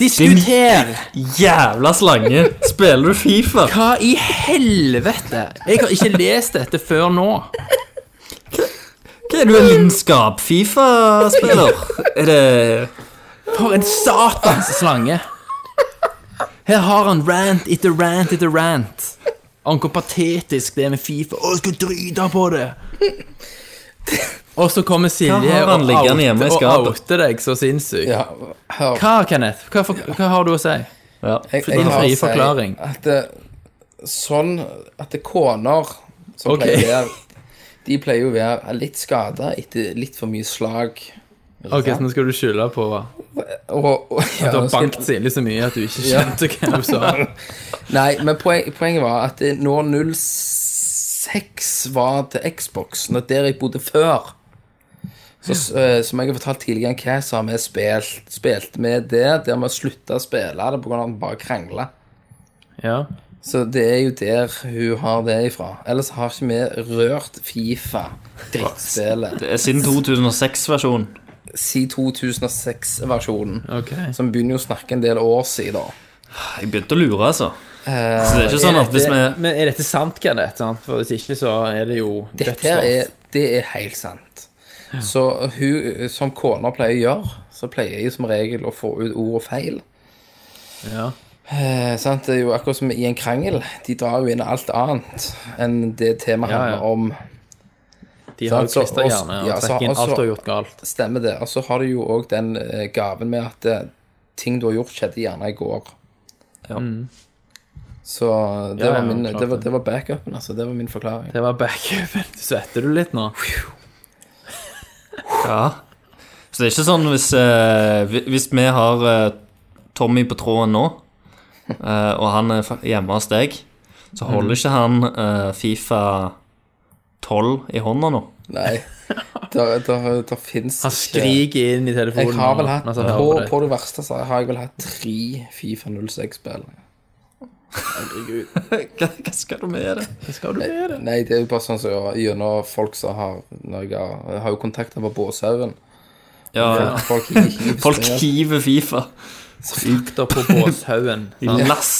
Diskuter! Jævla slange! Spiller du Fifa? Hva i helvete? Jeg har ikke lest dette før nå. Hva er du en lidenskap-Fifa-spiller? Er det For en satans slange! Her har han rant etter rant etter rant. Om hvor patetisk det er med Fifa. Å, jeg skal drite på det! Og så kommer Hva Silje har han og liggende hjemme i outer skapet? og outer deg så sinnssykt. Ja, hør. Hva, Kenneth? Hva, for, hva har du å si? ja. Jeg, din har å frie si forklaring. At det, sånn at det koner som Ok. pleier å være De pleier jo å være litt skada etter litt for mye slag. Ok, så nå skal du skylde på Og, og, ja, Du har nå skal- banket Silje så mye at du ikke skjønte hva hun sa. Nei, men poen, poenget var at det- når 06 var til Xboxen, og der jeg bodde før så, s- eh, Som jeg har fortalt tidligere, hva så har vi spilt, spilt med det der vi slutta å spille det pga. at vi bare krangla. Ja. Så det er jo der hun har det ifra. Ellers har ikke vi rørt Fifa, drittspillet, Det er siden 2006-versjonen. si 2006-versjonen. Ok. Som begynner jo å snakke en del år siden. Jeg begynte å lure, altså. Så det er ikke sånn at hvis vi Men er dette sant, Kenneth? sant? For hvis ikke, så er det jo Dette her er, det er helt sant. Så hun, som kona pleier å gjøre, så pleier jeg som regel å få ut ord og feil. Ja. Eh, sant? Det er jo akkurat som i en krangel. De drar jo inn alt annet enn det temaet Ja, ja. handler om. De har jo Så- klistra hjerne også- og ja, så- trekker inn alt også- du har gjort galt. Stemmer det. Og så har du jo òg den eh, gaven med at eh, ting du har gjort, skjedde gjerne i går. Ja. Så Mm. det, Ja, ja, var min, klart det, var, det. det var backupen, altså. Det var min forklaring. Det var backupen. Svetter du litt nå? Ja. Så det er ikke sånn hvis, eh, hvi- hvis vi har eh, Tommy på tråden nå, eh, og han er fa- hjemme hos deg, så holder ikke han eh, Fifa 12 i hånda nå. Nei. Der, der, der fins Han skriker inn i telefonen. Jeg har vel nå, hatt mens han på, hører på på det verste så har jeg vel hatt tre Fifa 06-spill. Hva, hva skal du med det? deg. Skal du gjøre det? Nei, det er jo bare sånn som så, gjennom folk som har når jeg har, jeg har jo kontakter på Båshaugen. Ja, Folk, hiver folk spill. hiver Fifa. Fakta på Båshaugen. I sant? lass.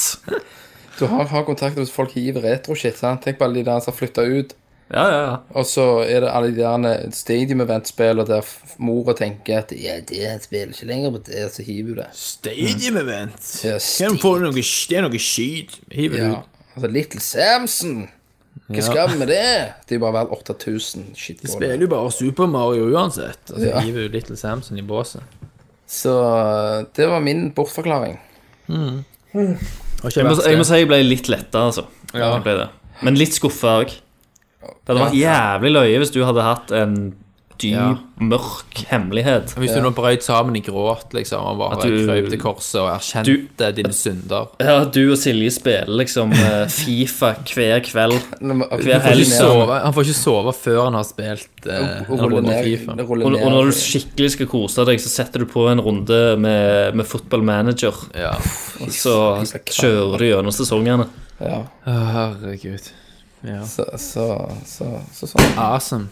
Du har, har kontakter hvis folk hiver retro-shit. sant? Tenk på alle de der som har flytta ut. Ja, ja, ja. Og så er det alle de der Stadium Event-spillene der f- mora tenker at ja, det spiller ikke lenger på det, så hiver du det. Stadium event. Ja, Kan du få noe, det er noe skit. Hiver det Ja. ut. Altså, Little Samson! Hva skal vi med det? Det er jo bare vel 8000 De shitballer. spiller jo bare Super Mario uansett. Og så Ja. hiver jo Little Samson i båsen. Så eh, det var min bortforklaring. Har ikke Jeg må, vært jeg må det. si jeg ble litt letta, altså. Ja. Jeg Ble det. Men litt skuffa òg. Det hadde vært jævlig løye hvis du hadde hatt en dyp, Ja. mørk hemmelighet. Hvis du nå brøt sammen i gråt, liksom, og bare At du- krøp til korset og erkjente dine synder Ja, du og Silje spiller liksom eh, Fifa hver kveld. Nå må- Vi er rulle helt ned- så- sove, Han får ikke sove før han har spilt eh, og en rulle runde ned- FIFA. rulle Og, og ned- når du skikkelig skal kose deg, så setter du på en runde med, med football manager. Ja. Og så kjører du gjennom sesongene. Ja, Herregud. så, så, så, så sånn. Awesome.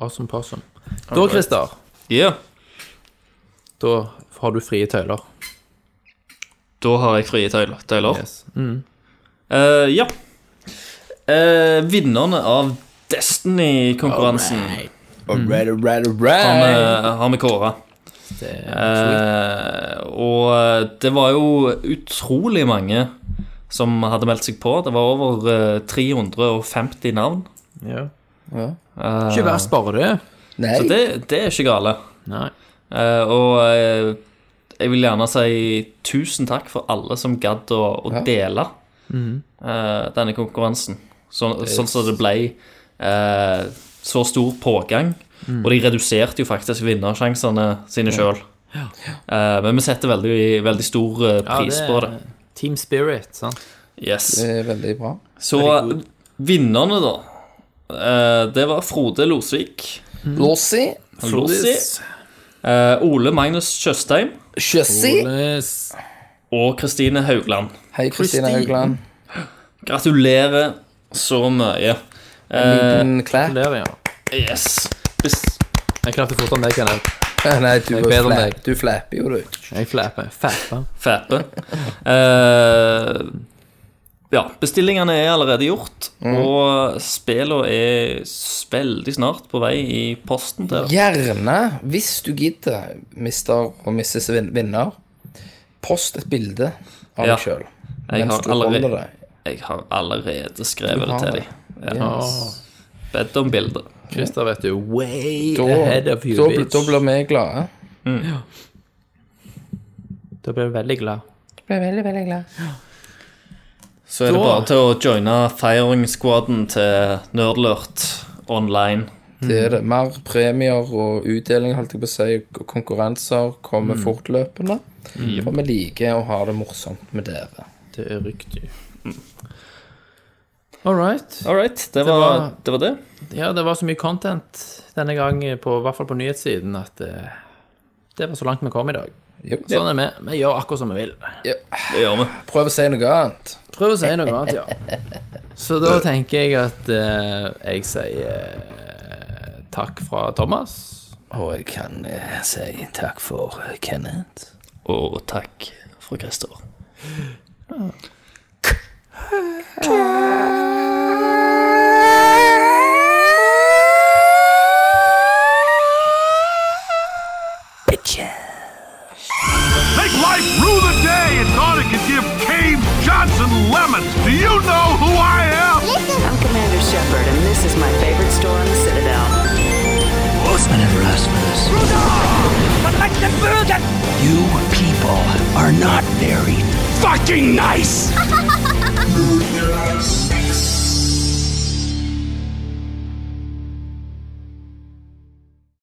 Awesome possum. Da, Christer, Ja, da har du frie tøyler. da har jeg frie tøyler. tøyler. Yes. Mm. Eh, ja. Eh, vinnerne av Destiny-konkurransen Alright, alright, har alright. vi- har vi kåra. Det er Eh, og det var jo utrolig mange som hadde meldt seg på. Det var over eh, 350 navn. ja. Ikke verst, bare det. Nei, Så det, det er ikke gale. Nei. Eh, og eh, jeg vil gjerne si tusen takk for alle som gadd å, å dele Mhm. eh, denne konkurransen. Så, Sånn som det ble eh, så stor pågang. Mm. Og de reduserte jo faktisk vinnersjansene sine sjøl. Eh, men vi setter veldig, veldig stor eh, Ja, pris på det. Team Spirit, sant. Yes. det er veldig bra. Så Herregud. vinnerne, da. eh, det var Frode Losvik. Lossi, Lossi. eh, Ole Magnus Tjøstheim. Kjøssi. Yes. Og Kristine Haugland. Hei, Kristine Haugland. Gratulerer så mye. Eh, Liten klær. Gratulerer, ja. yes. Bes- Jeg klarte fortere enn deg, Kenneth. Nei, du, er bedre enn fla- deg. du flapper jo, du. Jeg fleiper. Fæpa. Fæpe. Eh, ja, bestillingene er allerede gjort, og spillene er s- veldig snart på vei i posten til dere. Gjerne, hvis du gidder, mister og misses vin- vinner, post et bilde av Ja. deg sjøl. Jeg Mens har du allerede- holder deg. Jeg har allerede skrevet Du det har til det. dem. Ja. Bedt om bilder. Christer, vet du. Way Da, ahead of you, da, bl- bitch. da blir vi glade. Da blir jeg veldig glad. Blir veldig, veldig glad. Så er det bare til å joine firing squaden til Nerdlurt online. Det er det. Mer premier og utdeling, holdt jeg på å si, og konkurranser kommer fortløpende. For vi liker å ha det morsomt med dere. Det er riktig. All right. All right, det var- var det. Var det. Ja, det var så mye content denne gang, på, i hvert fall på nyhetssiden, at eh, det var så langt vi kom i dag. Jo, Sånn er vi. Vi gjør akkurat som vi vil. Det gjør vi. Prøv å si noe annet. Prøv å si noe annet, ja. Så da tenker jeg at eh, jeg sier eh, takk fra Thomas. Og jeg kan eh, si takk for eh, Kenneth. Og takk fra Christer. Think life rue the day and thought it could give Cave Johnson lemons. Do you know who I am? I'm Commander Shepard, and this is my favorite store on the Citadel. Horsemen never asked for this. You people are not very fucking nice.